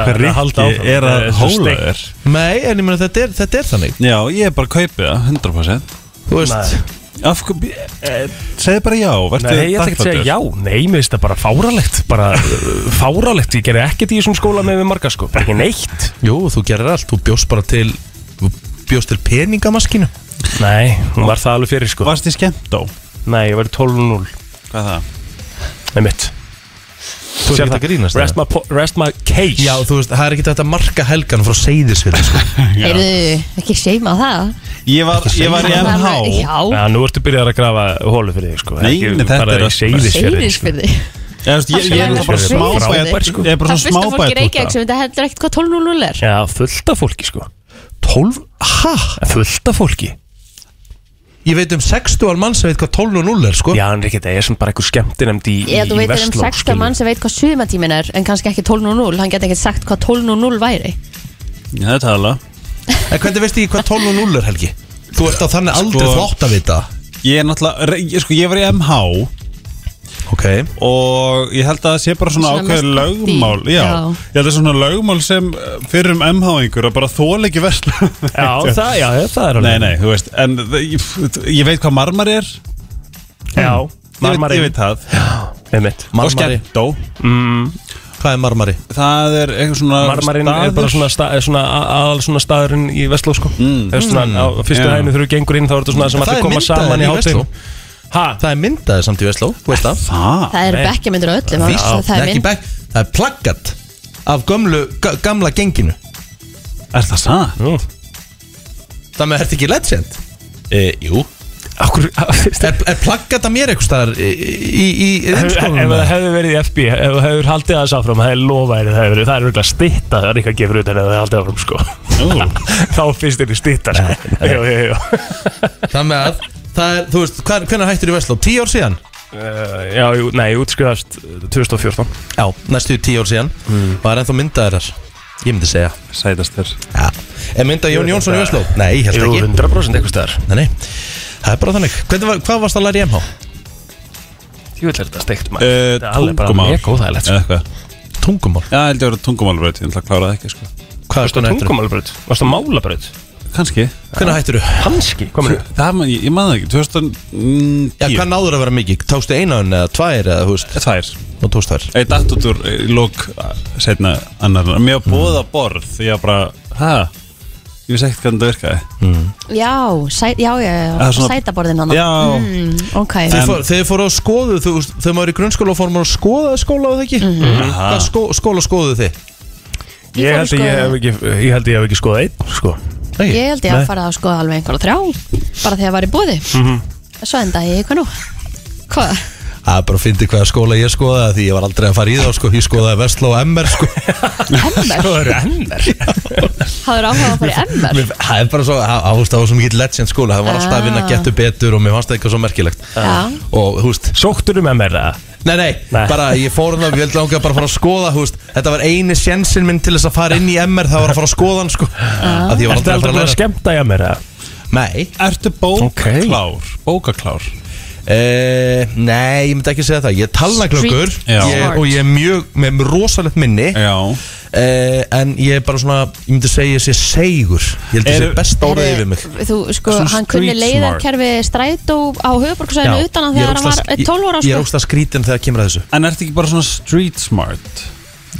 [SPEAKER 4] Já,
[SPEAKER 5] hvað
[SPEAKER 4] þetta halda
[SPEAKER 5] Rikki
[SPEAKER 4] áfram.
[SPEAKER 5] er að
[SPEAKER 4] Þetta er svo
[SPEAKER 5] hóla
[SPEAKER 4] steikt.
[SPEAKER 5] þér
[SPEAKER 2] Nei, en ég meina þetta er, þetta er þannig
[SPEAKER 5] Já, ég er bara að kaupi það, 100%
[SPEAKER 2] Þú veist,
[SPEAKER 5] Af hverju, eh, segðu bara já vertu
[SPEAKER 4] Nei, ég ætla ekki að segja
[SPEAKER 5] þakklátur.
[SPEAKER 4] já Nei, mér finnst það bara fáralegt Bara uh, fáralegt Ég gerði ekkert í þessum skóla með við marga sko Bara ekki neitt
[SPEAKER 2] jú, þú gerir allt Þú bjóst bara til Þú bjóst til peningamaskinu
[SPEAKER 4] Nei, hún var það alveg fyrir sko
[SPEAKER 5] Varst þið skemmt á?
[SPEAKER 4] Nei, ég var 12-0
[SPEAKER 5] Hvað er það?
[SPEAKER 4] Nei, mitt
[SPEAKER 2] Þú er ekki að grínast
[SPEAKER 4] Rest
[SPEAKER 2] það
[SPEAKER 4] my, po- rest my case
[SPEAKER 2] Já, þú veist, það er ekki þetta marka helgan frá seyðisvili
[SPEAKER 5] <laughs>
[SPEAKER 2] sko.
[SPEAKER 3] Heyrðu, ekki seima það
[SPEAKER 5] Ég var, ég var í MH
[SPEAKER 3] Já,
[SPEAKER 4] Já, nú ertu byrjað að grafa hólu fyrir þig sko
[SPEAKER 5] Nei, nei, þetta
[SPEAKER 4] bara
[SPEAKER 5] er
[SPEAKER 4] í
[SPEAKER 5] að-
[SPEAKER 4] Seyðisfjörði
[SPEAKER 3] seyðis
[SPEAKER 4] sko.
[SPEAKER 3] fyrir þig
[SPEAKER 5] Ég, veist, ég, ég er
[SPEAKER 4] Seyðisfjörður.
[SPEAKER 5] náttúrulega bara smábæð
[SPEAKER 4] Frábært, sko.
[SPEAKER 5] Ég er bara
[SPEAKER 3] Það fyrsta
[SPEAKER 5] svona
[SPEAKER 3] fólk í
[SPEAKER 5] smábæð
[SPEAKER 3] Reykjavík sem þetta heldur ekkert hvað 12.0 er
[SPEAKER 4] Já, fullt af fólki sko
[SPEAKER 2] 12, ha?
[SPEAKER 4] Fullt af fólki
[SPEAKER 2] Ég veit um 60 mann sem veit hvað 12 og 0 er sko.
[SPEAKER 4] Já, en Rikki, það er sem bara einhver skemmtinemnd í, í,
[SPEAKER 3] Ég þú
[SPEAKER 4] í
[SPEAKER 3] veit er um
[SPEAKER 4] Vestló
[SPEAKER 3] 16 mann sem veit hvað sumatímin er en kannski ekki 12.00, hann geti ekkert sagt hvað 12.00 væri
[SPEAKER 5] Það er tala
[SPEAKER 2] En hvernig veist ég hvað 12 og 0 er Helgi? Þú ert á þannig aldrei
[SPEAKER 5] Sko-
[SPEAKER 2] þú átt að vita
[SPEAKER 5] Ég er náttúrulega, re- ég, sko, ég var í MH
[SPEAKER 2] Ok
[SPEAKER 5] og ég held að það sé bara svona,
[SPEAKER 3] Svona mest
[SPEAKER 5] ákveðið lögmál
[SPEAKER 3] dýr,
[SPEAKER 5] já.
[SPEAKER 3] já.
[SPEAKER 5] ég held að svona lögmál sem eh, fyrir um MH-ingur að bara þóla <laughs> ekki versla
[SPEAKER 4] Já, það, já, það er
[SPEAKER 5] Nei, nei, þú veist, en það- ég, ég veit hvað marmar er Ég
[SPEAKER 4] Já,
[SPEAKER 5] veit,
[SPEAKER 4] marmari
[SPEAKER 5] ég veit það
[SPEAKER 4] Nei, mitt
[SPEAKER 5] Og
[SPEAKER 2] Marmari,
[SPEAKER 5] skemmtó
[SPEAKER 4] mm,
[SPEAKER 2] hvað er marmari?
[SPEAKER 5] Það er eitthvað svona
[SPEAKER 4] Marmarin er bara svona, sta, er svona a- aðal svona staðurinn í Vestló sko mm. svona, á fyrstu
[SPEAKER 5] Já.
[SPEAKER 4] hæginu þegar þú gengur inn þá er þetta svona sem
[SPEAKER 2] Það
[SPEAKER 4] allir
[SPEAKER 2] er
[SPEAKER 4] koma
[SPEAKER 2] myndaðir
[SPEAKER 4] saman
[SPEAKER 2] í
[SPEAKER 4] í hátin
[SPEAKER 2] Vestló.
[SPEAKER 4] Ha,
[SPEAKER 2] Það er myndaði samt í Vestló, þú veist það
[SPEAKER 5] Það,
[SPEAKER 3] Það eru
[SPEAKER 4] nei.
[SPEAKER 3] bekkjamyndur á öllum
[SPEAKER 2] Víst,
[SPEAKER 3] það- Það er
[SPEAKER 2] ekki
[SPEAKER 3] minn
[SPEAKER 2] bekk, það er plaggat af gömlu, ga- gamla genginu
[SPEAKER 5] er það satt?
[SPEAKER 4] nú
[SPEAKER 2] Það með ert ekki legend? E, jú
[SPEAKER 4] Akkur,
[SPEAKER 2] Er, er plaggat af mér eitthvað staðar í, í, í
[SPEAKER 4] Ef ef
[SPEAKER 2] innskólanum?
[SPEAKER 4] það hefði verið í FB, ef það hefur haldið aðeins áfram, það er lofaðir það hefur verið, það er örgulega stitta, það er eitthvað að gefa út en ef það hefði haldið áfram sko. <laughs> Þá finnst þér í stitta sko. Jú, jú, jú.
[SPEAKER 2] Það með að Það er, þú veist, hvar, hvernig hættur í Vestló? Tíu ár síðan?
[SPEAKER 4] Uh, Já, jú, nei, ég útskriðast 2014.
[SPEAKER 2] Já, næstu tíu ár síðan Og það er ennþá myndaðir þar Ég myndi segja
[SPEAKER 5] Sætast þér
[SPEAKER 2] ja. Er myndað Jón Jónsson í Vestló? Nei, ég held
[SPEAKER 4] Jú,
[SPEAKER 2] ekki
[SPEAKER 4] 100% eitthvað staðar.
[SPEAKER 2] Nei, nei, það er bara þannig Hvernig var, Hvað varst að læra í MH?
[SPEAKER 4] Jú, ætla þetta steikt maður.
[SPEAKER 5] Eh,
[SPEAKER 4] Þetta er alveg bara
[SPEAKER 5] tungumál.
[SPEAKER 4] mjög góðægilegt, sko.
[SPEAKER 5] Eða eitthvað
[SPEAKER 2] Tungumál
[SPEAKER 5] Já, ég held ég að vera tungumálbraut, ég ætla að klára það ekki sko.
[SPEAKER 2] Hvað
[SPEAKER 4] Varstu á tungumálbraut? Varstu á málabraut?
[SPEAKER 5] Kannski
[SPEAKER 2] Hvernig hættur þú?
[SPEAKER 4] Hanski? Hvað mennur?
[SPEAKER 5] Það, man- ég, ég maður ekki, 2010
[SPEAKER 2] Já, hvað náður að vera mikið? Tókstu eina önn eða tvær eða, þú veist,
[SPEAKER 5] Tvær
[SPEAKER 2] og tókst þær
[SPEAKER 5] Ég datt út úr eh, lók setna annar Mér var bóða borð því ég var bara Hæ? Ég vissi ekkert hvernig það virkaði
[SPEAKER 3] Já, sæ- já, já, já,
[SPEAKER 5] Það er svona-
[SPEAKER 3] sætaborðin hann
[SPEAKER 5] Já,
[SPEAKER 3] Mm, Ok,
[SPEAKER 2] Þeir fóru þeir fóru á skoðu, þú veist, þegar maður er í grunnskóla og fór maður að skoða skóla og það ekki Mhm. Hvað skó, skóla skoðuð þið?
[SPEAKER 3] Ég fór
[SPEAKER 4] Ég held
[SPEAKER 3] í
[SPEAKER 4] að ég hef
[SPEAKER 3] skoðun.
[SPEAKER 4] ekki, ég held að ég hef ekki skoðað einn, sko.
[SPEAKER 2] Nei,
[SPEAKER 3] ég held ég að fara að skoða alveg einhverja þrjá bara þegar var í búði Svo enda ég, hvað nú? Hvað?
[SPEAKER 2] Það er bara að fyndi hvaða skóla ég skoðaði því ég var aldrei að fara í þá, sko, ég skoðaði Vestló og MR, sko
[SPEAKER 3] MR?
[SPEAKER 4] Það eru ennver.
[SPEAKER 3] Hafður áhuga á að fara í MR?
[SPEAKER 2] Mér- Það er bara svo, það það, þú veist, það var svo mikið legend skóla, það var alltaf að vinna
[SPEAKER 3] Ah.
[SPEAKER 2] getur betur og mér fannst það eitthvað svo merkilegt
[SPEAKER 3] Já.
[SPEAKER 2] Og, þú veist,
[SPEAKER 4] Sóttur um MR, eða?
[SPEAKER 2] Nei, nei,
[SPEAKER 4] Nei.
[SPEAKER 2] bara ég fór hann að við langaði bara að fara að skoða húst. Þetta var eini sjensin minn til þess að fara inn í MR Það var að fara að skoða hann sko Af því ég var
[SPEAKER 4] Ertu
[SPEAKER 2] aldrei að fara að
[SPEAKER 4] aldrei búin að
[SPEAKER 2] læra
[SPEAKER 4] skemmta í MR, eða?
[SPEAKER 2] Nei,
[SPEAKER 5] Ertu bókaklár? Bókaklár
[SPEAKER 2] uh, nei, ég myndi ekki segja það Ég er talnaglöggur
[SPEAKER 3] Street
[SPEAKER 5] Já.
[SPEAKER 2] ég,
[SPEAKER 3] smart.
[SPEAKER 2] Og ég er mjög, með rosalegt minni uh,
[SPEAKER 5] Já
[SPEAKER 2] En ég er bara svona, ég myndi segja ég sé segur Ég held ég
[SPEAKER 5] Er-
[SPEAKER 2] sé besta orðið yfir mig
[SPEAKER 3] Þú, sko,
[SPEAKER 5] Svona
[SPEAKER 3] hann kunni
[SPEAKER 5] street
[SPEAKER 3] leiðarkerfi strætó á
[SPEAKER 2] Já,
[SPEAKER 3] höfuborgsæðinu utan að
[SPEAKER 2] ég er
[SPEAKER 3] þegar hann
[SPEAKER 2] ógeðslega-
[SPEAKER 3] var 12 ára
[SPEAKER 2] Ég ég er
[SPEAKER 3] sko.
[SPEAKER 2] ógsta skrítin þegar kemur að þessu
[SPEAKER 5] En ertu ekki bara svona street smart?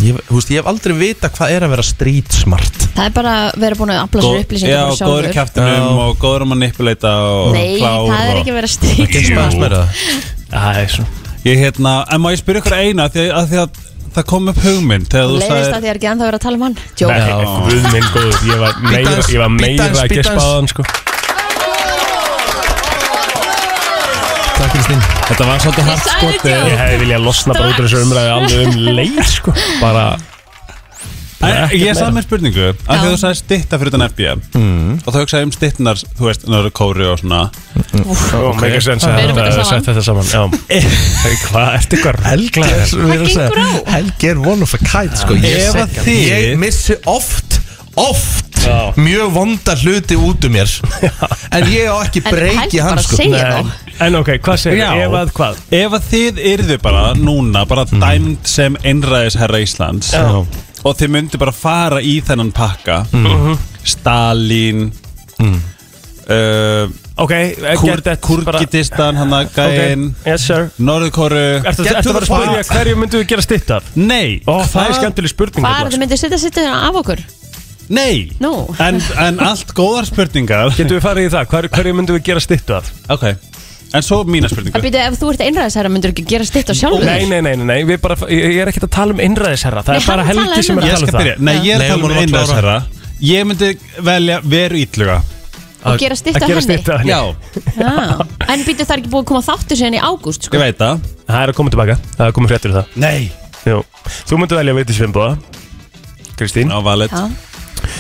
[SPEAKER 2] Ég, þú veist, ég hef aldrei vita hvað er að vera street smart
[SPEAKER 3] Það er bara að vera búin að afla sér upplýsingar
[SPEAKER 5] Já,
[SPEAKER 3] bara
[SPEAKER 5] góður
[SPEAKER 3] sjálfur.
[SPEAKER 5] kæftinum og góður um að manipuleita og
[SPEAKER 3] Nei,
[SPEAKER 5] klár
[SPEAKER 3] það er
[SPEAKER 5] og-
[SPEAKER 3] ekki að vera strík
[SPEAKER 2] Getur maður að smæra það?
[SPEAKER 4] Það er svona
[SPEAKER 5] Ég hérna, en má ég spyrja ykkur eina því að, því að það kom upp hugmynd þegar þú
[SPEAKER 3] Leiðist að
[SPEAKER 5] sagðir
[SPEAKER 3] því er ekki ennþá verið að tala um hann Jók
[SPEAKER 4] Nei, guð minn góður, ég var meira,
[SPEAKER 2] aðeins,
[SPEAKER 4] ég var
[SPEAKER 2] bíddu
[SPEAKER 4] meira
[SPEAKER 2] aðeins,
[SPEAKER 4] að
[SPEAKER 2] bíddu
[SPEAKER 4] gespa
[SPEAKER 2] aðeins.
[SPEAKER 4] á hann sko
[SPEAKER 2] Takk Kristín
[SPEAKER 5] Þetta var svolítið hægt
[SPEAKER 3] sagði
[SPEAKER 5] skotið
[SPEAKER 4] Ég hefði viljað losna bara út úr þessu umræði alveg um leið sko Bara,
[SPEAKER 5] En Ég sagði mér spurningu að því
[SPEAKER 3] Já.
[SPEAKER 5] að þú sagði stitta fyrir utan FB og þá hugsaði ég um stittinar, þú veist, náður kóri og svona
[SPEAKER 4] og mega sens að
[SPEAKER 3] Við erum
[SPEAKER 4] þetta
[SPEAKER 3] bara
[SPEAKER 4] er
[SPEAKER 3] saman.
[SPEAKER 4] sett þetta saman
[SPEAKER 5] <laughs>
[SPEAKER 4] Já, hvað, ertu eitthvað relglaður?
[SPEAKER 2] Hvað
[SPEAKER 3] gengur á?
[SPEAKER 2] Helgi er one of a kind sko Ég,
[SPEAKER 5] Ef að
[SPEAKER 2] segi-
[SPEAKER 5] þið-
[SPEAKER 2] ég missi oft Oft
[SPEAKER 4] Já.
[SPEAKER 2] Mjög vonda hluti út um mér En ég á ekki
[SPEAKER 3] En
[SPEAKER 2] breyki
[SPEAKER 3] Helgi
[SPEAKER 2] hann
[SPEAKER 3] bara
[SPEAKER 2] sko
[SPEAKER 3] segir
[SPEAKER 2] Nei.
[SPEAKER 3] það.
[SPEAKER 4] En ok, hvað segir
[SPEAKER 5] Já.
[SPEAKER 4] ég? Ef að hvað? Mm.
[SPEAKER 5] Ef að þið yrðu bara núna bara dæmd sem einræðisherra Íslands
[SPEAKER 4] Já. Mm.
[SPEAKER 5] og þið myndu bara fara í þennan pakka Mhm.
[SPEAKER 4] Mhm.
[SPEAKER 5] Stalin mm.
[SPEAKER 4] Ok, gerð
[SPEAKER 5] uh,
[SPEAKER 4] þetta bara-
[SPEAKER 5] Kurgidistan, hann að gæin
[SPEAKER 4] Ok, yes sir
[SPEAKER 5] Norðurkóru
[SPEAKER 4] Ertu
[SPEAKER 2] Get
[SPEAKER 4] ertu
[SPEAKER 2] to the
[SPEAKER 4] að fara að spyrja
[SPEAKER 2] point.
[SPEAKER 4] hverju myndu við gera stitt af?
[SPEAKER 5] Nei,
[SPEAKER 4] Ó, það er
[SPEAKER 5] hvað-
[SPEAKER 4] skemmtileg spurning
[SPEAKER 3] Bara
[SPEAKER 4] nefnilega.
[SPEAKER 3] þið myndir setja sitt af okkur
[SPEAKER 5] Nei
[SPEAKER 3] Nú.
[SPEAKER 5] en, en allt góðar spurningar
[SPEAKER 4] Getum við farið í það? Hverju, hverju myndum við gera stittu af?
[SPEAKER 5] Ok En svo mína spurningu
[SPEAKER 3] Það býtu ef þú ert einræðisherra myndir ekki gera stýtt á sjálfur
[SPEAKER 4] Nei, nei, nei, nei, nei, við bara, ég ég er ekkert að tala um innræðisherra Það
[SPEAKER 3] Nei,
[SPEAKER 4] er bara
[SPEAKER 3] hann talaði
[SPEAKER 4] Helgi sem er
[SPEAKER 5] Ég
[SPEAKER 4] að
[SPEAKER 5] skal
[SPEAKER 4] tala um
[SPEAKER 5] byrja
[SPEAKER 4] það
[SPEAKER 5] Nei, ég er
[SPEAKER 2] Nei,
[SPEAKER 5] að tala
[SPEAKER 2] hún
[SPEAKER 5] um
[SPEAKER 2] var að klára.
[SPEAKER 5] einræðsherra Ég myndi velja veru ítluga
[SPEAKER 3] Og gera stýtt á
[SPEAKER 4] Að gera
[SPEAKER 3] henni
[SPEAKER 4] stittu af henni
[SPEAKER 5] Já,
[SPEAKER 3] Já. En býtu það er ekki búið að koma þáttur síðan í ágúst
[SPEAKER 5] ég
[SPEAKER 3] sko.
[SPEAKER 5] veit það
[SPEAKER 4] Það er að koma tilbaka, það er komið fréttir um það
[SPEAKER 5] Nei
[SPEAKER 4] Jú. Þú myndir velja Vigdís Finnboga Kristín,
[SPEAKER 5] Ná, valet
[SPEAKER 3] Já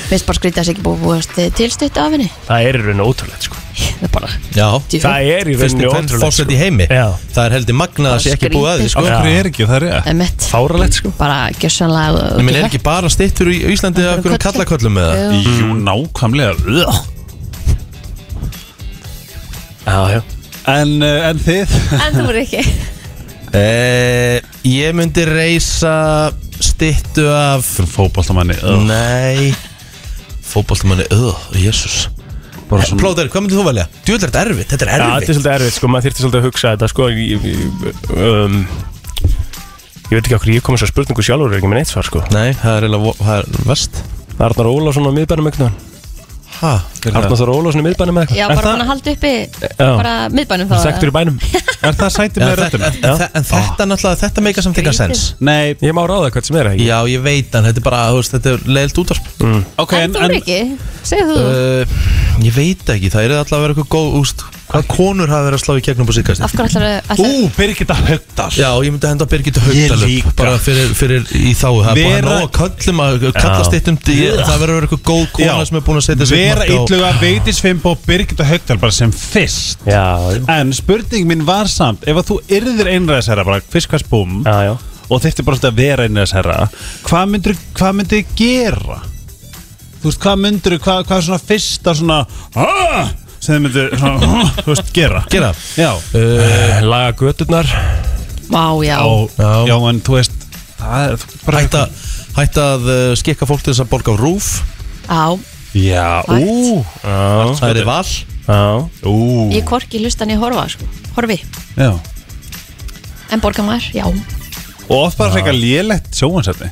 [SPEAKER 3] Veist bara skrítið að það sé ekki búið að búast eh, til stýtt af henni
[SPEAKER 4] það er í rauninu ótrúlegt sko.
[SPEAKER 3] Það er bara
[SPEAKER 2] Já
[SPEAKER 3] djú.
[SPEAKER 4] Það er í
[SPEAKER 2] Fyrst í
[SPEAKER 4] rauninu
[SPEAKER 2] hvern
[SPEAKER 4] ótrúlegt
[SPEAKER 2] fórsett í heimi
[SPEAKER 4] Já.
[SPEAKER 2] Það er heldur magnað að það sé ekki
[SPEAKER 3] Skrítið,
[SPEAKER 2] búið að því
[SPEAKER 3] sko.
[SPEAKER 2] sko
[SPEAKER 5] Okkur er ekki það rétt
[SPEAKER 3] Emmett
[SPEAKER 4] Fáralegt sko
[SPEAKER 3] Bara gjössanlega
[SPEAKER 2] En minn er ekki bara stittur í Íslandi eða okkur um kallaköllum með það
[SPEAKER 5] Jú, nákvæmlega Ugh.
[SPEAKER 4] Já, já
[SPEAKER 5] En, uh, en
[SPEAKER 2] <laughs>
[SPEAKER 5] þið
[SPEAKER 3] En þú er ekki
[SPEAKER 2] Eh, Ég myndi reysa stittu af
[SPEAKER 5] Fótballtamanni
[SPEAKER 2] Nei Fótboltamanni, öð, jésus Plóter, hvað myndir þú velja? Djúlega er þetta erfitt, þetta er
[SPEAKER 4] Já, þetta er
[SPEAKER 2] erfitt
[SPEAKER 4] svolítið erfitt sko, maður þyrfti svolítið að hugsa þetta sko Ég, ég- um, ég veit ekki okkur, ég kom eins og spurningu sjálfur er ekki með neitt svar sko
[SPEAKER 2] Nei, það er eiginlega, vo- það er verst
[SPEAKER 4] Arnar Ólafsson á miðbænum eitthvað
[SPEAKER 2] Hæ?
[SPEAKER 4] Arnar Þór Ólafsson á miðbænum eitthvað
[SPEAKER 3] Já,
[SPEAKER 5] Er
[SPEAKER 3] bara
[SPEAKER 5] það-
[SPEAKER 3] búin að halda uppi
[SPEAKER 4] Já.
[SPEAKER 3] bara miðbænum þá
[SPEAKER 4] Þekktur í bænum
[SPEAKER 5] Er það sætið
[SPEAKER 2] En
[SPEAKER 5] með
[SPEAKER 2] þetta
[SPEAKER 5] röddina?
[SPEAKER 4] Já.
[SPEAKER 2] náttúrulega, þetta meika samt eitthvað sens
[SPEAKER 5] Nei,
[SPEAKER 4] Ég má ráða hvert sem er ekki Mm.
[SPEAKER 2] Já, ég veit hann, þetta er bara, þú veist, þetta er leiðilt útvarp
[SPEAKER 5] ok
[SPEAKER 3] En þú er ekki Segðu þú
[SPEAKER 2] uh, Ég veit ekki, það er alltaf að vera eitthvað góð, úst Hvað konur hafa verið að slá í gegnum på síkast?
[SPEAKER 3] Af hverju ætlar að
[SPEAKER 5] Ú, Birgitta Högdal
[SPEAKER 2] Já, ég myndi henda Birgitta
[SPEAKER 5] Ég
[SPEAKER 2] Haugdal upp
[SPEAKER 5] líka.
[SPEAKER 2] Bara fyrir, fyrir í þá Það er bara
[SPEAKER 5] Vera-
[SPEAKER 2] nóg að köllum að kallast eitt um Það verður að vera eitthvað góð kona
[SPEAKER 5] Já.
[SPEAKER 2] sem er búin að setja sig
[SPEAKER 5] Vera ítluga, Veitís Fimbo, Birgitta Högdal bara sem fyrst
[SPEAKER 4] Já,
[SPEAKER 5] En spurning mín var samt Ef að þú yrðir einræðisherra bara fiskast búm
[SPEAKER 4] já, já
[SPEAKER 5] Og þyrftir bara svolítið að vera einræðisherra Hvað myndir, hvað myndir gera? Þú veist, hvað myndir Hvað, hvað er svona fyrsta svona "Ah!" Sem þið myndir svona, "Ah!" Þú veist, gera
[SPEAKER 2] Gera
[SPEAKER 5] Já
[SPEAKER 4] Eh, Laga göturnar
[SPEAKER 3] Vá, já
[SPEAKER 5] Og,
[SPEAKER 2] Já.
[SPEAKER 5] já, en þú veist Það er bara
[SPEAKER 2] Hætta, hætta að uh, skikka fólk til þess að borga á rúf
[SPEAKER 3] Já,
[SPEAKER 5] Já, ú
[SPEAKER 4] Já,
[SPEAKER 2] Það er í val
[SPEAKER 4] já
[SPEAKER 5] Ú
[SPEAKER 3] ég hvorki hlusta niður horfa sko. Horfi,
[SPEAKER 5] Já
[SPEAKER 3] en borga maður, já
[SPEAKER 5] Og oft bara frekar lélegt sjóansætti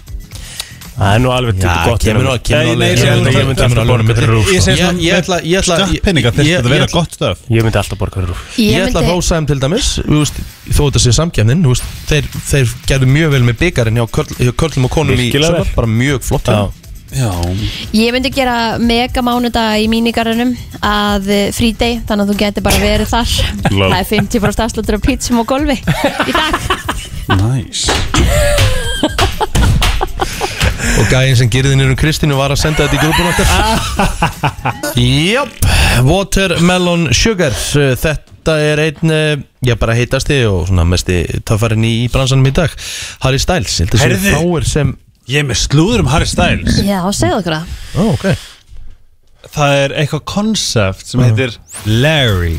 [SPEAKER 4] Það er nú alveg
[SPEAKER 2] Já,
[SPEAKER 4] gott
[SPEAKER 2] kemur nú- kemur nú
[SPEAKER 4] Nei, nei,
[SPEAKER 2] alveg-
[SPEAKER 4] ég
[SPEAKER 5] kemur
[SPEAKER 4] myndi-
[SPEAKER 5] nú-
[SPEAKER 4] Ég
[SPEAKER 2] kemur
[SPEAKER 4] myndi alltaf
[SPEAKER 2] nú
[SPEAKER 4] borga
[SPEAKER 2] alveg-
[SPEAKER 4] fyrir rúf sko.
[SPEAKER 5] Ég segi
[SPEAKER 2] Ég-
[SPEAKER 5] svona
[SPEAKER 2] ég ætla- ég ætla- ég-
[SPEAKER 5] Stöppinninga
[SPEAKER 2] ég-
[SPEAKER 5] þyrfti að vera
[SPEAKER 2] ég-
[SPEAKER 5] gott stöf
[SPEAKER 4] Ég myndi alltaf borga fyrir rúf
[SPEAKER 2] Ég ætla að hrósa þeim til dæmis þú veist, Þó þetta sé samkjæmnin veist, þeir, þeir gerðu mjög vel með byggarinn hjá, körl, hjá körlum og konum
[SPEAKER 4] Virkilega
[SPEAKER 2] í
[SPEAKER 4] vel.
[SPEAKER 2] sumar Bara mjög flott hjá
[SPEAKER 4] Já,
[SPEAKER 2] þeim.
[SPEAKER 5] Já
[SPEAKER 3] Ég myndi gera megamánudag í mínigarunum að frídei, þannig að þú getur bara verið þar
[SPEAKER 5] Lol.
[SPEAKER 3] Það er 50 bara stafslötur af pítsum og golfi í dag
[SPEAKER 2] hérna.
[SPEAKER 5] Næs
[SPEAKER 2] Og gæinn sem gerði niður um Kristínu var að senda þetta í grúpun okkar Jöp, Watermelon Sugar uh, Þetta er einn, uh, já bara heitasti og svona mesti töffarinn í, í bransanum í dag Harry Styles, ég heldur sem
[SPEAKER 5] Heyrðu.
[SPEAKER 2] fáir sem
[SPEAKER 5] Ég er með slúður um Harry Styles
[SPEAKER 3] Já, segðu okkur það
[SPEAKER 2] Ó, ok
[SPEAKER 5] Það er eitthvað konsept sem heitir Larry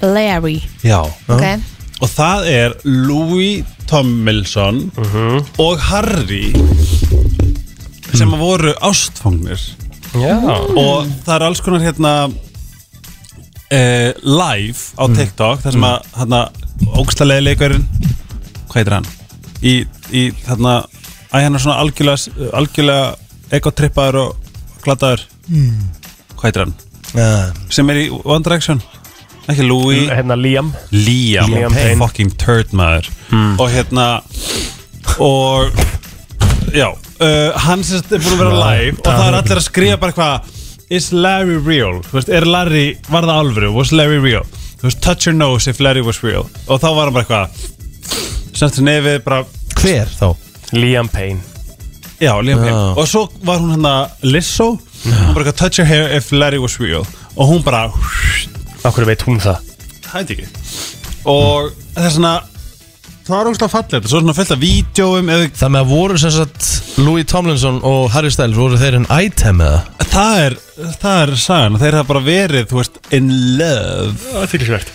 [SPEAKER 3] Larry,
[SPEAKER 5] Já
[SPEAKER 3] ok
[SPEAKER 5] Og það er Louis Tomlinson
[SPEAKER 2] Mhm.
[SPEAKER 5] og Harry sem voru ástfangnir
[SPEAKER 4] já
[SPEAKER 5] og það er alls konar hérna eh, live á TikTok þar sem að hérna ógstallegi leikurinn hvað heitir hann? Í, í þarna Æ, hann er svona algjörlega, algjörlega ekotrippaður og glataður Hvað heitir hann?
[SPEAKER 4] Eh.
[SPEAKER 5] Sem er í One Direction Ekki Louis
[SPEAKER 4] Hérna Liam
[SPEAKER 5] Liam,
[SPEAKER 4] Liam
[SPEAKER 5] Hey,
[SPEAKER 4] Payne.
[SPEAKER 5] Fucking turd maður
[SPEAKER 2] Hmm.
[SPEAKER 5] Og hérna Og Já uh, Hann sem sagt er búin að vera live Og það er allir að skrifa bara eitthvað Is Larry real? Þú veist, er Larry, var það alvöru? Was Larry real? Þú veist, touch your nose if Larry was real Og þá var hann bara eitthvað Semst nefið bara
[SPEAKER 2] Hver þá?
[SPEAKER 4] Liam Payne
[SPEAKER 5] Já, Liam Payne
[SPEAKER 2] Já.
[SPEAKER 5] Og svo var hún hann að Lizzo Hún bara eitthvað touch your hair if Larry was real Og hún bara
[SPEAKER 4] Akkur veit hún það
[SPEAKER 5] hætti ekki og það er svona það er ógustlega fallið svo er svona fullt af vídjóum eða,
[SPEAKER 2] Það með að voru sem sagt Louis Tomlinson og Harry Styles voru þeir en item eða?
[SPEAKER 5] það er það er sagan þeir hafa bara verið þú veist in love
[SPEAKER 4] Það er fyrirsvært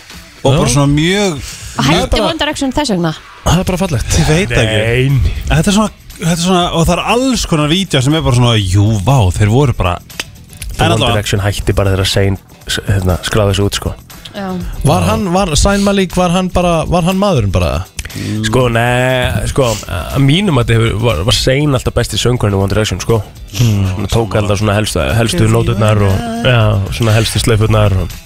[SPEAKER 2] Já.
[SPEAKER 5] og bara svona mjög
[SPEAKER 3] Og
[SPEAKER 5] mjög
[SPEAKER 3] hætti
[SPEAKER 5] bara-
[SPEAKER 3] One Direction þess vegna
[SPEAKER 2] Það er bara fallegt
[SPEAKER 5] ég veit það ekki
[SPEAKER 4] Nein
[SPEAKER 5] þetta er svona Þetta er svona, og það er alls konar vídeo sem er bara svona, jú, vá, þeir voru bara
[SPEAKER 4] The
[SPEAKER 5] En
[SPEAKER 4] One
[SPEAKER 5] allavega.
[SPEAKER 4] Direction hætti bara þegar Sein s- hérna, skráði þessu út sko
[SPEAKER 3] Já
[SPEAKER 2] Var hann, var Sain Malik, var hann bara, var hann maðurinn bara?
[SPEAKER 4] Sko, nei, sko, að mínum að þetta hefur, var, var Sein alltaf besti söngurinn í One Direction, sko
[SPEAKER 5] Hmm.
[SPEAKER 4] Hún tók alltaf svona helstu, helstu nóturnar og, já, svona helstu sleifurnar og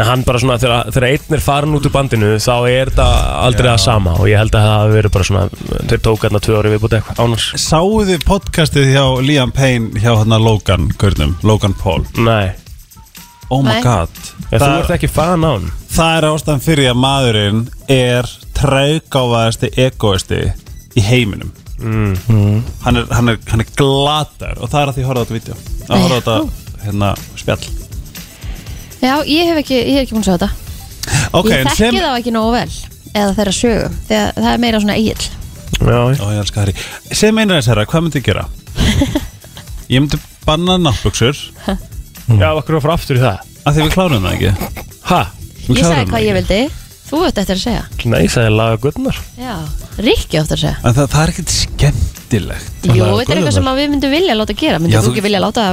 [SPEAKER 4] En hann bara svona, þegar, þegar einn er farin út úr bandinu, þá er þetta aldrei það sama Og ég held að það hafi verið bara svona, þeir tók alltaf tvö ári viðbúti eitthvað, ánars
[SPEAKER 5] Sáuðu podcastið hjá Liam Payne hjá hann Logan, hvernig, Logan Paul
[SPEAKER 4] Nei,
[SPEAKER 5] Oh my
[SPEAKER 3] Nei.
[SPEAKER 5] god
[SPEAKER 4] ég, þú
[SPEAKER 5] Það-
[SPEAKER 4] ert ekki fan á hann
[SPEAKER 5] Það er ástæðan fyrir að maðurinn er trægáfaðasti egoisti í heiminum
[SPEAKER 4] Mm.
[SPEAKER 5] hann, er, hann, er, hann er glatar og það er að því horfa á þetta vídeo að horfa á þetta hérna, spjall
[SPEAKER 3] Já, ég hef ekki, ég hef ekki búin að sjá þetta
[SPEAKER 5] Ok,
[SPEAKER 3] Ég
[SPEAKER 5] en
[SPEAKER 3] þekki
[SPEAKER 5] sem
[SPEAKER 3] þá ekki nógu vel Eða þeirra sögu Þegar það er meira svona eigill
[SPEAKER 4] Já,
[SPEAKER 5] Ó, ég elska Harry Sem einar þess herra, hvað myndi ég gera? Ég myndi banna náttbuksur
[SPEAKER 4] já, okkur var frá aftur í það
[SPEAKER 5] að því við klárum það ekki
[SPEAKER 4] Ha?
[SPEAKER 3] Ég
[SPEAKER 5] Við
[SPEAKER 3] sagði
[SPEAKER 5] klárum það
[SPEAKER 3] hvað ég
[SPEAKER 5] ekki.
[SPEAKER 3] vildi Þú ert eftir að segja
[SPEAKER 4] Nei, það er laga gutnar
[SPEAKER 3] Já Rikki átt að segja
[SPEAKER 5] En það, það er ekkert skemmtilegt
[SPEAKER 3] Jú,
[SPEAKER 2] Laga
[SPEAKER 3] þetta er
[SPEAKER 2] gullurnar.
[SPEAKER 3] eitthvað sem að við myndum vilja láta gera
[SPEAKER 5] Já,
[SPEAKER 3] Myndum þú
[SPEAKER 5] þú-
[SPEAKER 3] ekki vilja láta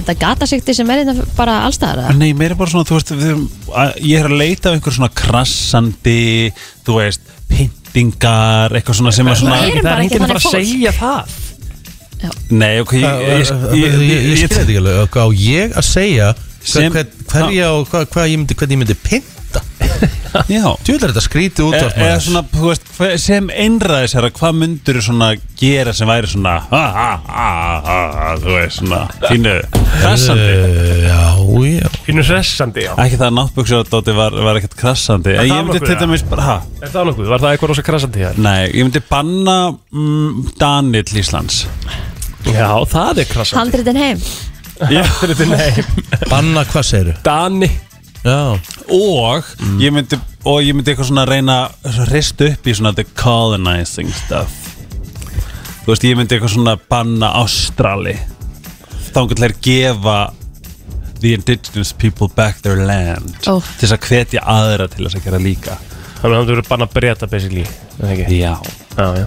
[SPEAKER 3] Þetta gatasikti sem er þetta bara allstaðar eða?
[SPEAKER 5] Ah, Nei, mér er bara svona, þú veist, við, að, ég er að leita af einhver svona krassandi, þú veist, pyntingar, eitthvað svona sem að svona...
[SPEAKER 3] Nei, erum
[SPEAKER 4] Það er
[SPEAKER 3] bara ekki
[SPEAKER 4] enginn að fara
[SPEAKER 3] þannig
[SPEAKER 4] að
[SPEAKER 3] fólk.
[SPEAKER 4] segja það
[SPEAKER 5] Nei, ok, ég, ég, ég, ég,
[SPEAKER 2] Eh, Ég
[SPEAKER 5] ég,
[SPEAKER 2] skilði ekki
[SPEAKER 5] ég,
[SPEAKER 2] alveg Hvað á ég að segja
[SPEAKER 5] Sem-
[SPEAKER 2] hver- hverja og hvað- hvað ég myndi, hvernig ég myndi pynta
[SPEAKER 5] já
[SPEAKER 2] Djúlar þetta skrítið
[SPEAKER 5] E-
[SPEAKER 2] útvart
[SPEAKER 5] Eða svona, þú veist, hve- sem einræðis herra, hvað myndur þú svona gera sem væri svona ha, ha, ha, ha, ha, þú veist, svona fínu krassandi
[SPEAKER 2] Já, já
[SPEAKER 4] Pínu hressandi, Eh, já
[SPEAKER 5] Ekki það að náttbuksuðardóti var, var ekkert krassandi En
[SPEAKER 4] það
[SPEAKER 5] ég myndi
[SPEAKER 4] nokkuð,
[SPEAKER 5] til
[SPEAKER 4] ja.
[SPEAKER 5] dæmis bara, ha,
[SPEAKER 4] Er það nokkuð? Var það eitthvað rosa krassandi hér?
[SPEAKER 5] nei, ég myndi banna mm, Daniel Íslands
[SPEAKER 4] Já, það er krassandi
[SPEAKER 3] Handritin heim
[SPEAKER 5] Já,
[SPEAKER 4] Handrið Nei,
[SPEAKER 2] Banna hvað segir
[SPEAKER 4] Dani
[SPEAKER 2] Já
[SPEAKER 5] og Mm. ég myndi og ég myndi eitthvað svona reyna að rist upp í svona the colonizing stuff þú veist ég myndi eitthvað svona banna Ástrali þá einhvern veginn gefa the indigenous people back their land
[SPEAKER 3] Ó.
[SPEAKER 5] til þess að hvetja aðra til þess að gera líka
[SPEAKER 4] Þannig að það verður bara að breyta basically Er það ekki?
[SPEAKER 5] já
[SPEAKER 4] Já, já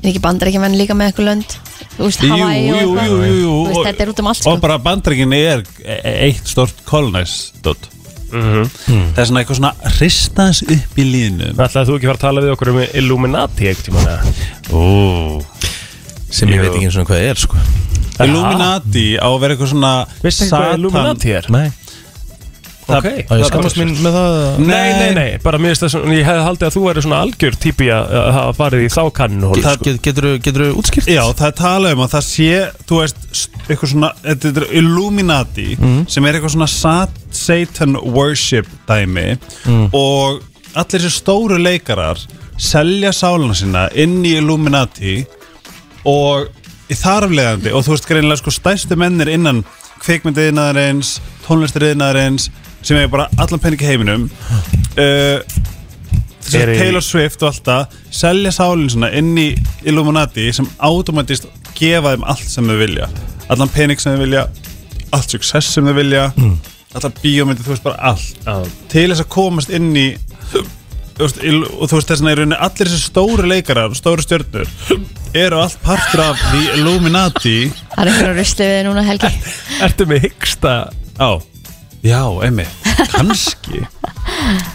[SPEAKER 3] Er ekki bandaríkjumenn líka með eitthvað lönd Þú veist,
[SPEAKER 5] Jú,
[SPEAKER 3] Hawaii og
[SPEAKER 5] jú, jú,
[SPEAKER 3] eitthvað
[SPEAKER 5] jú, jú.
[SPEAKER 3] Þú veist, þetta er út um allt sko
[SPEAKER 5] og bara bandreikin er e- e- eitt stort colonize dot það er svona eitthvað svona hristans upp í líðinu
[SPEAKER 4] Ætlaði þú ekki fara að tala við okkur um Illuminati einhvern tímann eða?
[SPEAKER 5] óóó
[SPEAKER 2] Sem ég
[SPEAKER 4] Jú.
[SPEAKER 2] veit ekki eins og hvað er sko
[SPEAKER 5] Illuminati á að vera eitthvað svona
[SPEAKER 4] Veistu ekki hvað Illuminati er?
[SPEAKER 2] Nei
[SPEAKER 5] Það-
[SPEAKER 4] Ok.
[SPEAKER 2] Það er skammast mín með það
[SPEAKER 4] Nei, nei, nei, bara mér finnst það svona, ég hefði haldið að þú væri svona algjör típi að að hafa farið í þá sko. kanninu
[SPEAKER 2] Get- get- Geturðu geturðu útskýrt?
[SPEAKER 5] Já, það er talað um að það sé þú veist, st- eitthvað svona þetta er Illuminati sem er eitthvað svona sat, Satan worship dæmi og allir þessi stóru leikarar selja sálana sína inn í Illuminati og í þarflegandi og þú veist greinilega sko stærstu mennir innan kvikmyndiðinaðarins, tónlistiriðinaðarins sem er bara allan pening í heiminum uh, þessi
[SPEAKER 4] Eru í-
[SPEAKER 5] Taylor Swift og allt það selja sálinn svona inn í Illuminati sem automatist gefa þeim allt sem þau vilja allan pening sem þau vilja allt success sem þau vilja allan bíómyndi, þú veist bara allt til þess að komast inn í þú veist, il- og þú veist þess að í rauninni allir þessi stóru leikarar, stóru stjörnur eru allt partur af The Illuminati
[SPEAKER 3] Það er einhverjum rusli við þig núna Helgi
[SPEAKER 4] Ertu með hyggsta
[SPEAKER 5] Já, já, einmitt, kannski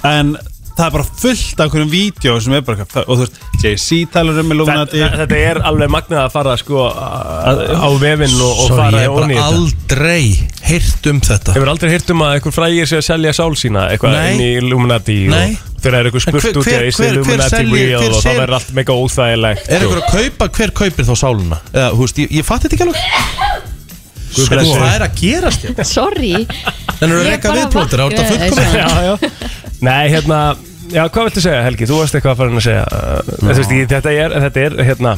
[SPEAKER 5] En það er bara fullt af einhverjum vídeo sem er bara, eitthvað- og þú veist, JC talar um Illuminati
[SPEAKER 4] Þetta, þetta er alveg magnað að fara sko að- á vefinn og, og
[SPEAKER 2] Sorry,
[SPEAKER 4] fara
[SPEAKER 2] ég hef
[SPEAKER 4] ofan í
[SPEAKER 2] bara
[SPEAKER 4] þetta.
[SPEAKER 2] aldrei heyrt um þetta
[SPEAKER 4] Hefur aldrei hýrt um að einhver frægir sé að selja sál sína eitthvað
[SPEAKER 2] Nei.
[SPEAKER 4] inn í Illuminati
[SPEAKER 2] Nei.
[SPEAKER 4] og þegar er einhver
[SPEAKER 2] En hver-
[SPEAKER 4] spurt út í
[SPEAKER 2] hver-
[SPEAKER 4] að þessi
[SPEAKER 2] hver- hver
[SPEAKER 4] Illuminati
[SPEAKER 2] selji-
[SPEAKER 4] real
[SPEAKER 2] hver
[SPEAKER 4] og
[SPEAKER 2] sel-
[SPEAKER 4] það verður allt mega óþægilegt sko.
[SPEAKER 2] Er einhver að kaupa, hver kaupir þá sáluna? Eða, hú veist, ég, ég fatt þetta ekki alveg Sko,
[SPEAKER 4] blessi þig.
[SPEAKER 2] hvað er að gerast hérna? þér?
[SPEAKER 3] Sorry
[SPEAKER 2] En eru
[SPEAKER 3] Ég
[SPEAKER 2] reyka
[SPEAKER 3] bara
[SPEAKER 2] viðplótur,
[SPEAKER 3] vakna-
[SPEAKER 2] er þetta
[SPEAKER 3] Ég-
[SPEAKER 2] fullkomið?
[SPEAKER 4] já, já. Nei, hérna Já, hvað viltu segja Helgi? Þú varst eitthvað að fara að segja uh, þú veist, ég, þetta, er, þetta er hérna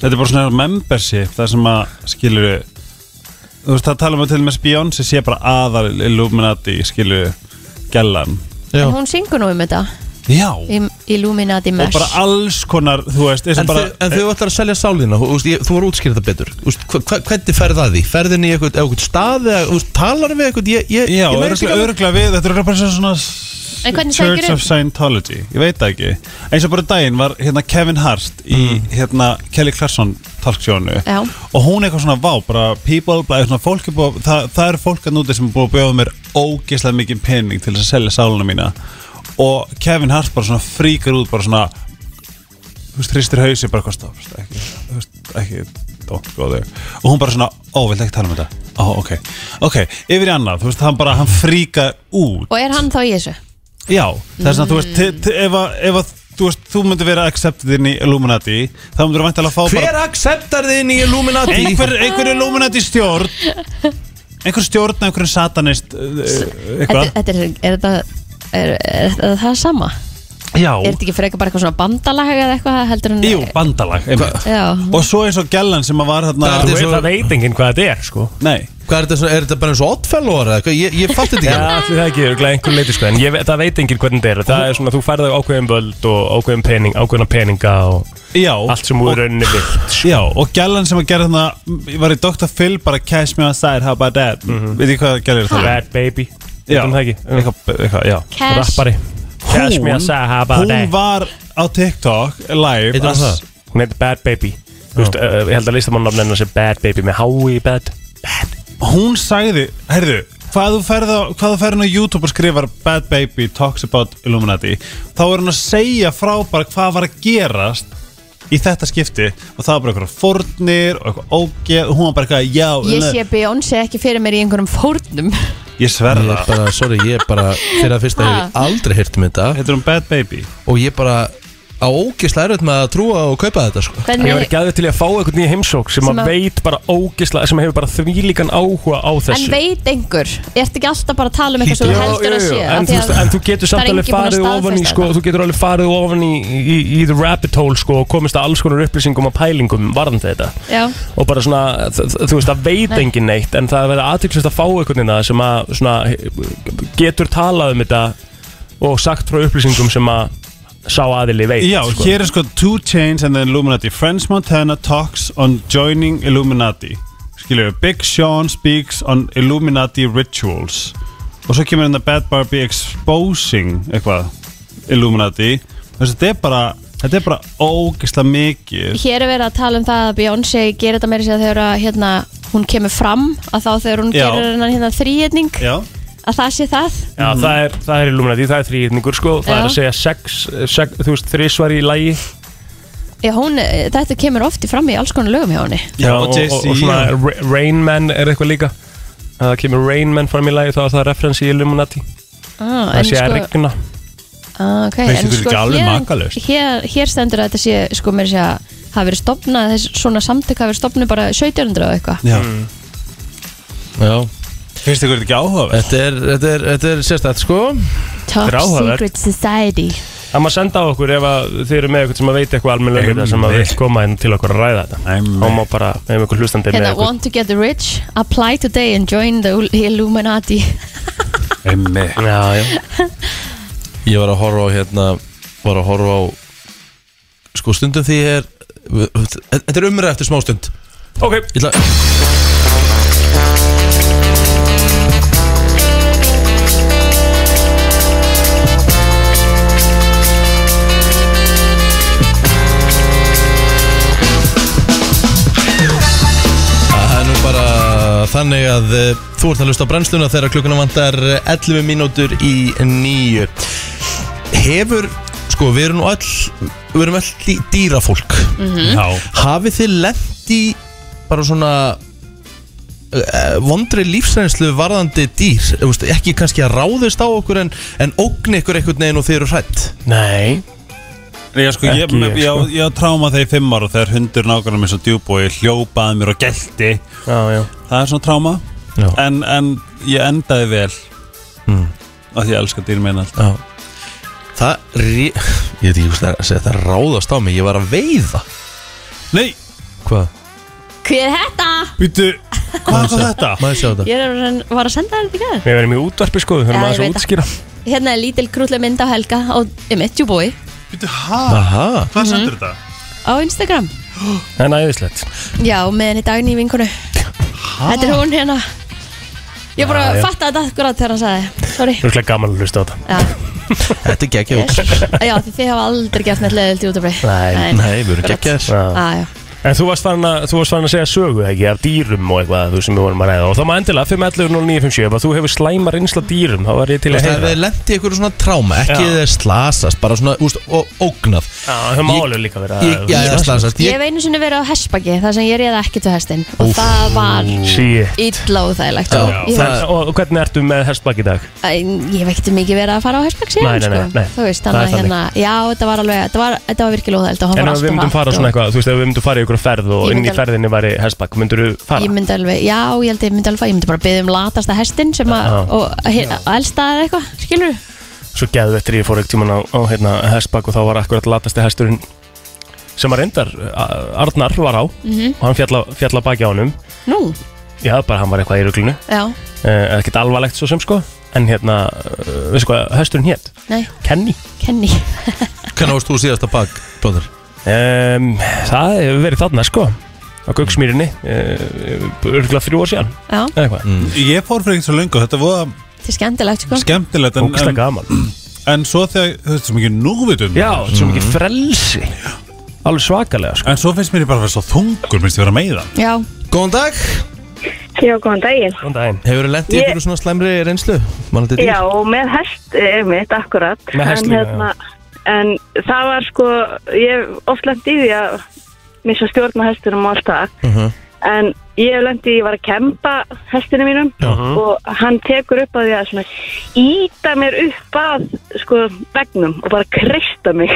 [SPEAKER 5] þetta er bara svona membership það sem að skilur þú veist það tala um að til og með Beyonce sé bara aðal Illuminati skilur gellan
[SPEAKER 2] Já.
[SPEAKER 3] En hún syngur nú um þetta
[SPEAKER 5] já
[SPEAKER 3] Im- Illuminati
[SPEAKER 5] og
[SPEAKER 3] Mesh
[SPEAKER 5] bara alls konar þú veist eins
[SPEAKER 2] En,
[SPEAKER 5] og bara
[SPEAKER 2] þau, en þau ætlar að selja sálina Þú, veist, ég- þú voru útskýrð þetta betur Þú veist, hva, hva, Hvernig ferð það því? Ferðin í eitthvað, eitthvað stað eða þú veist, talar við eitthvað Ég, ég,
[SPEAKER 5] já
[SPEAKER 2] ég meira
[SPEAKER 5] örgla,
[SPEAKER 2] alveg-
[SPEAKER 5] örgla við þetta er bara svona
[SPEAKER 3] En hvernig sækir
[SPEAKER 5] Church
[SPEAKER 3] upp?
[SPEAKER 5] of Scientology ég veit það ekki eins og bara daginn var hérna Kevin Hart í hérna Kelly Clarkson talksjónu
[SPEAKER 3] Já.
[SPEAKER 5] og hún eitthvað svona vá bara people bara, svona, fólk er búið, það, það eru fólk að núti sem er búið að bjóða mér ógeðslega mikið pening til þess að selja sáluna mína og Kevin Hart bara svona fríkar út bara svona þú veist, hristir hausi bara hvað stopp stopp, ekki, þú veist, ekki don't go there og hún bara svona, ó, vilt ekki tala um þetta ó, ok, ok, yfir í annað þú veist, hann bara, hann fríkar út
[SPEAKER 3] Og er hann þá í þessu?
[SPEAKER 5] Já, þess að þú
[SPEAKER 3] Mm.
[SPEAKER 5] veist te- te- ef að, ef að þú veist, þú myndir vera accepted inn í Illuminati þá myndir þú vantilega að fá
[SPEAKER 2] Hver
[SPEAKER 5] bara
[SPEAKER 2] acceptar þið inn í Illuminati?
[SPEAKER 5] einhver,
[SPEAKER 3] Ah.
[SPEAKER 5] einhver Illuminati stjórn einhver stjórn, einhver satanist uh, uh,
[SPEAKER 3] Þetta-
[SPEAKER 5] eitthvað
[SPEAKER 3] Þetta er, er þetta Er, er, er það sama?
[SPEAKER 5] Já,
[SPEAKER 3] Er þetta ekki frekar bara eitthvað svona bandalag eða eitthvað heldur en
[SPEAKER 5] jú, bandalag einmitt.
[SPEAKER 3] Já.
[SPEAKER 5] og svo eins og gælan sem að var
[SPEAKER 2] Það
[SPEAKER 4] Þú
[SPEAKER 2] er
[SPEAKER 5] þarna
[SPEAKER 4] veit
[SPEAKER 2] svo-
[SPEAKER 4] það veit enginn hvað þetta er sko
[SPEAKER 5] Nei,
[SPEAKER 2] Hvað er þetta? svona- Er þetta bara eins og oddfellor? Ég, ég fatt þetta ekki
[SPEAKER 4] Já,
[SPEAKER 2] alveg.
[SPEAKER 4] allir það ekki, örgulega einhver leiti sko En ég, ve- það veit enginn hvernig þetta er Það er svona, þú færði ákveðin völd og ákveðin pening, ákveðina peninga og
[SPEAKER 5] já
[SPEAKER 4] allt sem úr
[SPEAKER 5] og,
[SPEAKER 4] rauninni vilt sko.
[SPEAKER 5] Já, og gælan sem að gera þarna var í Dr. Phil bara cash me outside, how about that veit ég hvað gælir
[SPEAKER 4] Mhm.
[SPEAKER 5] það
[SPEAKER 4] Bad baby,
[SPEAKER 5] um. Já.
[SPEAKER 4] veitum það ekki Um,
[SPEAKER 5] eitthvað, eitthvað, já
[SPEAKER 3] Cash
[SPEAKER 4] Rappari Cash me
[SPEAKER 5] Hún-
[SPEAKER 4] a sahaba
[SPEAKER 5] Hún var á TikTok live
[SPEAKER 2] Heitir hún
[SPEAKER 5] að-
[SPEAKER 2] það?
[SPEAKER 4] Hún heitir Bad Baby Þú veist, uh, ég held að listamannafn hennar sé Bad Baby með hái í bad Bad
[SPEAKER 5] hún sagði, heyrðu hvað þú ferð á, hvað þú ferð á YouTube og skrifar Bad Baby Talks About Illuminati þá er hún að segja frá bara hvað var að gerast í þetta skipti og það var bara eitthvað fórnir og eitthvað ógeð og hún var bara eitthvað já,
[SPEAKER 3] Ég
[SPEAKER 5] nei."
[SPEAKER 3] sé Beyoncé ekki fyrir mér í einhverjum fórnum
[SPEAKER 5] ég
[SPEAKER 2] Ég
[SPEAKER 5] sverða
[SPEAKER 2] er bara, sorry, ég er bara Fyrir að fyrsta hef ég aldrei heyrt um þetta
[SPEAKER 5] heitir hún Bad Baby
[SPEAKER 2] Og ég bara á ógislega erfitt með að trúa og kaupa þetta sko.
[SPEAKER 4] Ég var
[SPEAKER 3] Hvernig,
[SPEAKER 4] ekki aðeins til í að fá eitthvað nýja heimsók
[SPEAKER 3] Sem
[SPEAKER 4] sem, að
[SPEAKER 3] að-
[SPEAKER 4] veit bara ógisla sem hefur bara þvílíkan áhuga á
[SPEAKER 3] En
[SPEAKER 4] þessu
[SPEAKER 3] veit einhver Ertu ekki alltaf bara að tala um eitthvað sem þú
[SPEAKER 4] Já,
[SPEAKER 3] heldur að
[SPEAKER 4] já, já,
[SPEAKER 3] sé
[SPEAKER 4] en,
[SPEAKER 3] Af
[SPEAKER 4] þú
[SPEAKER 3] því
[SPEAKER 4] veist,
[SPEAKER 3] að
[SPEAKER 4] en þú getur
[SPEAKER 3] það er
[SPEAKER 4] samt alveg
[SPEAKER 3] enginn búinn að
[SPEAKER 4] farið ofan í
[SPEAKER 3] staðfesta
[SPEAKER 4] sko,
[SPEAKER 3] þetta.
[SPEAKER 4] þú getur alveg farið ofan í, í, í the rabbit hole sko, og komist að alls konar upplýsingum og pælingum varðan þetta
[SPEAKER 3] Já.
[SPEAKER 4] og bara svona, þ- þ- þú veist, það veit engin neitt en það verður aðtýrklist að fá einhvern veginn að sem að svona, he- getur talað um þetta og sagt frá upplýsingum sem að sá aðili veit
[SPEAKER 5] já,
[SPEAKER 4] sko.
[SPEAKER 5] hér er sko Two Chains and the Illuminati Friends Montana Talks on Joining Illuminati skilju, Big Sean Speaks on Illuminati Rituals og svo kemur hérna Bad Barbie Exposing eitthvað Illuminati þess að þetta er bara þetta er bara ógeðslega mikið
[SPEAKER 3] Hér er verið að tala um það að Beyoncé gerir þetta meira sér að þegar að, hérna, hún kemur fram að þá þegar hún
[SPEAKER 5] Já.
[SPEAKER 3] gerir hennan hérna þrýjetning
[SPEAKER 5] já, Mhm.
[SPEAKER 3] að það sé það
[SPEAKER 4] Já, það er, það er Illuminati, það er þrýðningur sko, það
[SPEAKER 3] Já.
[SPEAKER 4] er að segja sex, sex þú veist, þrísvar í lægi
[SPEAKER 3] Já, hún, eh, þetta kemur ofti fram í alls konar lögum hjá henni
[SPEAKER 5] Já, og Jay-Z,
[SPEAKER 4] og, og svona
[SPEAKER 5] já.
[SPEAKER 4] Ra- Rain Man er eitthvað líka að það kemur Rain Man fram í lagi þá er það referens í Illuminati
[SPEAKER 3] ah,
[SPEAKER 4] það sé að regna
[SPEAKER 3] ah, okay,
[SPEAKER 5] Finnst
[SPEAKER 3] en
[SPEAKER 5] ykkur
[SPEAKER 3] sko,
[SPEAKER 5] ekki alveg
[SPEAKER 3] hér,
[SPEAKER 5] makalaust?
[SPEAKER 3] hér, hér stendur að þetta sé sko meira sér að hafi verið stopnað þess, svona samtök hafi verið stopnað bara 1700 og eitthvað
[SPEAKER 5] já.
[SPEAKER 2] Já,
[SPEAKER 5] finnst ykkur þetta ekki áhugaverð
[SPEAKER 2] þetta er, þetta er, þetta er sérstætt sko
[SPEAKER 3] Top
[SPEAKER 4] Þetta er áhugavert.
[SPEAKER 3] Secret Society
[SPEAKER 4] það maður senda á okkur ef að þið eru með eitthvað sem að veit eitthvað almennilega um þetta sem að vil koma inn til okkur að ræða þetta
[SPEAKER 5] Einmitt.
[SPEAKER 4] og má bara með einhver hlustandi með
[SPEAKER 3] Hérna,
[SPEAKER 4] eitthvað
[SPEAKER 3] want to get rich, apply today and join the Illuminati
[SPEAKER 5] emmi
[SPEAKER 4] já, já.
[SPEAKER 2] Ég var að horfa á hérna Var að horfa á Sko stundum því ég er Þetta er umræð eftir smástund
[SPEAKER 4] ok,
[SPEAKER 2] Ég ætla Það er nú bara Þannig að eh, þú ert að hlusta á brennsluna þegar klukkuna vantar eh, 11 mínútur í 9 hefur sko við erum nú all við erum all dý- dýrafólk
[SPEAKER 5] Mhm. Já
[SPEAKER 2] hafið þið lent í bara svona uh, vondri lífsreynslu varðandi dýr Þú veist, ekki kannski að ráðist á okkur en, en ógni ykkur einhvern veginn og þið eru hrætt
[SPEAKER 4] Nei
[SPEAKER 5] Nei, ég, sko, ég,
[SPEAKER 4] Ekki ég,
[SPEAKER 5] ég,
[SPEAKER 4] sko.
[SPEAKER 5] ég, ég tráma þegar ég fimm ára þegar hundur nákvæmlega mér svo djúbúi hljópaði mér og gelti
[SPEAKER 4] Já, já
[SPEAKER 5] það er svona tráma
[SPEAKER 2] Já.
[SPEAKER 5] en, en ég endaði vel mm.
[SPEAKER 4] Hmm.
[SPEAKER 5] af því ég elska dýr meina allt
[SPEAKER 2] Já. það ré... ég veit ekki hvað að segja það ráðast á mig ég var að veiða
[SPEAKER 5] Nei,
[SPEAKER 2] hvað?
[SPEAKER 3] <laughs> Hver er þetta?
[SPEAKER 5] býtu, hvað var þetta?
[SPEAKER 2] maður sjá þetta
[SPEAKER 3] Ég er að- var að senda þér þetta ekki
[SPEAKER 4] Við verðum í útvarpi sko, við
[SPEAKER 3] Já,
[SPEAKER 4] þurfum
[SPEAKER 3] ég
[SPEAKER 4] aðeins að
[SPEAKER 3] veit það.
[SPEAKER 4] útskýra
[SPEAKER 3] Hérna er lítil krútlega mynd af Helga á Emmett Júbói
[SPEAKER 5] Býtu, hæ?
[SPEAKER 2] Aha.
[SPEAKER 5] Hvað sendur þetta?
[SPEAKER 3] á Instagram <gasps>
[SPEAKER 4] En æðislegt
[SPEAKER 3] Já, með henni daginn í vinkunu Þetta er hún hérna Ég bara
[SPEAKER 4] Já, já.
[SPEAKER 3] fatta þetta akkurat þegar hann sagði Sorry
[SPEAKER 4] Rúklega gaman að hlusta á þetta
[SPEAKER 3] Já,
[SPEAKER 2] þetta er geggjað
[SPEAKER 3] yes. já því þið hafa aldrei gert neitt leðilt í útöfri
[SPEAKER 4] Nei.
[SPEAKER 2] nei við erum geggjaðir
[SPEAKER 4] Já.
[SPEAKER 3] Já, já
[SPEAKER 4] En þú varst farin að, þú varst farin að segja sögu ekki af dýrum og eitthvað þú sem við vorum að ræða og þá maður endilega 511-0957 ef að þú hefur slæma reynsla af dýrum þá var ég
[SPEAKER 2] Þú
[SPEAKER 4] til að
[SPEAKER 2] veist, Það
[SPEAKER 4] heyra
[SPEAKER 2] hefði lent í einhverju svona tráma, ekki
[SPEAKER 4] Já.
[SPEAKER 2] þið slasast, bara svona, úst, og ógnað
[SPEAKER 4] Já, það má alveg líka vera
[SPEAKER 2] Ég, já, já, slasast
[SPEAKER 3] Ég
[SPEAKER 2] ég,
[SPEAKER 3] hef einu sinni verið á Hespagi þar sem ég reyða ekki til hestin og
[SPEAKER 2] Úff.
[SPEAKER 3] það var
[SPEAKER 4] Shit.
[SPEAKER 3] illa óþægilegt
[SPEAKER 2] Já,
[SPEAKER 3] og
[SPEAKER 2] já.
[SPEAKER 3] ég,
[SPEAKER 2] það-
[SPEAKER 4] Það- Og og hvernig ertu með hestbakk í dag?
[SPEAKER 3] Æ, ég hef ekkert mikið verið að fara á Hespag síðan
[SPEAKER 4] Nei, nei, nei, nei.
[SPEAKER 3] Sko. þú veist,
[SPEAKER 4] Það
[SPEAKER 3] þannig
[SPEAKER 4] er
[SPEAKER 3] að
[SPEAKER 4] þannig.
[SPEAKER 3] hérna já, þetta var alveg, þetta var, þetta var virkilega óþægilegt og hann
[SPEAKER 4] En
[SPEAKER 3] var
[SPEAKER 4] ef
[SPEAKER 3] alltaf
[SPEAKER 4] við myndum fara
[SPEAKER 3] hratt
[SPEAKER 4] svona
[SPEAKER 3] og-
[SPEAKER 4] eitthvað, þú veist, ef við myndum fara í ykkur ferð og
[SPEAKER 3] Ég
[SPEAKER 4] inn í
[SPEAKER 3] myndi-
[SPEAKER 4] ferðinni væri hestbakk, myndur þú fara?
[SPEAKER 3] Ég myndi alveg, já, ég held ég myndi alveg fara. Ég myndi bara byggja um latasta hestin sem að,
[SPEAKER 4] Já.
[SPEAKER 3] og að- að elsta eða eitthvað, skilur
[SPEAKER 4] Svo geðu eftir ég fór ekkert tíman á, á hérna, hestbakk og þá var akkurat latasti hesturinn sem að reyndar, A- Arnar var á og hann fjalla, fjalla baki á honum
[SPEAKER 3] Mhm. Nú,
[SPEAKER 4] Já, bara hann var eitthvað í ruglunu
[SPEAKER 3] já,
[SPEAKER 4] eh, ekkert alvarlegt svo sem sko en hérna, eh, veistu hvað, hesturinn hétt
[SPEAKER 3] nei,
[SPEAKER 4] Kenny
[SPEAKER 3] Kenny
[SPEAKER 2] Hvernig ást þú síðast að bak, blóður?
[SPEAKER 4] um, Það hefur verið þarna sko á Gauksmýrinni uh, örgulega þrjú ár síðan
[SPEAKER 3] Já,
[SPEAKER 4] eða eitthvað, mm.
[SPEAKER 5] Ég fór fyrir ekki svo löngu, þetta var
[SPEAKER 3] þetta er skemmtilegt sko
[SPEAKER 5] skemmtilegt en,
[SPEAKER 4] ógsta
[SPEAKER 5] en,
[SPEAKER 4] gaman
[SPEAKER 5] en svo þegar, þú veist, sem ekki núvitum
[SPEAKER 4] Já, þetta er svo mikið frelsi alveg svakalega sko
[SPEAKER 5] En svo finnst mér ég bara að vera svo þungur, minnst ég vera með það
[SPEAKER 3] Já,
[SPEAKER 2] Góðan dag,
[SPEAKER 6] Já, góðan daginn.
[SPEAKER 4] Góðan daginn
[SPEAKER 2] hefur þið lent í
[SPEAKER 6] Ég-
[SPEAKER 2] einhverju svona slæmri reynslu? Manandi dýr?
[SPEAKER 6] Já, og með hest, eh, mitt, akkurat.
[SPEAKER 4] Með hest
[SPEAKER 6] En, hérna,
[SPEAKER 4] líka,
[SPEAKER 6] En það var sko, ég hef oft lendi í því að missa stjórn á hestinum og allt það.
[SPEAKER 4] Mhm.
[SPEAKER 2] Mhm.
[SPEAKER 6] En ég hef lendi í, ég var að kempa hestinu mínum og hann tekur upp að því að svona íta mér upp að sko vegnum og bara kreista mig.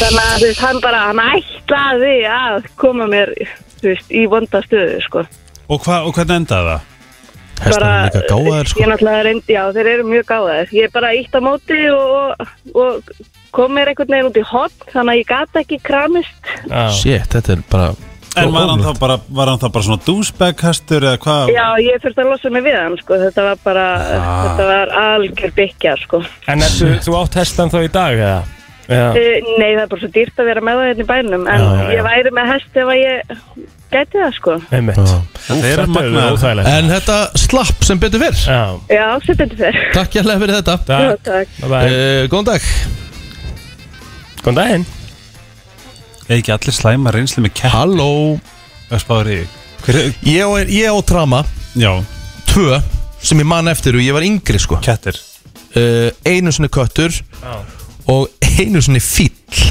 [SPEAKER 6] Þannig að þú veist, hann bara, hann ætlaði að koma mér, þú veist, í vonda stöðu, sko.
[SPEAKER 5] Og, hva, og hvernig endaði það?
[SPEAKER 2] Hestar eru líka gáðaðir
[SPEAKER 6] Ég
[SPEAKER 2] sko
[SPEAKER 6] náttúrulega reyndi, já þeir eru mjög gáðaðir Ég bara ítt á móti og, og kom mér einhvern veginn út í hot Þannig að ég gata ekki kramist
[SPEAKER 4] Já.
[SPEAKER 2] Shit, þetta er bara Sko,
[SPEAKER 5] En var hann,
[SPEAKER 2] ógnað.
[SPEAKER 5] þá bara, var hann þá bara svona dúsbæk hestur eða hvað?
[SPEAKER 6] Já ég þurfti að losa mig við hann sko Þetta var bara,
[SPEAKER 5] Ah.
[SPEAKER 6] þetta var algjör byggja sko
[SPEAKER 4] En ertu, þú átt hestan þá í dag eða? Já,
[SPEAKER 7] Eh.
[SPEAKER 6] uh, Nei það er bara svo dýrt að vera með það hérna í bænum En
[SPEAKER 4] Já, já, já.
[SPEAKER 6] ég væri með hest ef að ég gæti það sko
[SPEAKER 4] einmitt
[SPEAKER 2] Já. Eh,
[SPEAKER 5] Þeir eru
[SPEAKER 4] Þetta er
[SPEAKER 5] magnaðir.
[SPEAKER 4] óþægilegt
[SPEAKER 2] En þetta slapp sem betur fyrr
[SPEAKER 4] Já,
[SPEAKER 6] Já sem betur fer
[SPEAKER 2] Takk hérlega fyrir þetta
[SPEAKER 6] Já,
[SPEAKER 4] takk
[SPEAKER 6] takk
[SPEAKER 4] Bye bye.
[SPEAKER 2] uh, Góðan dag
[SPEAKER 4] Góðan daginn
[SPEAKER 5] Er ekki allir slæma reynslu með kepp?
[SPEAKER 2] Halló
[SPEAKER 5] Hvað spáður ég? Hver,
[SPEAKER 2] Ég á, ég á trama
[SPEAKER 5] já,
[SPEAKER 2] Tvö sem ég man eftir og ég var yngri sko
[SPEAKER 5] kettir
[SPEAKER 2] uh, Einu sinni köttur Og einu sinni fýll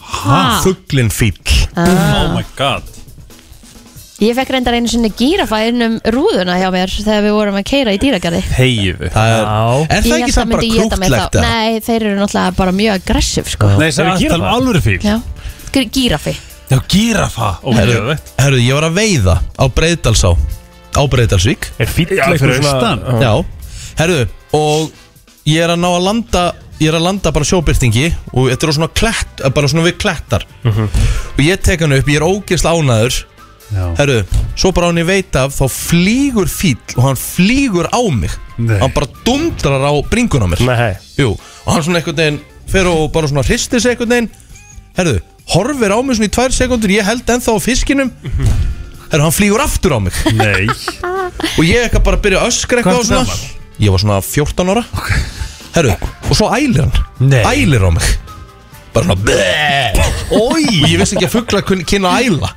[SPEAKER 3] ha. Ah.
[SPEAKER 2] Fugglin fýll
[SPEAKER 5] Oh my god
[SPEAKER 3] Ég fekk reyndar einu sinni gírafa innum rúðuna hjá mér þegar við vorum að keira í dýragarði
[SPEAKER 5] Heiðu
[SPEAKER 2] Það er,
[SPEAKER 4] Já.
[SPEAKER 2] er það
[SPEAKER 3] Ég
[SPEAKER 2] ekki
[SPEAKER 3] hélt að
[SPEAKER 2] samt bara
[SPEAKER 3] myndi éta mig þá.
[SPEAKER 2] krútlegt að
[SPEAKER 3] Nei, þeir eru náttúrulega bara mjög aggressiv sko
[SPEAKER 5] Nei, það
[SPEAKER 4] Eru
[SPEAKER 5] er
[SPEAKER 4] gíraffa?
[SPEAKER 5] alltaf
[SPEAKER 2] um
[SPEAKER 5] alvöru fíl
[SPEAKER 3] Já, Gí- gírafi
[SPEAKER 5] Já, gírafa Og
[SPEAKER 2] Herru,
[SPEAKER 5] geðveikt.
[SPEAKER 2] herru, ég var að veiða á Breiðdalsá Á Breiðdalsvík
[SPEAKER 4] Er fýll
[SPEAKER 5] Já, fyrir austan.
[SPEAKER 2] Já, herru, og ég er að ná að landa Ég er að landa bara sjóbyrtingi Og þetta er á svona klett, eh, bara svona við klettar
[SPEAKER 4] Mhm.
[SPEAKER 2] Og ég tek hann upp, ég er ógeðsla ánaður
[SPEAKER 5] Já.
[SPEAKER 2] Herru, svo bara á hann ég veit af Þá flýgur fíll og hann flýgur á mig
[SPEAKER 5] Nei.
[SPEAKER 2] Hann bara dundrar á bringuna á mér
[SPEAKER 4] Nei,
[SPEAKER 2] Jú, og hann svona einhvern veginn fer og bara svona hristir sig einhvern veginn Herðu, horfir á mig svona í tvær sekundur Ég held ennþá á fiskinum Herðu, hann flýgur aftur á mig
[SPEAKER 5] Nei
[SPEAKER 2] Og ég eitthvað bara að byrja að öskra
[SPEAKER 5] Hvað
[SPEAKER 2] eitthvað og
[SPEAKER 5] ertu
[SPEAKER 2] svona
[SPEAKER 5] gamall?
[SPEAKER 2] Ég var svona 14 ára Herðu, og svo ælir hann
[SPEAKER 5] Nei.
[SPEAKER 2] Ælir á mig Bara svona "Bleh." Oj, Og ég vissi ekki að fugla kynna að æla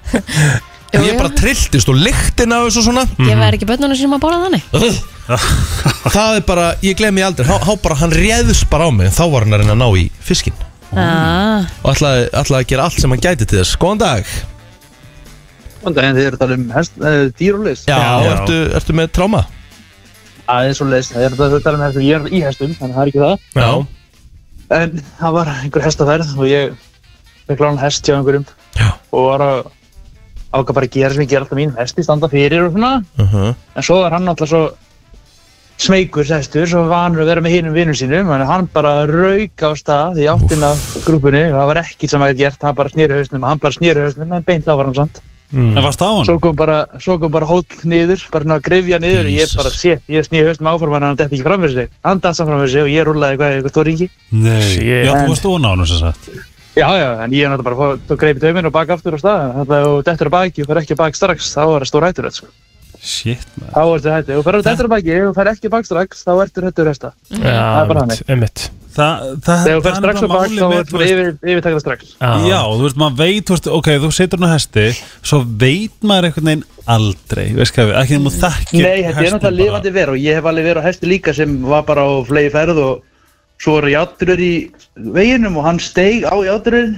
[SPEAKER 3] Jú,
[SPEAKER 2] Og ég
[SPEAKER 3] jú.
[SPEAKER 2] bara trilltist og lyktin af þessu svona Mhm.
[SPEAKER 3] Ég væri ekki bönnunum sem að bóla þannig
[SPEAKER 2] Ugh. það er bara, ég glem ég aldrei há, há bara, hann réðst bara á mig þá var hann að reyna að ná í fiskinn
[SPEAKER 3] Ah,
[SPEAKER 2] og ætlaði, ætlaði að gera allt sem hann gæti til þess góðan dag
[SPEAKER 7] Vanda, en þið eru að tala um hest, uh, dýrulis
[SPEAKER 2] já,
[SPEAKER 5] Já.
[SPEAKER 2] Ertu, ertu með tráma
[SPEAKER 7] Það er svo leis, það er að tala um hestum Ég er í hestum, þannig að það er ekki það
[SPEAKER 2] já.
[SPEAKER 7] En það var einhver hestaferð og ég fekk lána hest hjá einhverjum
[SPEAKER 2] Já.
[SPEAKER 7] og var að ákvað bara að gera sem ég gera alltaf mín hesti standa fyrir og svona
[SPEAKER 2] Uh -huh.
[SPEAKER 7] en svo var hann alltaf svo smeykur hestur, svo vanur að vera með hinum vinnum sínum en hann bara rauk á stað í áttina af grúpunni og það var ekkert sem að geta gert, hann bara snýri hausnum hann bara snýri hausnum, en beint á var hann samt
[SPEAKER 4] Hmm.
[SPEAKER 5] En varst á hann?
[SPEAKER 7] Mm. svo kom bara, svo kom bara hóll niður bara svona grifja niður og ég bara sé ég snýri hausnum áfram en hann detti ekki fram fyrir sig hann dansa fram fyrir sig og ég rúlaði eitthvað eitthvað tóringi
[SPEAKER 5] Nei Já, þú
[SPEAKER 7] En-
[SPEAKER 5] varst ofan á hann sem sagt
[SPEAKER 7] Já, já, en ég er náttúrulega bara að fá- greip í tauminn og baka aftur á staðan. Þannig að ef þú dettur að baki og fer ekki að baki strax, þá er það stór hættur þetta, sko.
[SPEAKER 5] Shit, maður
[SPEAKER 7] Þá er þetta hættur. Ef þú fer að dettur að baki og fer ekki að baki strax, þá ertur hættur þetta. Það er bara
[SPEAKER 4] Já,
[SPEAKER 7] þannig.
[SPEAKER 4] emitt
[SPEAKER 5] Það, það,
[SPEAKER 7] Þegar þú fer
[SPEAKER 5] það er
[SPEAKER 7] strax að
[SPEAKER 5] bara
[SPEAKER 7] baki,
[SPEAKER 5] málið
[SPEAKER 7] þá
[SPEAKER 5] með,
[SPEAKER 7] er
[SPEAKER 5] þú
[SPEAKER 7] þú
[SPEAKER 5] veist,
[SPEAKER 7] yfir, yfirtakta strax.
[SPEAKER 5] Já, þú veist, maður veit, þú veist, ok, þú setur hann á hesti Svo veit maður einhvern veginn aldrei Veist hvað við, ekki nema þú þekkir
[SPEAKER 7] Nei, þetta er
[SPEAKER 5] hestinn
[SPEAKER 7] náttúrulega
[SPEAKER 5] bara.
[SPEAKER 7] lifandi verð og ég hef alveg verið á hesti líka sem var bara á flegi ferð og svo eru játrur í veginum og hann steig á játrurinn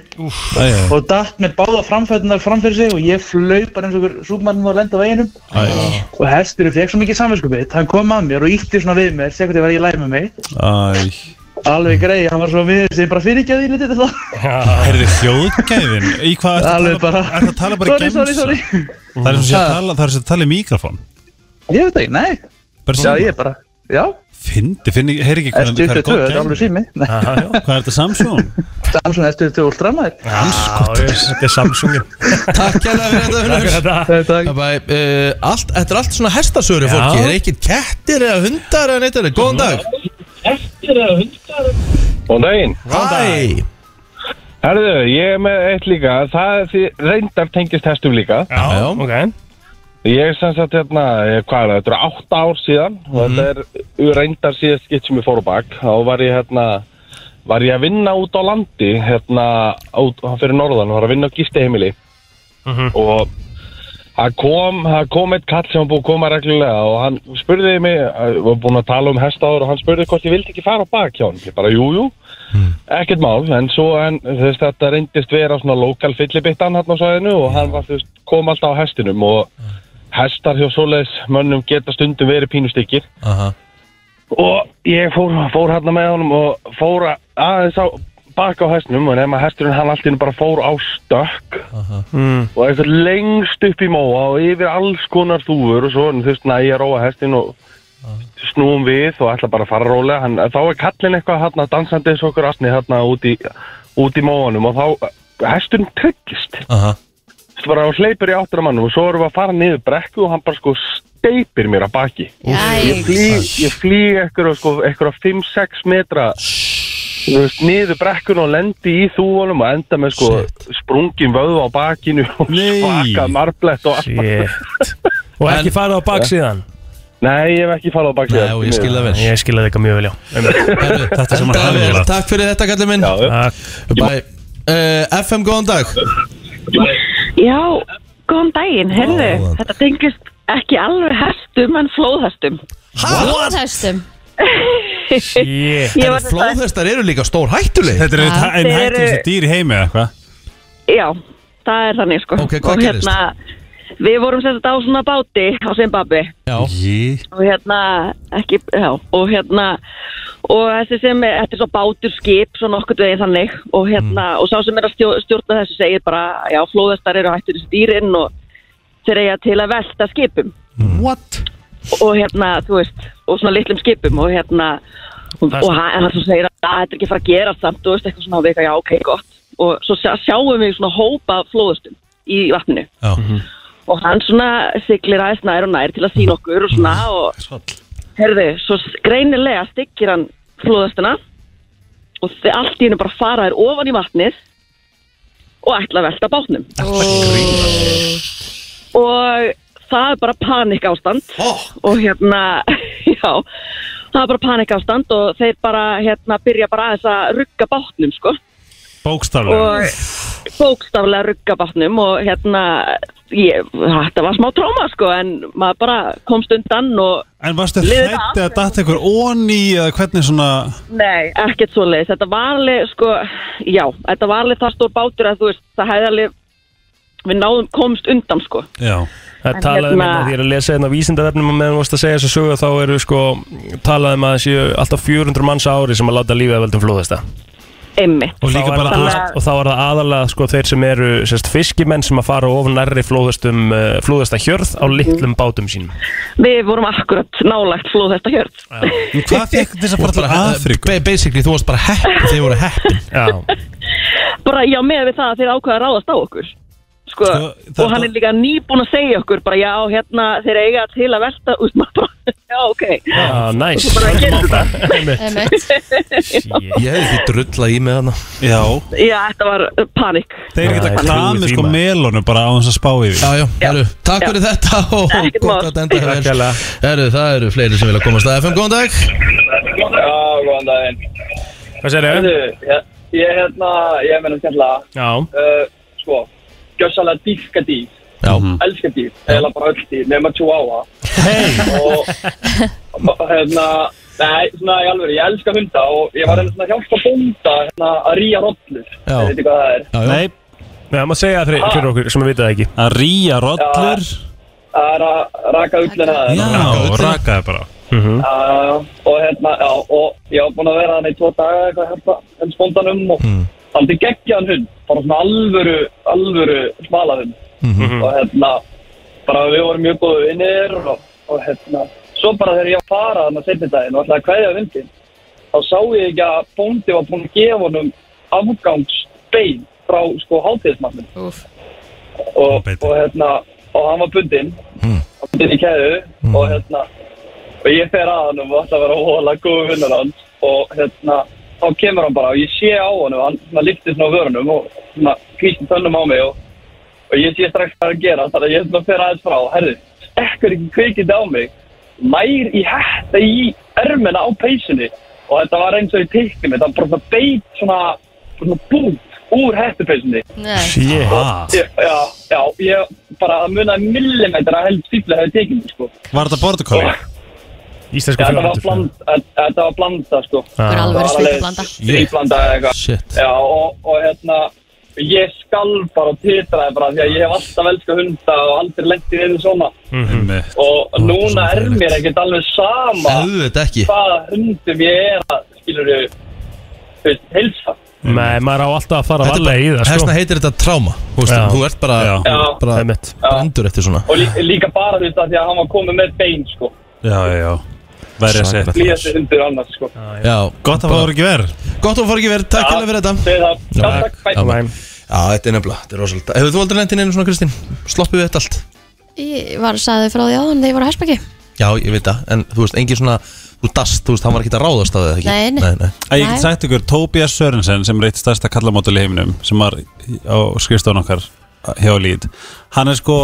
[SPEAKER 5] Æ, já.
[SPEAKER 7] og datt með báða framfætunar framfyrir sig og ég flög bara eins og einhver súpmann og lenda á veginum og hesturinn fekk svo mikið samvinskupið hann kom að mér og ítti svona við mér sé hvernig var ég læg með mig
[SPEAKER 5] Æ, Mm.
[SPEAKER 7] alveg greið, hann var svo miður sem bara fyrirgjaði lítið þetta
[SPEAKER 5] herði þjóðgæðin Í hvað ertu
[SPEAKER 7] alveg
[SPEAKER 5] að tala
[SPEAKER 7] bara
[SPEAKER 5] Er það að tala bara í
[SPEAKER 7] sorry, sorry,
[SPEAKER 5] gemsa?
[SPEAKER 7] sorry
[SPEAKER 5] Það er sem sé að tala, það er sem sé að tala í mikrofón
[SPEAKER 7] ég veit ekki, nei,
[SPEAKER 5] Bara
[SPEAKER 7] já
[SPEAKER 5] síma.
[SPEAKER 7] ég bara já,
[SPEAKER 5] Fyndi, finni, heyri ekki hvað
[SPEAKER 7] S22,
[SPEAKER 5] hvað
[SPEAKER 7] þetta er
[SPEAKER 5] gæmi.
[SPEAKER 7] alveg sími Nei,
[SPEAKER 4] Já, já,
[SPEAKER 5] <laughs> Hvað er þetta Samsung?
[SPEAKER 7] Samsung S22 Ultra maður
[SPEAKER 4] já, ég- þetta er Samsungin
[SPEAKER 2] takk hérna fyrir þetta
[SPEAKER 4] Takk
[SPEAKER 2] Unnur.
[SPEAKER 4] fyrir þetta
[SPEAKER 7] Þetta-
[SPEAKER 2] Bæ, bæ, uh, allt, þetta er allt svona hestasögur
[SPEAKER 4] Já.
[SPEAKER 2] fólki, það er ekkert kettir eða hundar eða neitt eða, góðan dag
[SPEAKER 8] Góðan daginn.
[SPEAKER 2] Hæ,
[SPEAKER 8] Herðu, ég er með eitt líka. Það er því reyndar tengist hestum líka.
[SPEAKER 4] Já,
[SPEAKER 2] Já.
[SPEAKER 4] ok
[SPEAKER 8] Ég er sem sagt hérna, eh, hvað er það, þetta eru átta ár síðan og þetta er reyndar síðast skitt sem ég fór á bak. Þá var ég hérna, var ég að vinna út á landi, hérna, út, fyrir norðan, var að vinna á gistiheimili. Og það kom, það kom eitt kall sem var búið að koma reglulega og hann spurði mig, eh, var búin að tala um hesta áður og hann spurði hvort ég vildi ekki fara á bak hjá hann. Ég bara, jú, jú, ekkert mál, en svo en, þú veist, þetta reyndist vera svona lokal fyllibittan hann á sæðinu og hann var, þú veist, kom alltaf á hestinum og hestar hjá svoleiðis mönnum geta stundum verið pínustykkir
[SPEAKER 2] Aha.
[SPEAKER 8] og ég fór, fór hann með honum og fór að- aðeins á baka á hestinum og nema hesturinn hann allt í einu bara fór á stökk
[SPEAKER 7] Mm.
[SPEAKER 4] Mm.
[SPEAKER 8] og eitthvað lengst upp í móa og yfir alls konar þúfur og svo en þú veist, næ, ég róa hestin og snúum við og ætla bara að fara rólega hann, þá er kallin eitthvað hann að dansandi eins og okkur asni hann út í, út í móanum og þá eh, hesturinn tryggist
[SPEAKER 2] Aha.
[SPEAKER 8] Þú veist, bara og hleypur í áttur að mannum og svo erum við að fara niður brekku og hann bara sko steipir mér að baki ég
[SPEAKER 3] jæks.
[SPEAKER 8] flýg, ég flýg ekkur sko, ekkur á 5-6 metra þú veist, niður brekkun og lendi í þúvunum og enda með sko sprungin vöðu á bakinu og
[SPEAKER 5] Nei.
[SPEAKER 8] svaka marblett og allt
[SPEAKER 4] Shit Og ekki farið á bak síðan
[SPEAKER 8] nei, ég hef ekki farað á baki
[SPEAKER 2] Nei, og ég skil það vel
[SPEAKER 4] Ég skilði þetta mjög vel, já Einmitt.
[SPEAKER 5] Þetta sem hann
[SPEAKER 2] Endaði
[SPEAKER 5] hafði
[SPEAKER 2] vel,
[SPEAKER 5] verið
[SPEAKER 2] Takk fyrir þetta kallið minn
[SPEAKER 8] já,
[SPEAKER 4] Takk.
[SPEAKER 2] Bæ, uh, FM góðan dag
[SPEAKER 9] Já, góðan daginn, herðu,
[SPEAKER 2] Góðan.
[SPEAKER 9] þetta tengist ekki alveg hestum en flóðhestum.
[SPEAKER 3] Flóðhestum
[SPEAKER 4] Shit
[SPEAKER 9] Ég
[SPEAKER 2] En
[SPEAKER 9] var þetta,
[SPEAKER 2] flóðhestar eru líka stór hættuleg
[SPEAKER 5] Þetta er
[SPEAKER 3] Já,
[SPEAKER 5] einn
[SPEAKER 9] þeir eru-
[SPEAKER 5] hættilegstu dýr í heimi eða eitthvað
[SPEAKER 9] <laughs> já, það er þannig sko.
[SPEAKER 2] Ok, hvað
[SPEAKER 9] Og
[SPEAKER 2] gerðist?
[SPEAKER 9] við vorum sem þetta á svona báti á Zimbabwe
[SPEAKER 5] Jé,
[SPEAKER 9] og hérna, ekki, já, og hérna, og þessi sem, er- þetta er svo bátur skip, svo nokkurt veginn þannig, og hérna, og sá sem er að stjó, stjórna þessu segir bara, já, flóðhestar eru hættur þessu dýrin og þeir eiga til að velta skipum.
[SPEAKER 5] what?
[SPEAKER 9] og hérna, þú veist, og svona litlum skipum og hérna og, og hann hann svo segir að "Ah, þetta er ekki að fara að gera samt og veist eitthvað svona og við eitthvað, já ok, gott og svo sjá- sjáum við svona hópa flóðustum í vatninu
[SPEAKER 2] Já.
[SPEAKER 4] Mhm.
[SPEAKER 9] og hann svona siglir aðeins nær og nær til að sína okkur og svona og herðu, svo s- greinilega styggir hann flóðustuna og þe- allt í hennu bara fara þær ofan í vatnið og ætla að velta bátnum og það er bara panik ástand og hérna <laughs> já, það er bara panik ástand og þeir bara hérna byrja bara aðeins að rugga bátnum sko
[SPEAKER 5] Bókstaflega
[SPEAKER 9] og bókstaflega rugga bátnum og hérna ég, þetta var smá tróma sko en maður bara komst undan og
[SPEAKER 5] En varstu
[SPEAKER 9] Liðið
[SPEAKER 5] hrætti að
[SPEAKER 9] af.
[SPEAKER 5] datta ykkur onni eða hvernig svona
[SPEAKER 9] nei, ekkert svo leiðis þetta var alveg sko, já þetta var alveg það stór bátur að þú veist það hefði alveg við náðum komst undan sko
[SPEAKER 5] Já,
[SPEAKER 4] Það
[SPEAKER 9] En
[SPEAKER 4] talaði um
[SPEAKER 9] hérna-
[SPEAKER 4] að því er að lesa hérna á vísindavefnum og meðan þú varst að segja þess að sögu þá eru sko talaði um að það séu alltaf 400 manns á ári sem að láta lífið að veldum flóðasta
[SPEAKER 9] einmitt
[SPEAKER 5] og líka
[SPEAKER 4] Þá er það,
[SPEAKER 5] bara þú
[SPEAKER 9] Þannig
[SPEAKER 5] veist
[SPEAKER 9] að-
[SPEAKER 4] og þá er það aðalega sko þeir sem eru sérst, fiskimenn sem að fara ofan nærri flóðastum uh, flóðasta hjörð á litlum bátum sínum
[SPEAKER 9] við vorum akkurat nálægt flóð þetta hjört
[SPEAKER 5] en Hvað fekk þess að fara til Afríku?
[SPEAKER 2] Ba- Basically, þú varst bara heppin Þið voru heppin
[SPEAKER 4] Já,
[SPEAKER 9] bara já með við það að þeir ákveða að ráðast á okkur sko,
[SPEAKER 5] Sko, það-
[SPEAKER 9] og hann er líka nýbúin að segja okkur bara já hérna þeir eiga til að velta út maður bara <laughs> já ok
[SPEAKER 4] já, næs
[SPEAKER 9] Svo bara gerðu <laughs> þetta.
[SPEAKER 3] Einmitt.
[SPEAKER 4] Shit.
[SPEAKER 2] Ég hefði því drullað í með hana
[SPEAKER 5] Já,
[SPEAKER 9] já þetta var uh, panik
[SPEAKER 5] þeir
[SPEAKER 4] Já,
[SPEAKER 5] geta
[SPEAKER 4] það er
[SPEAKER 5] klamið
[SPEAKER 4] trúið
[SPEAKER 5] sko
[SPEAKER 4] tíma.
[SPEAKER 5] melónu bara á þess að spá yfir
[SPEAKER 2] Já, já, herru, takk fyrir þetta og
[SPEAKER 9] Ekkert
[SPEAKER 2] gott
[SPEAKER 9] mál.
[SPEAKER 2] að enda
[SPEAKER 4] Takk
[SPEAKER 2] hér
[SPEAKER 4] hérlega.
[SPEAKER 2] Herru, það eru fleiri sem vilja komast að FM, góðan dag
[SPEAKER 10] Já, góðan daginn.
[SPEAKER 4] Hvað segir þau?
[SPEAKER 10] Ég, ég hérna, ég meina skemmtilega,
[SPEAKER 4] Já,
[SPEAKER 10] uh, sko, gjössalega dýrka dýr,
[SPEAKER 2] Mm. Já,
[SPEAKER 5] Mhm.
[SPEAKER 10] elska dýr, eða bara öll dýr, nema chihuahua. Hei! Og, og, hérna, nei, svona í alveg, ég elska hunda og ég var hérna svona að hjálpa bónda hérna, að ríja rollur.
[SPEAKER 2] Já.
[SPEAKER 10] Ég veit ekki hvað það er.
[SPEAKER 2] já, já
[SPEAKER 5] Nei,
[SPEAKER 4] það má segja það fyrir- fyrir okkur sem við vitað það ekki
[SPEAKER 5] að ríja rollur
[SPEAKER 10] Það er að raka ullina það.
[SPEAKER 5] Já,
[SPEAKER 2] Raka ullina.
[SPEAKER 5] rakaði bara
[SPEAKER 4] Mhm.
[SPEAKER 10] Já, og hérna, já, og ég var búinn að vera hann í tvo daga eitthvað að hjálpa henn spóndanum og mm. hann til geggjaðan hund, bara svona alvöru, alvöru smala hund
[SPEAKER 6] Mm.
[SPEAKER 4] Mhm.
[SPEAKER 10] og hérna, bara við vorum mjög góðu vinnir og, og hérna, svo bara þegar ég var að fara hann að setja daginn og ætlaði að kveðja hundin, þá sá ég ekki að bóndi var búinn að gefa honum afgangsbein frá sko hátíðismannin
[SPEAKER 3] Úff.
[SPEAKER 10] og,
[SPEAKER 5] Beinti.
[SPEAKER 10] og hérna og hann var bundinn bundinn í keðu og hérna og ég fer að hann og ætla að vera óhóla góðu vinnur hans og hérna þá kemur hann bara og ég sé á hann og hann svona liftir svona á vörunum og svona kvísin tönnum á mig og, og ég sé strax hvað er að gera þannig að ég svona fer aðeins frá herðu, stekkur ekki kvikið á mig nær í hætta í ermina á peysunni og þetta var eins og í teiknum þetta var bara svona beit svona, svona bút úr hættupeysunni
[SPEAKER 3] Nei.
[SPEAKER 4] Shit.
[SPEAKER 5] Ah.
[SPEAKER 10] Ég- Já, já, ég bara að muna millimetra held stífla hefur tekið mig, sko.
[SPEAKER 5] Var þetta borðukóli?
[SPEAKER 2] sko
[SPEAKER 4] Íslensku
[SPEAKER 10] Þetta var,
[SPEAKER 4] fjölhundur
[SPEAKER 10] bland, þetta- þetta var blanda, sko.
[SPEAKER 3] Það er
[SPEAKER 10] Það
[SPEAKER 3] alveg
[SPEAKER 10] var
[SPEAKER 3] sveik blanda
[SPEAKER 10] Stríplanda eða eitthvað.
[SPEAKER 2] Ah. Shit
[SPEAKER 10] Já, og, og hérna, ég skalf bara og titraði bara því að ég hef alltaf elskað hunda og aldrei lent í einu svona.
[SPEAKER 5] Einmitt.
[SPEAKER 10] Og núna
[SPEAKER 5] svona
[SPEAKER 10] er mér ekkert alveg sama
[SPEAKER 2] Auðvitað ekki
[SPEAKER 10] hvaða hundum ég er að, skilur ég, þú veist, heilsa.
[SPEAKER 4] Nei, maður á alltaf að fara
[SPEAKER 2] Þetta er
[SPEAKER 4] varlega í það
[SPEAKER 2] Þessna
[SPEAKER 4] sko
[SPEAKER 2] heitir þetta tráma Þú veist,
[SPEAKER 4] Já. Eh,
[SPEAKER 2] þú ert bara,
[SPEAKER 5] Já.
[SPEAKER 10] Já.
[SPEAKER 2] bara
[SPEAKER 4] Einmitt.
[SPEAKER 2] brendur eftir svona
[SPEAKER 10] Og lí, líka bara þú veist að því að hann var komið með bein, sko.
[SPEAKER 5] Já, já, já Verja
[SPEAKER 2] Sakra.
[SPEAKER 5] sett
[SPEAKER 10] Líðast hundur annars, sko.
[SPEAKER 2] Já,
[SPEAKER 5] Gott að það voru ekki verð
[SPEAKER 2] Gott að þú fór ekki verið, takk
[SPEAKER 10] Já.
[SPEAKER 2] hérna fyrir þetta
[SPEAKER 10] Segðu það. Já,
[SPEAKER 2] Já.
[SPEAKER 10] takk, bæ.
[SPEAKER 2] Já.
[SPEAKER 4] Nei.
[SPEAKER 2] Já, þetta er nefnilega, þetta er rosalega Hefur þú aldrei lent inn einu svona, Kristín? Sloppið við þetta allt?
[SPEAKER 3] Ég var að sagði frá því áðan þegar ég var á Hersbergi
[SPEAKER 2] Já, ég veit það, en þú veist, engin svona Þú dast, þú veist, hann var ekki að ráðast á það, ekki?
[SPEAKER 3] Nei, nei.
[SPEAKER 2] nei,
[SPEAKER 5] Æ, Ég get sagt ykkur, Tobias Sörensen sem er eitt stærsta kallamótul í heiminum sem var á skrifstofan okkar hjá Lít hann er sko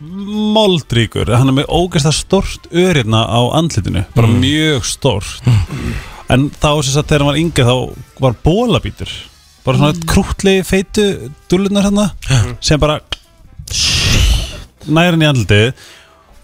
[SPEAKER 5] moldríkur, hann er með ógeðslega stort öryrna á andlitinu bara
[SPEAKER 2] Mm.
[SPEAKER 5] mjög stort en þá sem sagt þegar hann var yngri þá var bólabítur bara svona mm. krútlegi feitu dullunar hann sem bara nærin í andlitið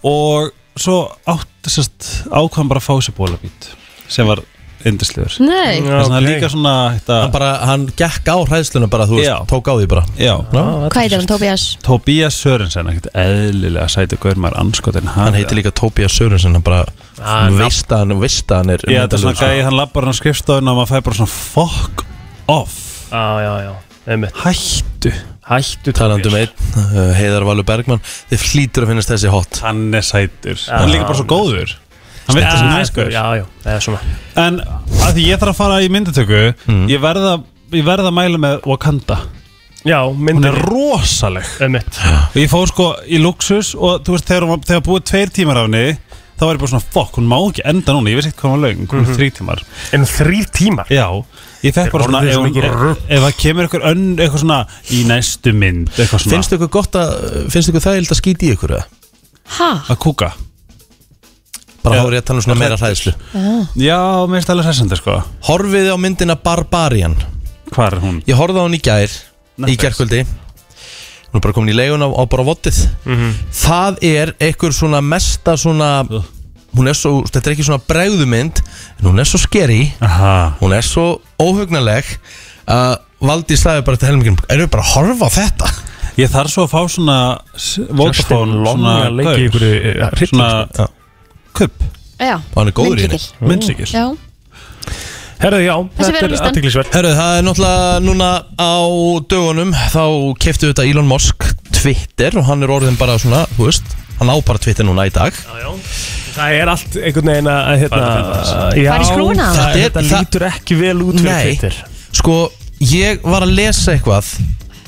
[SPEAKER 5] og svo átt sérst, ákvæm bara að fá sér bólabít sem var yndislegur
[SPEAKER 3] Nei,
[SPEAKER 5] þess að það er
[SPEAKER 4] Ok.
[SPEAKER 5] líka svona þetta,
[SPEAKER 2] Hann bara, hann gekk á hræðsluna bara, þú veist,
[SPEAKER 5] Já.
[SPEAKER 2] tók á því bara
[SPEAKER 5] já,
[SPEAKER 3] hvað heitir hann Tobias?
[SPEAKER 5] Tobias Sörensen ekkert eðlilega sæti gaurmar anskotin
[SPEAKER 2] Hann heitir líka Tobias Sörensen, hann bara
[SPEAKER 4] Ah, nafn.
[SPEAKER 2] veist að hann, veist að hann er
[SPEAKER 5] já, þetta er svona
[SPEAKER 2] myndarlegur,
[SPEAKER 5] gæði, hann labbar hann á skrifstofun og maður fær bara svona fuck off
[SPEAKER 4] Já,
[SPEAKER 2] Ah.
[SPEAKER 4] já, já Einmitt.
[SPEAKER 5] hættu,
[SPEAKER 4] Hættu
[SPEAKER 2] Talandi um einn, uh, Heiðar Valur Bergmann Þið flýtur að finnast þessi hot
[SPEAKER 5] hann er sætur hann er líka bara svo góður hann veit þessi
[SPEAKER 4] Já,
[SPEAKER 5] næskur
[SPEAKER 4] sko, já, já, það er svona
[SPEAKER 5] en að því ég þarf að fara í myndatöku
[SPEAKER 2] Mm.
[SPEAKER 5] ég verða ég verða að mæla með Wakanda
[SPEAKER 4] Já,
[SPEAKER 5] hún
[SPEAKER 4] myndin
[SPEAKER 5] er rosaleg
[SPEAKER 4] Ömmit
[SPEAKER 5] og ég fór sko í luxus og þú veist þegar, hún var- þegar búið tveir tímar af henni þá var ég bara svona fokk, hún má ekki enda núna ég vissi ekkert hvað hún var löng, hún er þrý tímar
[SPEAKER 4] Mhm. En þrýr tímar
[SPEAKER 5] já, ég fekk bara svona
[SPEAKER 4] orðið
[SPEAKER 5] ef,
[SPEAKER 4] svo mikið
[SPEAKER 5] ef,
[SPEAKER 4] rugl.
[SPEAKER 5] ef það kemur eitthvað önn eitthvað svona í næstu mynd eitthvað svona
[SPEAKER 2] Finnst ykkur gott að, finnst ykkur þægild að skýti í ykkur, eða?
[SPEAKER 3] Ha?
[SPEAKER 5] að kúka
[SPEAKER 2] Bara
[SPEAKER 5] Já.
[SPEAKER 2] hárið að tala um svona meira hræðslu
[SPEAKER 5] já, mér finnst það alveg hressandi sko
[SPEAKER 2] Horfiði á myndina Barbarian
[SPEAKER 5] Hvar er hún?
[SPEAKER 2] Ég horfði á hann í gær Í
[SPEAKER 5] Netflix.
[SPEAKER 2] gærkvöldi Hún er bara komin í leiguna á bara vottið
[SPEAKER 5] Mhm.
[SPEAKER 2] Það er einhver svona mesta svona Hún er svo, þetta er ekki svona bregðumynd En hún er svo skeri
[SPEAKER 5] Aha
[SPEAKER 2] Hún er svo óhugnaleg Að Valdi slæði bara til helmingin Erum við bara að horfa á þetta?
[SPEAKER 5] Ég þarf svo að fá svona s- Vodafone
[SPEAKER 4] Long
[SPEAKER 5] svona
[SPEAKER 4] að leiki ykkur
[SPEAKER 5] gaur, Svona
[SPEAKER 2] Já.
[SPEAKER 5] kupp
[SPEAKER 3] Já,
[SPEAKER 2] Og hann er góður í henni Mm.
[SPEAKER 3] myndlíkil.
[SPEAKER 5] Myndsíkil
[SPEAKER 3] Já,
[SPEAKER 4] Herðu, já,
[SPEAKER 3] Þessi fer
[SPEAKER 4] þetta
[SPEAKER 3] á
[SPEAKER 4] er
[SPEAKER 3] listan.
[SPEAKER 4] aðtiklisvert
[SPEAKER 2] Herru, það er náttúrulega núna á dögunum þá keftu þetta Elon Musk Twitter og hann er orðin bara svona, þú veist, hann á bara Twitter núna í dag
[SPEAKER 4] Það er allt einhvern veginn að hérna, já,
[SPEAKER 3] Fara í skrúfuna?
[SPEAKER 4] það-
[SPEAKER 2] Þetta er-
[SPEAKER 4] Þetta
[SPEAKER 2] það-
[SPEAKER 4] lítur ekki vel út fyrir
[SPEAKER 2] Nei.
[SPEAKER 4] Twitter
[SPEAKER 2] Sko, ég var að lesa eitthvað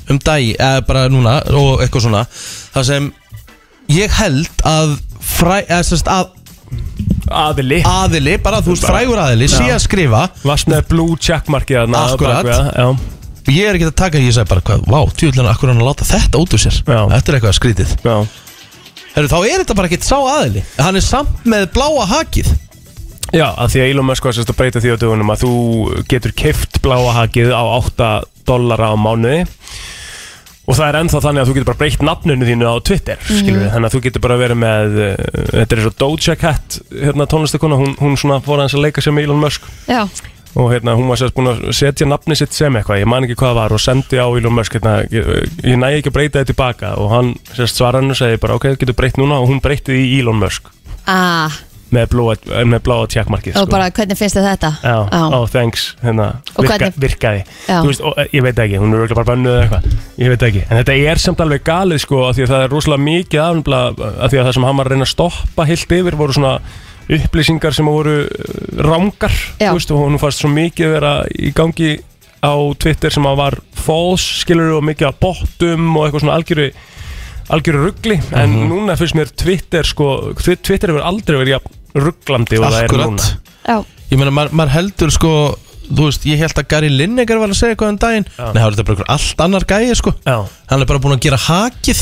[SPEAKER 2] um dag, eða bara núna og eitthvað svona, það sem ég held að fræ, eða sérst að
[SPEAKER 4] Aðili
[SPEAKER 2] aðili, bara þú veist, frægur aðili sé að skrifa,
[SPEAKER 4] Vast með blue checkmarkið þarna að
[SPEAKER 2] Akkurat.
[SPEAKER 4] bakvið Hérna, það, Já
[SPEAKER 2] ég er ekki að taka ég segi bara hvað, vá, tjóðlega, akkur er hann að láta þetta út úr sér,
[SPEAKER 4] Já.
[SPEAKER 2] þetta er eitthvað skrítið
[SPEAKER 4] Já,
[SPEAKER 2] Herru, þá er þetta bara ekkert sá aðili hann er samt með bláa hakið
[SPEAKER 4] já að því að Elon Musk var sérst að breyta því á dögunum að þú getur keift bláa hakið á 8 dollara á mánuði og það er ennþá þannig að þú getur bara breytt nafninu þínu á Twitter mm. þannig að þú getur bara verið með uh, þetta er svo Doja Cat hérna tónlistakona, hún, hún svona fór aðeins að leika sér með Elon Musk
[SPEAKER 3] já,
[SPEAKER 4] og hérna hún var sérst búin að setja nafni sitt sem eitthvað, ég man ekki hvað það var og sendi á Elon Musk, hérna, ég, ég næ ekki að breyta þetta tilbaka og hann sérst svaraði henni og segi bara ok, getur breytt núna og hún breytti því í Elon Musk
[SPEAKER 3] ah,
[SPEAKER 4] með blóa, með sko. blóa tjekkmarkið
[SPEAKER 2] sko.
[SPEAKER 3] og bara hvernig finnst þið þetta?
[SPEAKER 4] Já, oh, thanks hérna,
[SPEAKER 3] Og
[SPEAKER 4] virka,
[SPEAKER 3] hvernig-
[SPEAKER 4] virkaði
[SPEAKER 3] Já.
[SPEAKER 4] Þú veist, og, eh, ég veit ekki, hún er örugglega bara bönnuð eða eitthvað ég veit ekki, en þetta er samt alveg galið sko, af því að það er rosalega mikið afnumla af því að það sem hann var að reyna að stoppa heilt yfir voru svona upplýsingar sem voru eh, rangar
[SPEAKER 3] Já.
[SPEAKER 4] þú veist, og hún fannst svo mikið vera í gangi á Twitter sem að var false, skilur og mikið að bottum og eitthvað svona algjöru algjöru ruggli, en núna finnst mér Twitter sko, Twitter hefur aldrei verið jafn rugglandi og það er núna
[SPEAKER 2] akkurat
[SPEAKER 3] Já,
[SPEAKER 2] ég meina, maður maður heldur sko þú veist, ég held að Gary Lineker var að segja eitthvað um daginn
[SPEAKER 4] Já.
[SPEAKER 2] nei, það var þetta bara einhver allt annar gæi sko
[SPEAKER 4] Já.
[SPEAKER 2] hann er bara búin að gera hakið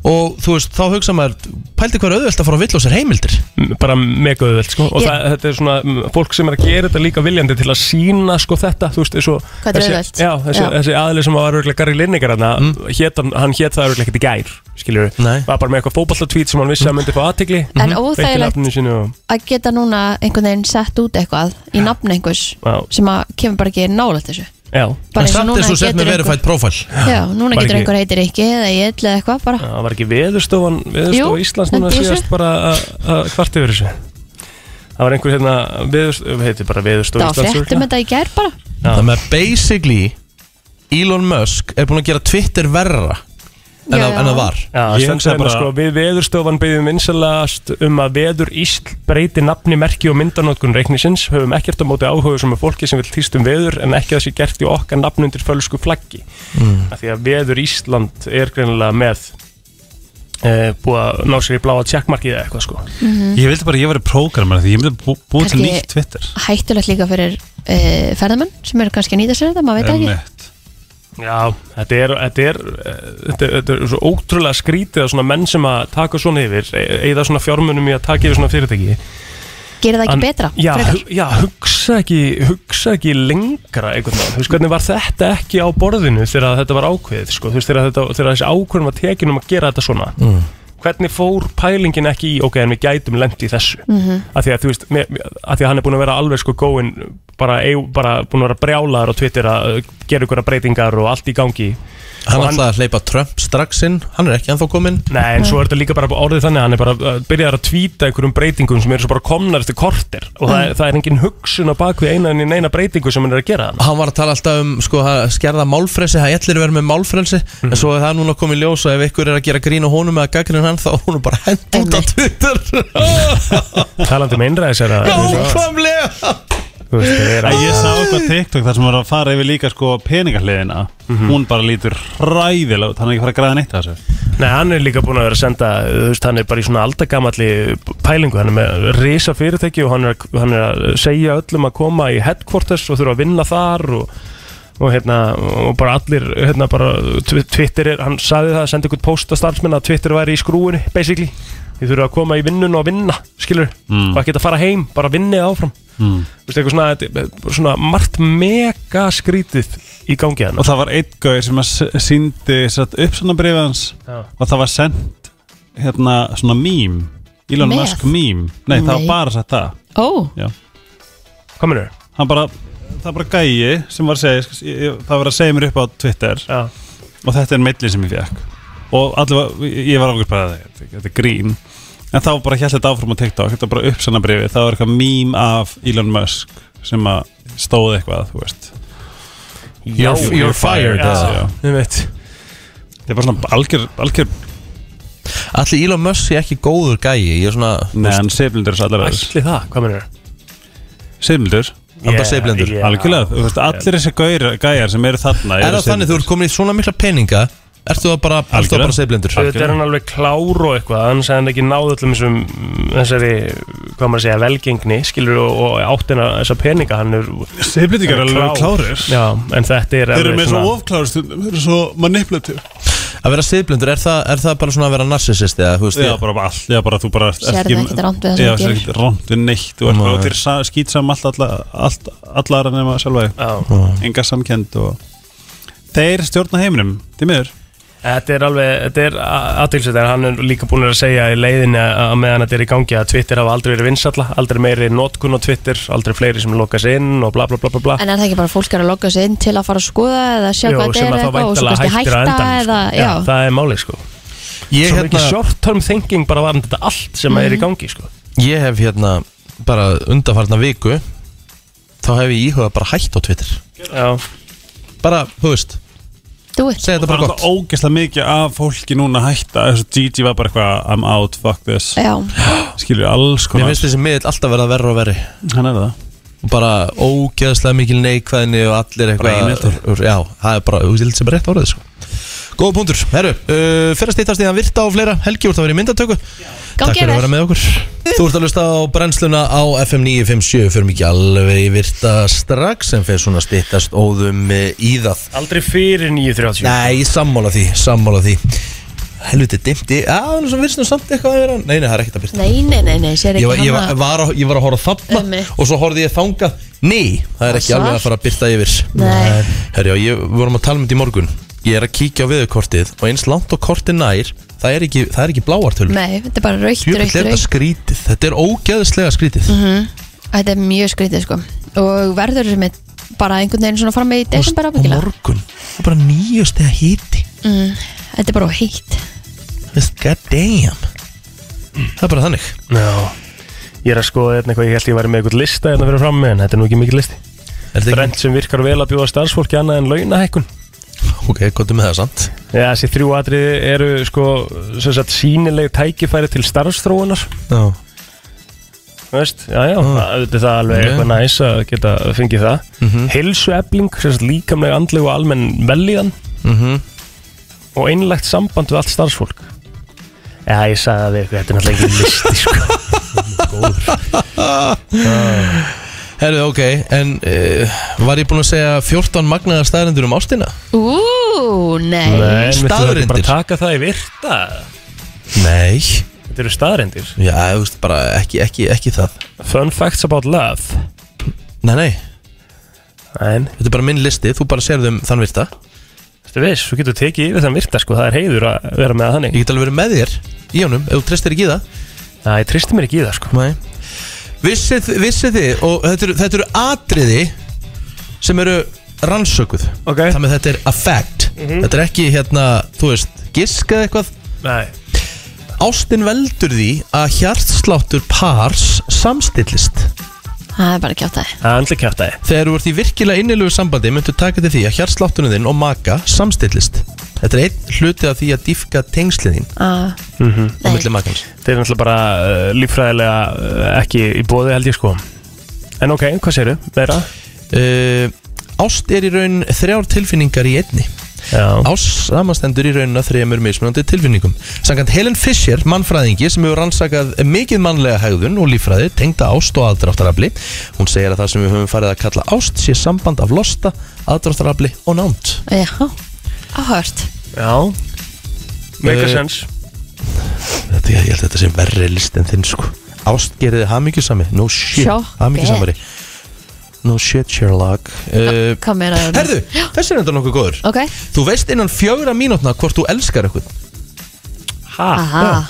[SPEAKER 2] og þú veist, þá hugsa maður pældi hver auðvelt að fara að vill á sér heimildir
[SPEAKER 4] M- bara mega auðvelt sko. og
[SPEAKER 3] Ég-
[SPEAKER 4] það, þetta er svona mm, fólk sem er að gera þetta líka viljandi til að sína sko, þetta þú veist, svo,
[SPEAKER 3] Hvað þetta er auðvelt.
[SPEAKER 4] já, þessi,
[SPEAKER 3] Já.
[SPEAKER 4] þessi aðli sem var örgulega Gary Lineker hana, mm. hét, hann, hann hét það örgulega ekkert í gær skiljur,
[SPEAKER 2] Nei.
[SPEAKER 4] var bara með eitthvað fótballtatvíð sem hann vissi að myndi fá Mhm. aðtigli
[SPEAKER 3] En óþægilegt-
[SPEAKER 4] og,
[SPEAKER 3] að geta núna einhvern veginn sett út eitthvað í nafn einhvers
[SPEAKER 4] Já.
[SPEAKER 3] sem að kemur bara ekki nálægt þessu
[SPEAKER 4] já,
[SPEAKER 3] bara
[SPEAKER 2] en samt er svo sett með
[SPEAKER 3] einhver,
[SPEAKER 2] verified profile
[SPEAKER 3] já, núna
[SPEAKER 4] Bara
[SPEAKER 3] getur
[SPEAKER 4] ekki-
[SPEAKER 3] einhver heitir ekki eða ég eða eitthvað bara
[SPEAKER 4] það var ekki veðurstofan
[SPEAKER 3] Jú,
[SPEAKER 4] veðurstofa Íslands núna
[SPEAKER 3] lendi í þessu.
[SPEAKER 4] síðast bara að- að hvart yfir þessu það var einhver hérna veðurstofa, heitir bara
[SPEAKER 3] það
[SPEAKER 4] veðurstofa
[SPEAKER 3] var fréttum
[SPEAKER 4] Íslands
[SPEAKER 3] þetta í gær bara
[SPEAKER 4] Já.
[SPEAKER 2] þannig að basically Elon Musk er búin að gera Twitter verra en,
[SPEAKER 3] Já.
[SPEAKER 2] að, en að var
[SPEAKER 4] Já,
[SPEAKER 5] Ég
[SPEAKER 4] ég
[SPEAKER 5] hugsa
[SPEAKER 4] hugsaði bara
[SPEAKER 5] bara-
[SPEAKER 4] sko, við veðurstofan byggjum vinsalast um að veður Ísl breyti nafni, merki og myndanótkun reiknisins, höfum ekkert á móti áhuga sem er fólki sem vil týst um veður en ekki að það sé gert í okkar nafn undir fölsku flaggi mm. því að veður Ísland er greinilega með e, búið að ná sér í bláa tjekkmarkið eða eitthvað sko
[SPEAKER 5] Ég vildi bara að ég væri prógramar Því ég myndi bú- búið til
[SPEAKER 3] Mm. Kannski-
[SPEAKER 5] nýtt Twitter
[SPEAKER 3] hættulegt líka fyrir uh, ferðamenn sem eru kannski að nýta sér þetta, maður veit það ekki
[SPEAKER 5] Einmitt.
[SPEAKER 4] Já, þetta er, þetta er, eh, þetta er, þetta er svo ótrúlega skrítið að svona menn sem að taka svona yfir, eða svona fjármunum í að taka yfir svona fyrirtæki
[SPEAKER 3] gerir það ekki
[SPEAKER 4] An-
[SPEAKER 3] betra,
[SPEAKER 4] já,
[SPEAKER 3] frekar.
[SPEAKER 4] hu- já, hugsa ekki, hugsa ekki lengra einhvern veginn, þú veist hvernig var þetta ekki á borðinu þegar þetta var ákveðið sko, þú veist þegar, þetta, þegar þessi ákveðin var tekin um að gera þetta svona hvernig fór pælingin ekki í ok, en við gætum lendi í þessu mm -hmm. að því að þú veist, mér, mér- að því að hann er búin að vera alveg sko góin, bara, eig- bara búin að vera brjálaður á Twitter að uh, gera ykkur breytingar og allt í gangi
[SPEAKER 2] hann
[SPEAKER 4] Og
[SPEAKER 2] ætlaði að hleypa Trump strax inn hann er ekki ennþá kominn
[SPEAKER 4] Nei, en svo er þetta líka bara orðið þannig að hann er bara uh, byrjaður að tvíta einhverjum breytingum sem eru svo bara komnar eftir korter og það, er, það er engin hugsun á bakvið eina en eina breytingu sem hann er að gera þannig
[SPEAKER 2] hann var að tala alltaf um sko, að skerða málfrelsi, það ætlir að vera með málfrelsi
[SPEAKER 5] Mhm.
[SPEAKER 2] en svo er það núna komið í ljós og ef ykkur er að gera grín og honum eða gaggrinn hann þá er hún bara hend út á
[SPEAKER 3] Einmitt.
[SPEAKER 2] Twitter
[SPEAKER 4] Talandi um einræðis er að
[SPEAKER 2] Nákvæmlega
[SPEAKER 4] þú veist, það er
[SPEAKER 5] Æ,
[SPEAKER 4] að
[SPEAKER 5] Ég sá
[SPEAKER 2] Ah.
[SPEAKER 5] eitthvað TikTok þar sem var að fara yfir líka sko peningahliðina
[SPEAKER 4] Mhm.
[SPEAKER 5] Hún bara lítur ræðilega Þannig að ég fara að græða neitt að þessu
[SPEAKER 4] Nei, hann er líka búin að vera að senda þú veist, hann er bara í svona aldagamalli pælingu hann er með risa fyrirtæki og hann er, að- hann er að segja öllum að koma í headquarters og þurfa að vinna þar og, og hérna, og bara allir hérna bara, Tw- Twitter er, hann sagði það, sendi ykkur post að starfsmenn að Twitter væri í skrúinu, basically Þið þurfa að koma í vinnun og vinna, skilur mm. og að geta að fara heim, bara vinnið áfram mm. Vistu, eitthvað svona, þetta er svona margt mega skrítið í gangi hérna. hann
[SPEAKER 5] Og það var einn gauðir sem að síndi upp svona breyfið hans
[SPEAKER 4] Já.
[SPEAKER 5] og það var sendt hérna svona mím Elon
[SPEAKER 3] Með?
[SPEAKER 5] Musk mím Nei, það var
[SPEAKER 3] Nei.
[SPEAKER 5] bara sett það
[SPEAKER 3] Ó,
[SPEAKER 4] Hvað minnur?
[SPEAKER 5] Hann bara, það var bara gæi sem var að segja sko, ég- ég- það var að segja mér upp á Twitter
[SPEAKER 4] Já,
[SPEAKER 5] og þetta er meillin sem ég fekk og allir var, ég var ákveð bara þetta, þetta er grín en þá bara held þetta áfram á TikTok þetta var bara uppsanna breyfið, það var eitthvað mím af Elon Musk sem að stóð eitthvað, þú veist
[SPEAKER 4] já
[SPEAKER 2] You're- you're fired, eða?
[SPEAKER 4] Já, við veit
[SPEAKER 5] þetta er bara svona algjör, algjör
[SPEAKER 2] Allir Elon Musk er ekki góður gæi Ég er svona
[SPEAKER 5] neðan seflindur svo allir aðeins
[SPEAKER 4] Ætli það, hvað minnur?
[SPEAKER 5] seflindur,
[SPEAKER 2] Hann bara seifblindur.
[SPEAKER 5] algjörlega þú veist, allir þessi gauðir, gæjar sem eru þarna
[SPEAKER 2] Er
[SPEAKER 5] eru
[SPEAKER 2] það þannig þú ert komin í svona mikla peninga Ertu það bara, ertu það
[SPEAKER 5] Algjörlega.
[SPEAKER 2] bara seifblindur
[SPEAKER 4] Þetta er hann alveg klár og eitthvað annars hefði hann ekki náð öllum þessum þessari, hvað maður að segja, velgengni skilur og, og áttina þessa peninga hann er
[SPEAKER 5] seflindur
[SPEAKER 4] hann
[SPEAKER 5] eru
[SPEAKER 4] er
[SPEAKER 5] alveg klárir
[SPEAKER 4] Já, en þetta er
[SPEAKER 5] þeir eru
[SPEAKER 4] alveg
[SPEAKER 5] með svo ofklárir stundum, þeir eru svo manipulativ
[SPEAKER 2] Að vera seifblindur, er, það- er það bara svona að vera narsissist eða, þú veist
[SPEAKER 5] Já, bara allt, já, bara þú bara ert
[SPEAKER 3] Sérð ekkert rangt við það sem
[SPEAKER 5] Já,
[SPEAKER 3] þú
[SPEAKER 5] sérð
[SPEAKER 3] gerir.
[SPEAKER 5] ekkert rámt við neitt Þú ert
[SPEAKER 2] Nei.
[SPEAKER 5] bara út í skýt saman allt, alla, allt allara nema sjálfa þig.
[SPEAKER 4] Já,
[SPEAKER 5] Enga samkend og Þeir stjórna heiminum, því miður
[SPEAKER 4] þetta er alveg, þetta er aðtilsett en hann er líka búin að segja í leiðinni að að meðan þetta er í gangi að Twitter hafa aldrei verið vinsalla, aldrei meiri notkun á Twitter, aldrei fleiri sem loka sig inn og bla bla bla bla bla
[SPEAKER 3] en er það ekki bara fólk er að logga sig inn til að fara að skoða eða sjá
[SPEAKER 4] Jú,
[SPEAKER 3] hvað þetta
[SPEAKER 4] sem
[SPEAKER 3] er
[SPEAKER 4] að þá
[SPEAKER 3] eitthvað og svo
[SPEAKER 4] væntanlega
[SPEAKER 3] kannski
[SPEAKER 4] hættir á
[SPEAKER 3] hætta
[SPEAKER 4] endanum,
[SPEAKER 3] eða,
[SPEAKER 4] sko.
[SPEAKER 3] já,
[SPEAKER 4] það er málið sko
[SPEAKER 2] Ég,
[SPEAKER 4] Svo mikið
[SPEAKER 2] hérna,
[SPEAKER 4] short term thinking bara varðan þetta allt sem er
[SPEAKER 3] Mhm.
[SPEAKER 4] í gangi sko
[SPEAKER 2] ég hef hérna bara undanfarna viku Þá hef ég íhugað bara hætt á Twitter
[SPEAKER 4] Já,
[SPEAKER 2] Bara, þú veist,
[SPEAKER 3] þú veit
[SPEAKER 2] segja þetta
[SPEAKER 5] Það er
[SPEAKER 2] bara gott
[SPEAKER 5] alltaf ógeðslega mikið af fólki núna að hætta Þessu Gigi var bara eitthvað I'm out, fuck this
[SPEAKER 3] Já,
[SPEAKER 5] Skilur alls
[SPEAKER 2] Mér
[SPEAKER 5] konar
[SPEAKER 2] finnst þessi miðl alltaf verða verra og verri
[SPEAKER 5] Hann er það
[SPEAKER 2] og bara ógeðslega mikil neikvæðinni og allir
[SPEAKER 5] Bara
[SPEAKER 2] eitthvað
[SPEAKER 5] eineltur.
[SPEAKER 2] Já, það er bara, þú veist sem er rétt orðið sko. Góða punktur, herru uh, Fyrir að stýttast í þann virta og fleira Helgi úr það verið í myndatöku Takk
[SPEAKER 3] gangi
[SPEAKER 2] fyrir að
[SPEAKER 3] yfir
[SPEAKER 2] vera með okkur Þú ert að lusta á brennsluna á FM 957 Fyrir mikið alveg í virta strax En fyrir svona stýttast óðum eh, í það
[SPEAKER 4] aldrei fyrir 9.30
[SPEAKER 2] Nei, sammála því, sammála því Helviti dimti, já, það er nú svo virst nú samt eitthvað að vera Nei, nei, það er ekkert að byrta
[SPEAKER 3] Nei, nei, nei, nei, sér
[SPEAKER 2] Ég
[SPEAKER 3] ekki
[SPEAKER 2] var, ég, var,
[SPEAKER 3] hana
[SPEAKER 2] var, að- ég var að horfa þarna
[SPEAKER 3] Einmitt.
[SPEAKER 2] og svo horfði ég þangað Nei, það er ekki
[SPEAKER 3] Það er
[SPEAKER 2] alveg að fara að byrta yfir
[SPEAKER 3] Nei.
[SPEAKER 2] Herjá, ég við vorum að tala um þetta í morgun Ég er að kíkja á viðurkortið og eins langt og kortið nær Það er ekki, það er ekki bláartölu
[SPEAKER 3] Nei, þetta er bara raukt,
[SPEAKER 2] Jöfnvel
[SPEAKER 3] raukt,
[SPEAKER 2] er þetta
[SPEAKER 3] raukt
[SPEAKER 2] skrítið, þetta er ógeðslega skrítið
[SPEAKER 3] Mhm.
[SPEAKER 2] mm -hmm.
[SPEAKER 3] Þetta er mjög skrítið sko og verður sem er bara einhvern veginn svona fram í desember
[SPEAKER 2] Og
[SPEAKER 3] ábyggilega
[SPEAKER 2] morgun, það er bara nýjast eða híti
[SPEAKER 3] mm, Þetta er bara heitt
[SPEAKER 2] God damn Það er bara þannig
[SPEAKER 4] Já, ég er að skoða hérna eitthvað, ég held ég væri með eitthvað lista hérna fyrir frammi en þetta er nú ekki mikið listi
[SPEAKER 2] Er þetta
[SPEAKER 4] Brent sem virkar vel að bjóða starfsfólki annað en launahækkun
[SPEAKER 2] ekki, ok, gott með það samt
[SPEAKER 4] Já, þessi þrjú atriði eru sko sem sagt sínileg tækifæri til starfsþróunar
[SPEAKER 2] Já,
[SPEAKER 4] Þú veist, já, já, það auðvitað er það alveg
[SPEAKER 2] Mm. Ok. Mhm.
[SPEAKER 4] eitthvað næs að geta fengið það mm -hmm. Hilsuefling, sem sagt líkamlega andleg og almenn velíðan
[SPEAKER 2] Mhm.
[SPEAKER 4] og einlægt samband við allt starfsfólk Já, ég sagði það við ykkur, þetta er náttúrulega ekki listi sko
[SPEAKER 2] <laughs>
[SPEAKER 4] <laughs>
[SPEAKER 2] herðu, ok En uh, var ég búinn að segja 14 magnaðar staðrendur um ástina?
[SPEAKER 3] Ú, nei,
[SPEAKER 4] Nei, viltu þú ekki bara
[SPEAKER 2] Staðreyndir.
[SPEAKER 4] taka það í virta
[SPEAKER 2] Nei,
[SPEAKER 4] Þetta eru staðrindir
[SPEAKER 2] já, þú veist, bara ekki, ekki, ekki það
[SPEAKER 4] Fun facts about love
[SPEAKER 2] Nei, nei,
[SPEAKER 4] En,
[SPEAKER 2] þetta er bara minn listi, þú bara sérðu um þann virta
[SPEAKER 4] þetta veist, þú getur tekið yfir þann virta sko, það er heiður að vera með hann
[SPEAKER 2] Ég get alveg verið með þér í honum ef þú tristir ekki í það
[SPEAKER 4] Það, ég tristi mér ekki í það sko
[SPEAKER 2] Nei Vissið, vissið þið og þetta eru, þetta eru atriði sem eru rannsökuð
[SPEAKER 4] Ok. Mhm.
[SPEAKER 2] Þannig að þetta er a fact Þetta er ekki hérna, þú veist, giskað eitthvað
[SPEAKER 4] Nei
[SPEAKER 2] Ástin veldur því að hjartsláttur pars samstillist
[SPEAKER 3] það er bara ekki átt að
[SPEAKER 4] Það er andli kjátt aðeins
[SPEAKER 2] Þegar þú ert í virkilega innilegu sambandi myndu taka til því að hjartsláttunum þinn og maka samstillist Þetta er einn hluti af því að dýfka tengslið þín
[SPEAKER 3] Ah,
[SPEAKER 4] Mhm.
[SPEAKER 2] á milli
[SPEAKER 3] Nei,
[SPEAKER 2] makans
[SPEAKER 4] Þetta er náttúrulega bara uh, líffræðilega uh, ekki í bóði held ég sko En ok, hvað séru? Meira?
[SPEAKER 2] uh, Ást er í raun þrjár tilfinningar í einni
[SPEAKER 4] Já,
[SPEAKER 2] Ást samastendur í raunina þremur mismunandi tilfinningum Sankant Helen Fisher, mannfræðingi sem hefur rannsakað mikið mannlega hegðun og líffræði tengda ást og aðdráttarafli Hún segir að það sem við höfum farið að kalla ást sé samband af losta, aðdráttarafli og nánd
[SPEAKER 3] já, áhört
[SPEAKER 4] já Make a
[SPEAKER 2] Eh,
[SPEAKER 4] sense
[SPEAKER 2] Þetta, ég held að þetta sem verri list en þinn sko Ást geriði hamingjusami No shit,
[SPEAKER 3] Sjokk er.
[SPEAKER 2] hamingjusamari No shit, Sherlock uh,
[SPEAKER 3] Hvað meina það?
[SPEAKER 2] Herðu, þessi er enda nokkuð góður
[SPEAKER 3] Ok,
[SPEAKER 2] Þú veist innan fjögra mínútna hvort þú elskar eitthvað
[SPEAKER 3] aha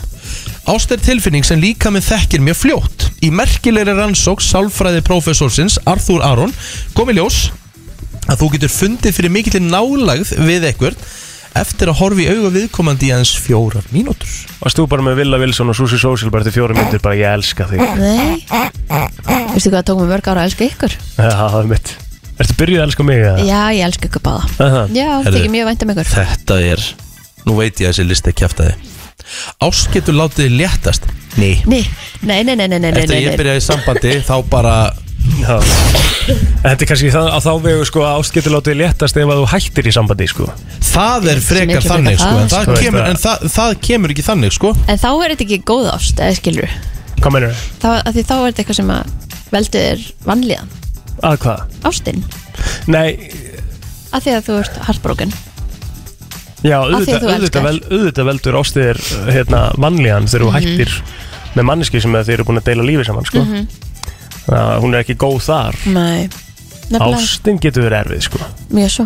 [SPEAKER 2] Ást er tilfinning sem líka með þekkir mjög fljótt Í merkilegri rannsók sálfræði prófessorsins Arthur Aron kom í ljós að þú getur fundið fyrir mikill nálagð við eitthvað eftir að horfi í auga viðkomandi í aðeins fjórar mínútur
[SPEAKER 4] Varst þú bara með Villa Wilson og Susi Social bara til fjóra myndir, bara ég elska þig
[SPEAKER 3] Nei Veistu hvað tók mér mörg ára að elska ykkur?
[SPEAKER 4] Já, það er mitt Ertu byrjuð að elska mig? eða?
[SPEAKER 3] Já, ég elska ykkur báða
[SPEAKER 4] Aha.
[SPEAKER 3] Já,
[SPEAKER 2] Herðu.
[SPEAKER 3] þykir mjög vænt um ykkur
[SPEAKER 2] Þetta er, nú veit ég að þessi listi kjæftaði Ást getur látið þig léttast Nei
[SPEAKER 3] Nei, nei, nei, nei, nei, nei, nei,
[SPEAKER 2] Eftir að
[SPEAKER 3] nei,
[SPEAKER 2] ég
[SPEAKER 3] nei.
[SPEAKER 2] byrjaði í sambandi þá bara
[SPEAKER 4] Já Þetta er kannski það, að þá vegu sko að ást getur látið léttast ef að þú hættir í sambandi sko
[SPEAKER 2] Það er frekar
[SPEAKER 3] miklu
[SPEAKER 2] þannig
[SPEAKER 3] frekar
[SPEAKER 2] sko, en,
[SPEAKER 3] það,
[SPEAKER 2] það
[SPEAKER 4] sko.
[SPEAKER 2] kemur, en það, það kemur ekki þannig sko
[SPEAKER 3] En þá er þetta ekki góð ást, eða skilur
[SPEAKER 4] Hvað mennur þau?
[SPEAKER 3] þá, að Því þá er þetta eitthvað sem að veldu þér vanlíðan
[SPEAKER 4] Að hvað?
[SPEAKER 3] Ástin,
[SPEAKER 4] Nei,
[SPEAKER 3] af því að þú ert hartbrókin
[SPEAKER 4] já,
[SPEAKER 3] Af því að
[SPEAKER 4] auðvitað,
[SPEAKER 3] þú elskar.
[SPEAKER 4] auðvitað, vel, auðvitað veldur ástiðir hérna vanlíðan þegar
[SPEAKER 3] Mhm.
[SPEAKER 4] þú hættir með manneski sem þeir eru búin að deila lífi saman sko
[SPEAKER 3] Mhm.
[SPEAKER 4] mm Hún er ekki góð þar
[SPEAKER 3] Nei, nefnilega,
[SPEAKER 4] Ástin getur verið erfið sko
[SPEAKER 3] mjög svo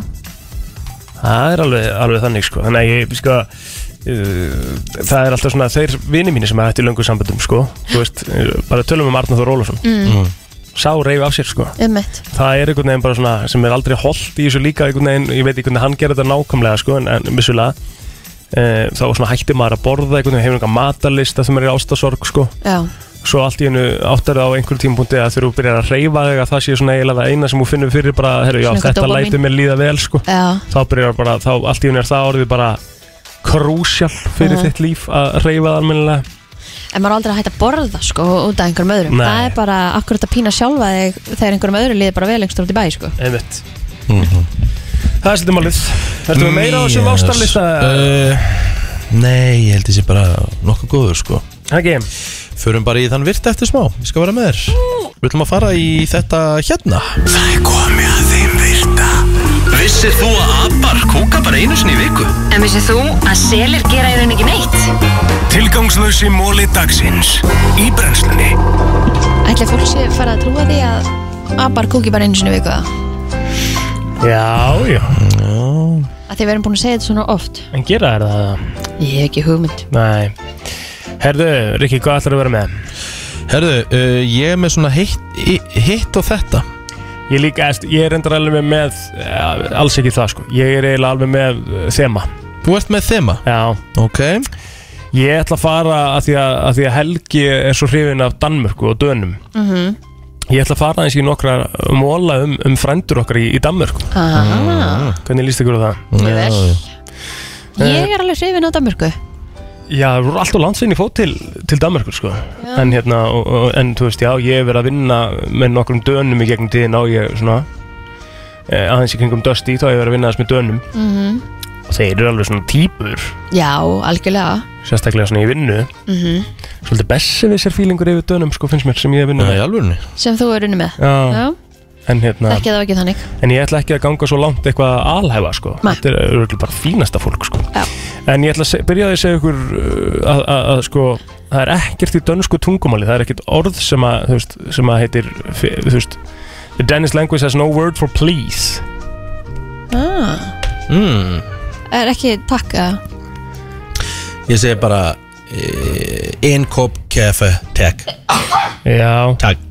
[SPEAKER 4] Það er alveg, alveg þannig sko Þannig að ég sko uh, Það er alltaf svona þeir vini mínir sem er hætti löngu sambandum sko Þú veist, uh, bara tölum um Arnar Þór Ólafsson mm. Sá reyfi af sér sko
[SPEAKER 3] Ummitt,
[SPEAKER 4] Það er einhvern veginn bara svona sem er aldrei holdt í þessu líka einhvern veginn, ég veit ekki hvernig hann gerir þetta nákvæmlega sko en, en vissulega uh, þá svona hætti maður að borða einhvern veginn hefur einhvern matarlista sem er í ástasorg sko
[SPEAKER 3] já,
[SPEAKER 4] svo allt í hennu áttar á einhverjum tímpunkti að þegar þú byrjar að reyfa þig að það sé svona eiginlega það eina sem þú finnur fyrir bara, herru, já,
[SPEAKER 3] Svona eitthvað
[SPEAKER 4] þetta
[SPEAKER 3] dópamín.
[SPEAKER 4] lætur mér líða vel sko
[SPEAKER 3] já,
[SPEAKER 4] þá byrjar bara, þá allt í hún er það orðið bara krúsjál fyrir þitt líf að reyfa það almennilega
[SPEAKER 3] en maður er aldrei að hætta að borða sko út af einhverjum öðrum
[SPEAKER 4] Nei.
[SPEAKER 3] það er bara akkurat að pína sjálfa þig þegar einhverjum öðrum liði bara vel einhverjum út í bæ sko.
[SPEAKER 4] einmitt Það er svolítið málið Ertu með meira á þessum
[SPEAKER 2] Mhm. Yes.
[SPEAKER 4] ástarlista?
[SPEAKER 2] Uh, Nei, ég held þessi bara nokkuð góður sko
[SPEAKER 4] Ekki,
[SPEAKER 2] Förum bara í þann virt eftir smá, ég skal vera með þér Við ætlum að fara í þetta hérna
[SPEAKER 1] Það er komið að þeim virta Vissir þú að abar kúka bara einu sinni í viku?
[SPEAKER 11] En vissið þú að selir gera í rauninni ekki neitt?
[SPEAKER 1] Tilgangslösi móli dagsins Í brennslunni
[SPEAKER 3] ætli fólk sé að fara að trúa því að abar kúki bara einu sinni í viku það
[SPEAKER 4] já, já
[SPEAKER 3] að því við erum búin að segja þetta svona oft
[SPEAKER 4] En gera þær það?
[SPEAKER 3] ég hef ekki hugmynd
[SPEAKER 4] Nei Herðu, Rikki, hvað ætlar að vera með?
[SPEAKER 2] Herðu, uh, ég er með svona hitt, í- hitt og þetta
[SPEAKER 4] Ég líka, eftir, ég er endur alveg með, með eh, alls ekki það sko Ég er eiginlega alveg með eh, þema
[SPEAKER 2] Þú ert með þema,
[SPEAKER 4] Já,
[SPEAKER 2] ok
[SPEAKER 4] Ég ætla að fara að því að, að, því að Helgi er svo hrifin af Danmörku og Dönum Ég ætla að fara aðeins í nokkra móla um, um frændur okkar í, í Danmörku
[SPEAKER 3] ah,
[SPEAKER 4] Hvernig líst ykkur á það?
[SPEAKER 3] mjög vel
[SPEAKER 4] Eh.
[SPEAKER 3] ég er alveg hrifin á Danmörku
[SPEAKER 4] Já, það voru alltaf langt sinni fót til, til Danmörku sko En hérna, og, og, en þú veist, já, ég hef verið að vinna með nokkrum Dönum í gegnum tíðin á ég svona eh, aðeins í kringum Dusty, þá hef ég verið að vinna aðeins með Dönum
[SPEAKER 3] Mhm.
[SPEAKER 4] Og þeir eru alveg svona típur,
[SPEAKER 3] já, algjörlega
[SPEAKER 4] sérstaklega svona í vinnu
[SPEAKER 3] mm
[SPEAKER 4] Svolítið bessi við sér fílingur yfir Dönum sko, finnst mér, sem ég hef vinna
[SPEAKER 2] Nei, alveg
[SPEAKER 3] sem þú er unni með
[SPEAKER 4] Já,
[SPEAKER 3] já,
[SPEAKER 4] en hérna
[SPEAKER 3] ekki það var ekki þannig
[SPEAKER 4] En ég ætla ekki að ganga svo langt eitthvað að alhæfa sko.
[SPEAKER 3] Nei.
[SPEAKER 4] Þetta er örugglega bara fínasta fólk sko.
[SPEAKER 3] Já.
[SPEAKER 4] En ég ætla að se- byrja á því að segja ykkur uh, að, að, að sko, það er ekkert í dönsku tungumáli Það er ekkert orð sem að, þú veist, sem að heitir fi- þú veist, The Danish language has no word for please
[SPEAKER 3] ah,
[SPEAKER 2] mm.
[SPEAKER 3] er ekki takk að
[SPEAKER 2] Ég segi bara eh, Ein kopp kaffe, takk
[SPEAKER 4] Já,
[SPEAKER 2] Takk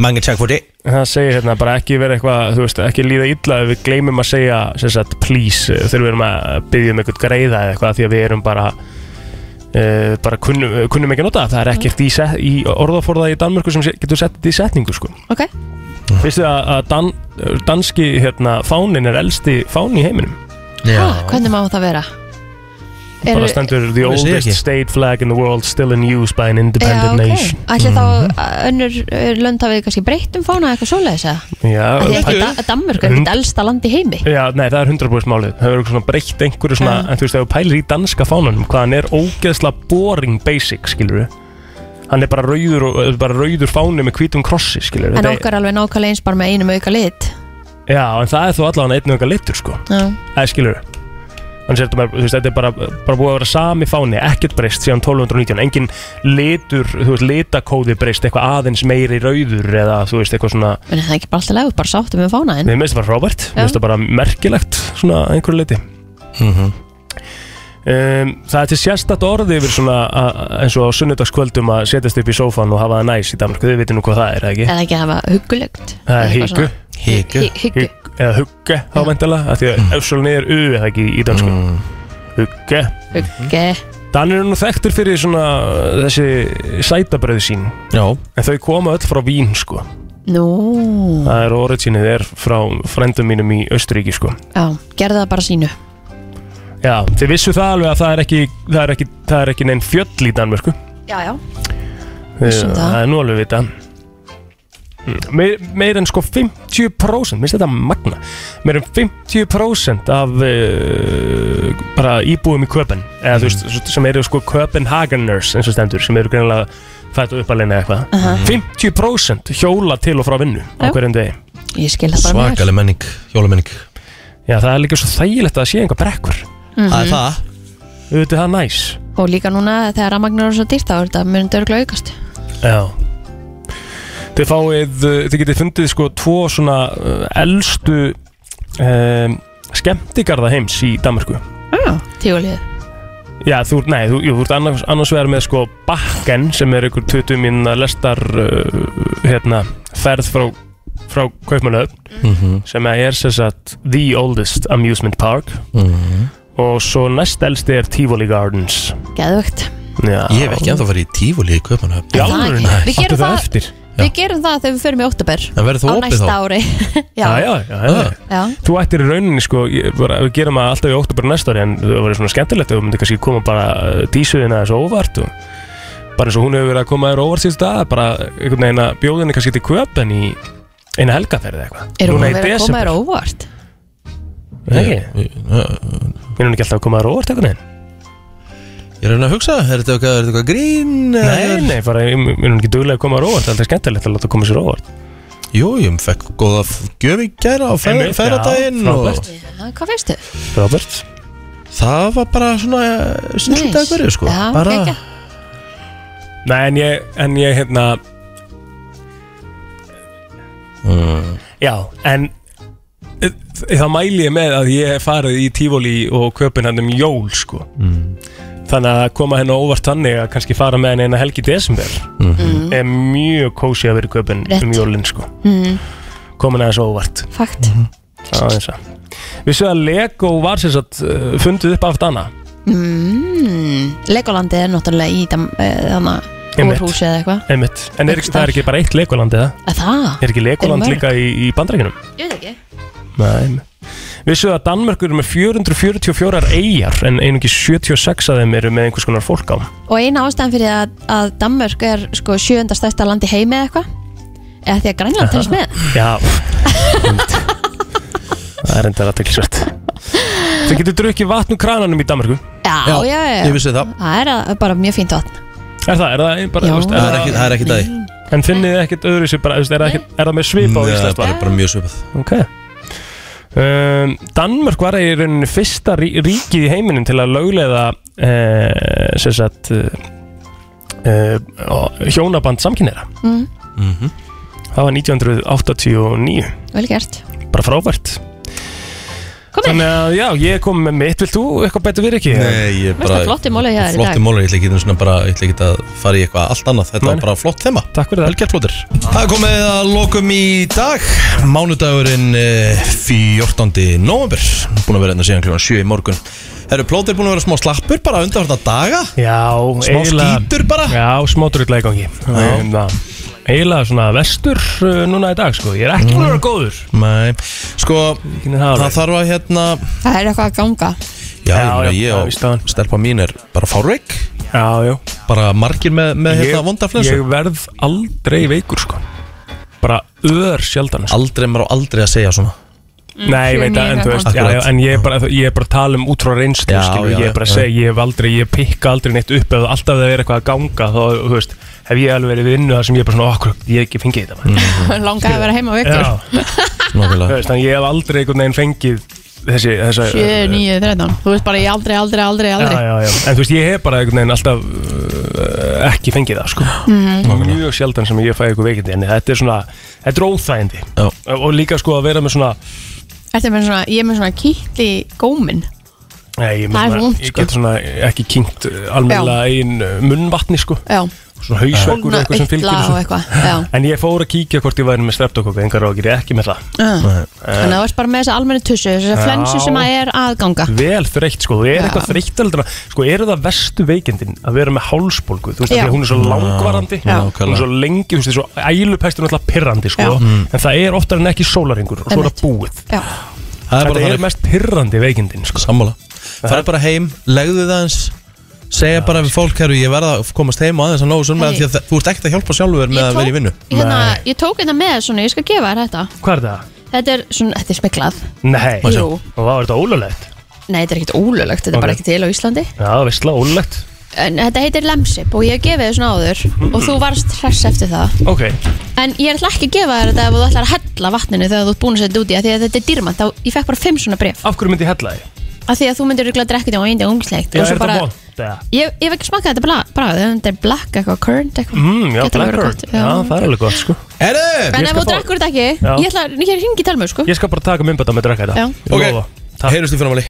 [SPEAKER 2] Mange takk fyrir þig
[SPEAKER 4] það segir hérna bara ekki vera eitthvað, þú veist, ekki líða illa ef við gleymum að segja, sem sagt, please eh, þegar við erum að byggja um eitthvað greiða eða eitthvað því að við erum bara uh, bara kunnum, kunnum ekki að nota það, það
[SPEAKER 3] Mm.
[SPEAKER 4] er ekkert í, set, í orðaforða í Danmörku sem se- getur sett þetta í setningu, sko
[SPEAKER 3] ok,
[SPEAKER 4] Veistu að, að dan, eh, danski hérna, fánin er elsti fáni í heiminum
[SPEAKER 3] ah, hvernig má það vera
[SPEAKER 4] bara stendur the
[SPEAKER 2] Ég sé
[SPEAKER 4] oldest
[SPEAKER 2] ekki.
[SPEAKER 4] state flag in the world still in use by an
[SPEAKER 3] Já, ok.
[SPEAKER 4] independent nation Mhm.
[SPEAKER 3] Ætli þá uh, önnur uh, lönd hafið kannski breytt um fána eða eitthvað svoleiðis eða?
[SPEAKER 4] Mm. Já, Mhm.
[SPEAKER 3] Af því
[SPEAKER 4] það-
[SPEAKER 3] ekki da Danmörk er
[SPEAKER 4] Hund-
[SPEAKER 3] ekkert elsta land í heimi
[SPEAKER 4] Já, nei, það er 100% málið Það verður svona breytt einhverju svona
[SPEAKER 3] Já.
[SPEAKER 4] En þú veist, ef þú pælir í danska fánanum Hvað hann er ógeðslega boring basic, skilur við Hann er bara rauður, og, eh, bara rauður fáni með hvítum krossi, skilur við
[SPEAKER 3] En okkar er alveg nákvæmlega eins bara með einum auka lit
[SPEAKER 4] Já, en það er þó allavega einn og eitthvað litur, sko
[SPEAKER 3] Já,
[SPEAKER 4] Það er skilur við Þannig sér þetta bara, þú veist, þetta er bara, bara búið að vera sami fáni, ekkert breyst síðan 1219, engin litur, þú veist, litakóði breyst, eitthvað aðeins meiri rauður eða, þú veist, eitthvað svona,
[SPEAKER 3] En það er ekki bara alltaf legur, bara sáttum við fánaðin
[SPEAKER 4] mér minnst það bara frábært, mér minnst það bara merkilegt, svona, að einhverju leiti. Mhm. Um, það er til sérstætt orði yfir svona, a, a- eins og á sunnudagskvöldum að setjast upp í sófan og hafa það næs í Danmarku, þið veitir nú hvað það er, eða ekki?
[SPEAKER 3] Eða ekki að hafa huggulegt
[SPEAKER 4] Það er híku.
[SPEAKER 2] Híku.
[SPEAKER 3] Híku
[SPEAKER 4] Hygg, eða hugge þá veintilega af því að öfsólni er u eða ekki í dansku mm. hugge
[SPEAKER 3] Hugge
[SPEAKER 4] Danir eru nú þekktur fyrir svona uh, þessi sætabröðu sín
[SPEAKER 2] Já,
[SPEAKER 4] en þau koma öll frá Vín sko
[SPEAKER 3] Nú
[SPEAKER 4] það er originið er frá frendum mínum í Östuríki sko
[SPEAKER 3] Já, gerðu það bara sínu
[SPEAKER 4] já þið vissu það alveg að það er ekki það er ekki, það er ekki neinn fjöll í Danmörku
[SPEAKER 3] Já, já Vissum
[SPEAKER 4] það.
[SPEAKER 3] það.
[SPEAKER 4] er nú alveg vita Mm, meir, meir en sko 50% minnst þetta magna meir en 50% af uh, bara íbúum í Köpen eða þú
[SPEAKER 3] Mhm.
[SPEAKER 4] veist sem eru sko Köpenhageners eins og stendur sem eru greinilega fætt og uppalegna eitthvað
[SPEAKER 2] Mhm.
[SPEAKER 4] 50% hjóla til og frá vinnu á
[SPEAKER 3] Já.
[SPEAKER 4] hverjum degi
[SPEAKER 3] Ég skil það bara mjög vel.
[SPEAKER 2] svakaleg menning, hjólumenning
[SPEAKER 4] já það er líka svo þægilegt að það sé einhver brekkur
[SPEAKER 3] Mhm.
[SPEAKER 2] Það er það
[SPEAKER 4] auðvitað það næs
[SPEAKER 3] Og líka núna þegar rafmagnur eru svo dýrt þá er þetta mun dörgla aukast
[SPEAKER 4] Já Þið fáið, uh, þið getið fundið sko tvo svona uh, elstu um, skemmtigarða heims í Danmarku
[SPEAKER 3] Tígulíð
[SPEAKER 4] Já, þú ert, nei, þú, jú, þú ert annars, annars vegar með sko bakken sem er ykkur 20 mínuna lestar uh, hérna, ferð frá, frá Kaupmannöfn
[SPEAKER 2] Mhm.
[SPEAKER 4] sem er sem sagt the oldest amusement park
[SPEAKER 2] Mhm.
[SPEAKER 4] og svo næst elsti er Tivoli Gardens
[SPEAKER 3] Geðvögt
[SPEAKER 4] Já,
[SPEAKER 2] Ég hef ekki ennþá farið í tífúli í Köpunhöfn
[SPEAKER 4] Í
[SPEAKER 3] Er það
[SPEAKER 4] alvörunni?
[SPEAKER 3] ekki? Við
[SPEAKER 4] Áttu
[SPEAKER 3] gerum það-
[SPEAKER 4] eftir
[SPEAKER 3] Við gerum það þegar við förum í óttaber
[SPEAKER 2] En verður
[SPEAKER 3] Á
[SPEAKER 2] þú opið
[SPEAKER 3] næsta
[SPEAKER 2] þá?
[SPEAKER 3] ári <laughs> Já,
[SPEAKER 4] Já, já, já, já, já.
[SPEAKER 3] já.
[SPEAKER 4] Þú ættir í rauninni sko, ég, bara, við gerum það alltaf í oktober næsta ári en það var svona skemmtilegt og við myndum kannski koma bara uh, dísuðina þessu óvart og bara eins og hún hefur verið að koma þér á óvart síðust dag bara einhvern veginn að bjóðinni kannski til köpen í eina helgaferði eða eitthvað
[SPEAKER 3] Erum
[SPEAKER 4] Núna
[SPEAKER 3] við
[SPEAKER 4] í
[SPEAKER 3] að vera að koma
[SPEAKER 4] desember.
[SPEAKER 3] þér á óvart?
[SPEAKER 4] Nei,
[SPEAKER 2] Ég- Ég ég-
[SPEAKER 4] Ég er hún ekki alltaf að koma þér á óvart einhvern veginn
[SPEAKER 2] ég er að reyna að hugsa, er þetta eitthvað, er þetta eitthvað grín? eða-
[SPEAKER 4] Nei, nei, bara ég ég er hún ekki duglega að koma þér á óvart alltaf skemmtilegt að láta koma sér á óvart
[SPEAKER 2] Jú, ég fekk góða f- gjöf í gæra á fer,
[SPEAKER 4] Einmitt,
[SPEAKER 2] ferðardaginn
[SPEAKER 4] já,
[SPEAKER 2] og
[SPEAKER 4] frábært.
[SPEAKER 3] Já, Hvað veist þau?
[SPEAKER 4] Robert
[SPEAKER 2] það var bara svona eh, snillt að hverju sko
[SPEAKER 3] Já,
[SPEAKER 2] bara,
[SPEAKER 3] geggjað.
[SPEAKER 4] Nei, en ég, en ég hérna Já, en þ- þá mæli ég með að ég hef farið í tífóli og köpinn hann um jól sko
[SPEAKER 2] Mm.
[SPEAKER 4] þannig að koma henni óvart þannig að kannski fara með henni eina helgi í desember er mjög kósi að vera í köpinn
[SPEAKER 3] Mhm. Rétt. Mhm.
[SPEAKER 4] um jólinn sko mm. komin aðeins óvart
[SPEAKER 3] Fakt
[SPEAKER 2] Mhm.
[SPEAKER 4] aðeins að við séum að Lego var sér satt fundið upp af Dana
[SPEAKER 3] mm, Legolandi er náttúrulega í dam- eh, þannig
[SPEAKER 4] Einmitt.
[SPEAKER 3] úrhúsi eða eitthvað
[SPEAKER 4] einmitt, en er,
[SPEAKER 3] Einhvers
[SPEAKER 4] ekki- það er
[SPEAKER 3] staðar.
[SPEAKER 4] ekki bara eitt Legoland eða?
[SPEAKER 3] Að Það?
[SPEAKER 4] Er ekki Legoland
[SPEAKER 3] Eru mörg?
[SPEAKER 4] líka í, í bandrækjunum?
[SPEAKER 3] Ég veit ekki
[SPEAKER 4] Nei Vissu að Danmörkur eru með 444 eigjar en einungis 76 af þeim eru með einhvers konar fólk á
[SPEAKER 3] Og eina ástæðan fyrir að, að Danmörk er sko sjöunda stærsta land í heimi eða eitthvað eða því að Grænland telst með
[SPEAKER 4] Já Það er enda aðteklisvert Þau getur drukkið vatn úr krananum í Danmörku
[SPEAKER 3] Já, já, já,
[SPEAKER 2] ég vissi það
[SPEAKER 3] Það er að, bara mjög fínt vatn
[SPEAKER 4] Er það, er það ein- bara,
[SPEAKER 3] Já.
[SPEAKER 4] þú veist,
[SPEAKER 2] Það er ekki, það er ekki dag
[SPEAKER 4] En finnið þið ekkert öðru sér bara, þú veist, er, það ekkert, er það með svip á
[SPEAKER 2] Það er
[SPEAKER 4] Íslands
[SPEAKER 2] bara, bara mjög svipað
[SPEAKER 4] Ok um, Danmörk var í rauninni fyrsta rí ríkið í heiminum til að löglega uh, sem sagt uh, uh, hjónaband samkynneira
[SPEAKER 3] Mm.
[SPEAKER 2] Mhm.
[SPEAKER 4] Það var 1989
[SPEAKER 3] Vel gert
[SPEAKER 4] bara frábært
[SPEAKER 3] Kom inn,
[SPEAKER 4] Þannig að já, ég kom með mitt Vilt þú eitthvað betur við ekki?
[SPEAKER 2] Nei, ég
[SPEAKER 3] Mesta flotti málið hjá þér í dag.
[SPEAKER 2] Flotti málið, ég ætla ekki einu sinni bara, ég ætla ekki að fara í eitthvað allt annað Þetta
[SPEAKER 4] Nei,
[SPEAKER 2] var
[SPEAKER 4] nei.
[SPEAKER 2] bara flott þema
[SPEAKER 4] Takk fyrir það
[SPEAKER 2] Velgjart flottir Það er komið að lokum í dag Mánudagurinn eh, 14. november Búin að vera hérna síðan kljóðan 7 í morgun Herru, plótir búin að vera smá slappur bara undanfarta daga
[SPEAKER 4] Já,
[SPEAKER 2] Smá skítur bara
[SPEAKER 4] Já, smá drullega í gangi Um, það. Eiginlega svona vestur uh, núna í dag sko Ég er ekki búin að vera góður
[SPEAKER 2] Mm. Nei, sko
[SPEAKER 4] Ekki neinn það
[SPEAKER 2] Það
[SPEAKER 4] alveg.
[SPEAKER 2] þarf að hérna
[SPEAKER 3] það er eitthvað að ganga
[SPEAKER 2] Já,
[SPEAKER 4] Já, já,
[SPEAKER 2] ég
[SPEAKER 4] já,
[SPEAKER 2] meina,
[SPEAKER 4] víst
[SPEAKER 2] ég
[SPEAKER 4] það.
[SPEAKER 2] og stelpa mín er bara fárveik
[SPEAKER 4] Já, já
[SPEAKER 2] Bara margir með, með hérna vondaflensu
[SPEAKER 4] Ég verð aldrei veikur sko Bara öður sjaldan sko.
[SPEAKER 2] Aldrei, maður á aldrei að segja svona Mm.
[SPEAKER 4] Nei, ég veit að, en þú veist já, já,
[SPEAKER 2] Akkurat.
[SPEAKER 4] En ég er bara, ég er bara að tala um út frá reynslu
[SPEAKER 2] Já,
[SPEAKER 4] skilur,
[SPEAKER 2] já,
[SPEAKER 4] Ég er bara að
[SPEAKER 2] já.
[SPEAKER 4] segja, ég hef aldrei Ég pikka aldrei neitt upp Ef alltaf það er eitthvað að ganga Þá, þú veist, hef ég alveg verið við vinnu Það sem ég er bara svona, okkur, ég hef ekki fengið
[SPEAKER 2] Mhm,
[SPEAKER 4] þetta maður."
[SPEAKER 3] Langaði að vera heima á ykkur
[SPEAKER 4] Já,
[SPEAKER 3] <laughs>
[SPEAKER 2] Nókulega
[SPEAKER 4] þú veist, þannig ég hef aldrei einhvern veginn fengið þessi, þessi
[SPEAKER 3] 7, 9, 13 Þú veist bara ég aldrei, aldrei, aldrei,
[SPEAKER 4] Eh, Já,
[SPEAKER 3] aldrei
[SPEAKER 4] já, já. En þú veist, ég hef bara einhvern veginn alltaf uh, ekki fengið það, sko.
[SPEAKER 3] Mhm.
[SPEAKER 4] Mjög sjaldan sem ég fæ eitthvað veikindi, en þetta er svona, þetta er óþægindi.
[SPEAKER 2] Já.
[SPEAKER 4] Og líka sko að vera með svona,
[SPEAKER 3] Ertu með svona, ég er með svona kýtli gómin
[SPEAKER 4] nei, ég, er með
[SPEAKER 3] Það er
[SPEAKER 4] svona,
[SPEAKER 3] vont,
[SPEAKER 4] ég
[SPEAKER 3] sko.
[SPEAKER 4] get svona ekki kynkt almennilega einn munnvatni, sko.
[SPEAKER 3] Já,
[SPEAKER 4] Svona hausveggur og
[SPEAKER 3] svona
[SPEAKER 4] eitthvað sem fylgir
[SPEAKER 3] illa og
[SPEAKER 4] þessu.
[SPEAKER 3] eitthvað Já,
[SPEAKER 4] En ég fór að kíkja hvort ég væri með streptokokku, engar ágjur, ég er ekki með það. Eh,
[SPEAKER 3] já. Ah. þannig að þú ert bara með þessa almenni tussu Þessa
[SPEAKER 4] Já.
[SPEAKER 3] flensu sem að er aðganga
[SPEAKER 4] vel þreytt sko, þú er
[SPEAKER 3] Já.
[SPEAKER 4] eitthvað þreytt aldra, sko, eru það vestu veikindin að vera með hálsbólgu, þú veist, af því
[SPEAKER 3] Já.
[SPEAKER 4] að hún er svo langvarandi
[SPEAKER 3] Já.
[SPEAKER 4] hún er svo lengi, þú veist, þessu ælupestur er alltaf pirrandi, sko,
[SPEAKER 3] Já.
[SPEAKER 2] Mm.
[SPEAKER 4] en það er oftar en ekki sólaringur og svo er
[SPEAKER 3] Einmitt.
[SPEAKER 4] það búið
[SPEAKER 3] Já,
[SPEAKER 2] Það er
[SPEAKER 4] þetta
[SPEAKER 2] bara
[SPEAKER 4] er
[SPEAKER 2] þannig
[SPEAKER 4] mest pirrandi veikindin, sko
[SPEAKER 2] Sammála Farðu bara heim, legðu það eins Segja bara við fólk, herru, ég verða að komast heim og aðeins að nógu sunn með
[SPEAKER 3] Hey.
[SPEAKER 2] því að það- þú ert ekkert að hjálpa sjálfur með að vera í vinnu
[SPEAKER 3] hérna, ég tók þetta með svona, ég skal gefa þér þetta
[SPEAKER 4] hvað er það?
[SPEAKER 3] Þetta er svona, þetta er smiklað
[SPEAKER 4] Nei,
[SPEAKER 3] Má sjá.
[SPEAKER 4] og það var þetta ólulegt
[SPEAKER 3] Nei, þetta er ekkert ólulegt, þetta er
[SPEAKER 4] Ok.
[SPEAKER 3] bara ekki til á Íslandi
[SPEAKER 4] já, veistla, ólulegt,
[SPEAKER 3] en, Þetta heitir lemsip og ég hef gefið þér svona áður Og þú varst hress eftir það
[SPEAKER 4] ok
[SPEAKER 3] En ég ætla ekki að gefa þér þetta ef þú ætlar að hella vatninu Þegar þú ert búin að setja þetta út í af Því að þetta er dýrmant, þá, ég fekk bara fimm svona bref
[SPEAKER 4] af hverju myndi ég hella þig?
[SPEAKER 3] Af því að þú myndir örugglega að drekka þetta og einnig umslegt
[SPEAKER 4] Já,
[SPEAKER 3] Og
[SPEAKER 4] er
[SPEAKER 3] svo
[SPEAKER 4] þetta
[SPEAKER 3] bara,
[SPEAKER 4] vont, eða?
[SPEAKER 3] ég, ég hef ekki smakað þetta bla- bragð Þetta er black eitthvað, current eitthvað
[SPEAKER 4] Mm, já,
[SPEAKER 3] Getur verið
[SPEAKER 4] Blackbird.
[SPEAKER 3] gott,
[SPEAKER 4] Já, það er alveg gott, sko.
[SPEAKER 2] Herru,
[SPEAKER 3] En
[SPEAKER 4] Ég
[SPEAKER 3] ef
[SPEAKER 4] skal
[SPEAKER 3] þú
[SPEAKER 4] fá-
[SPEAKER 3] drekkur þetta ekki
[SPEAKER 4] Já.
[SPEAKER 3] Ég ætla, ég hringi í telmu, sko
[SPEAKER 4] Ég skal bara taka myndbata með að drekka þetta.
[SPEAKER 3] Já.
[SPEAKER 4] Ég
[SPEAKER 2] Ok.
[SPEAKER 4] lofa. Takk.
[SPEAKER 2] heyrjumst í fyrramali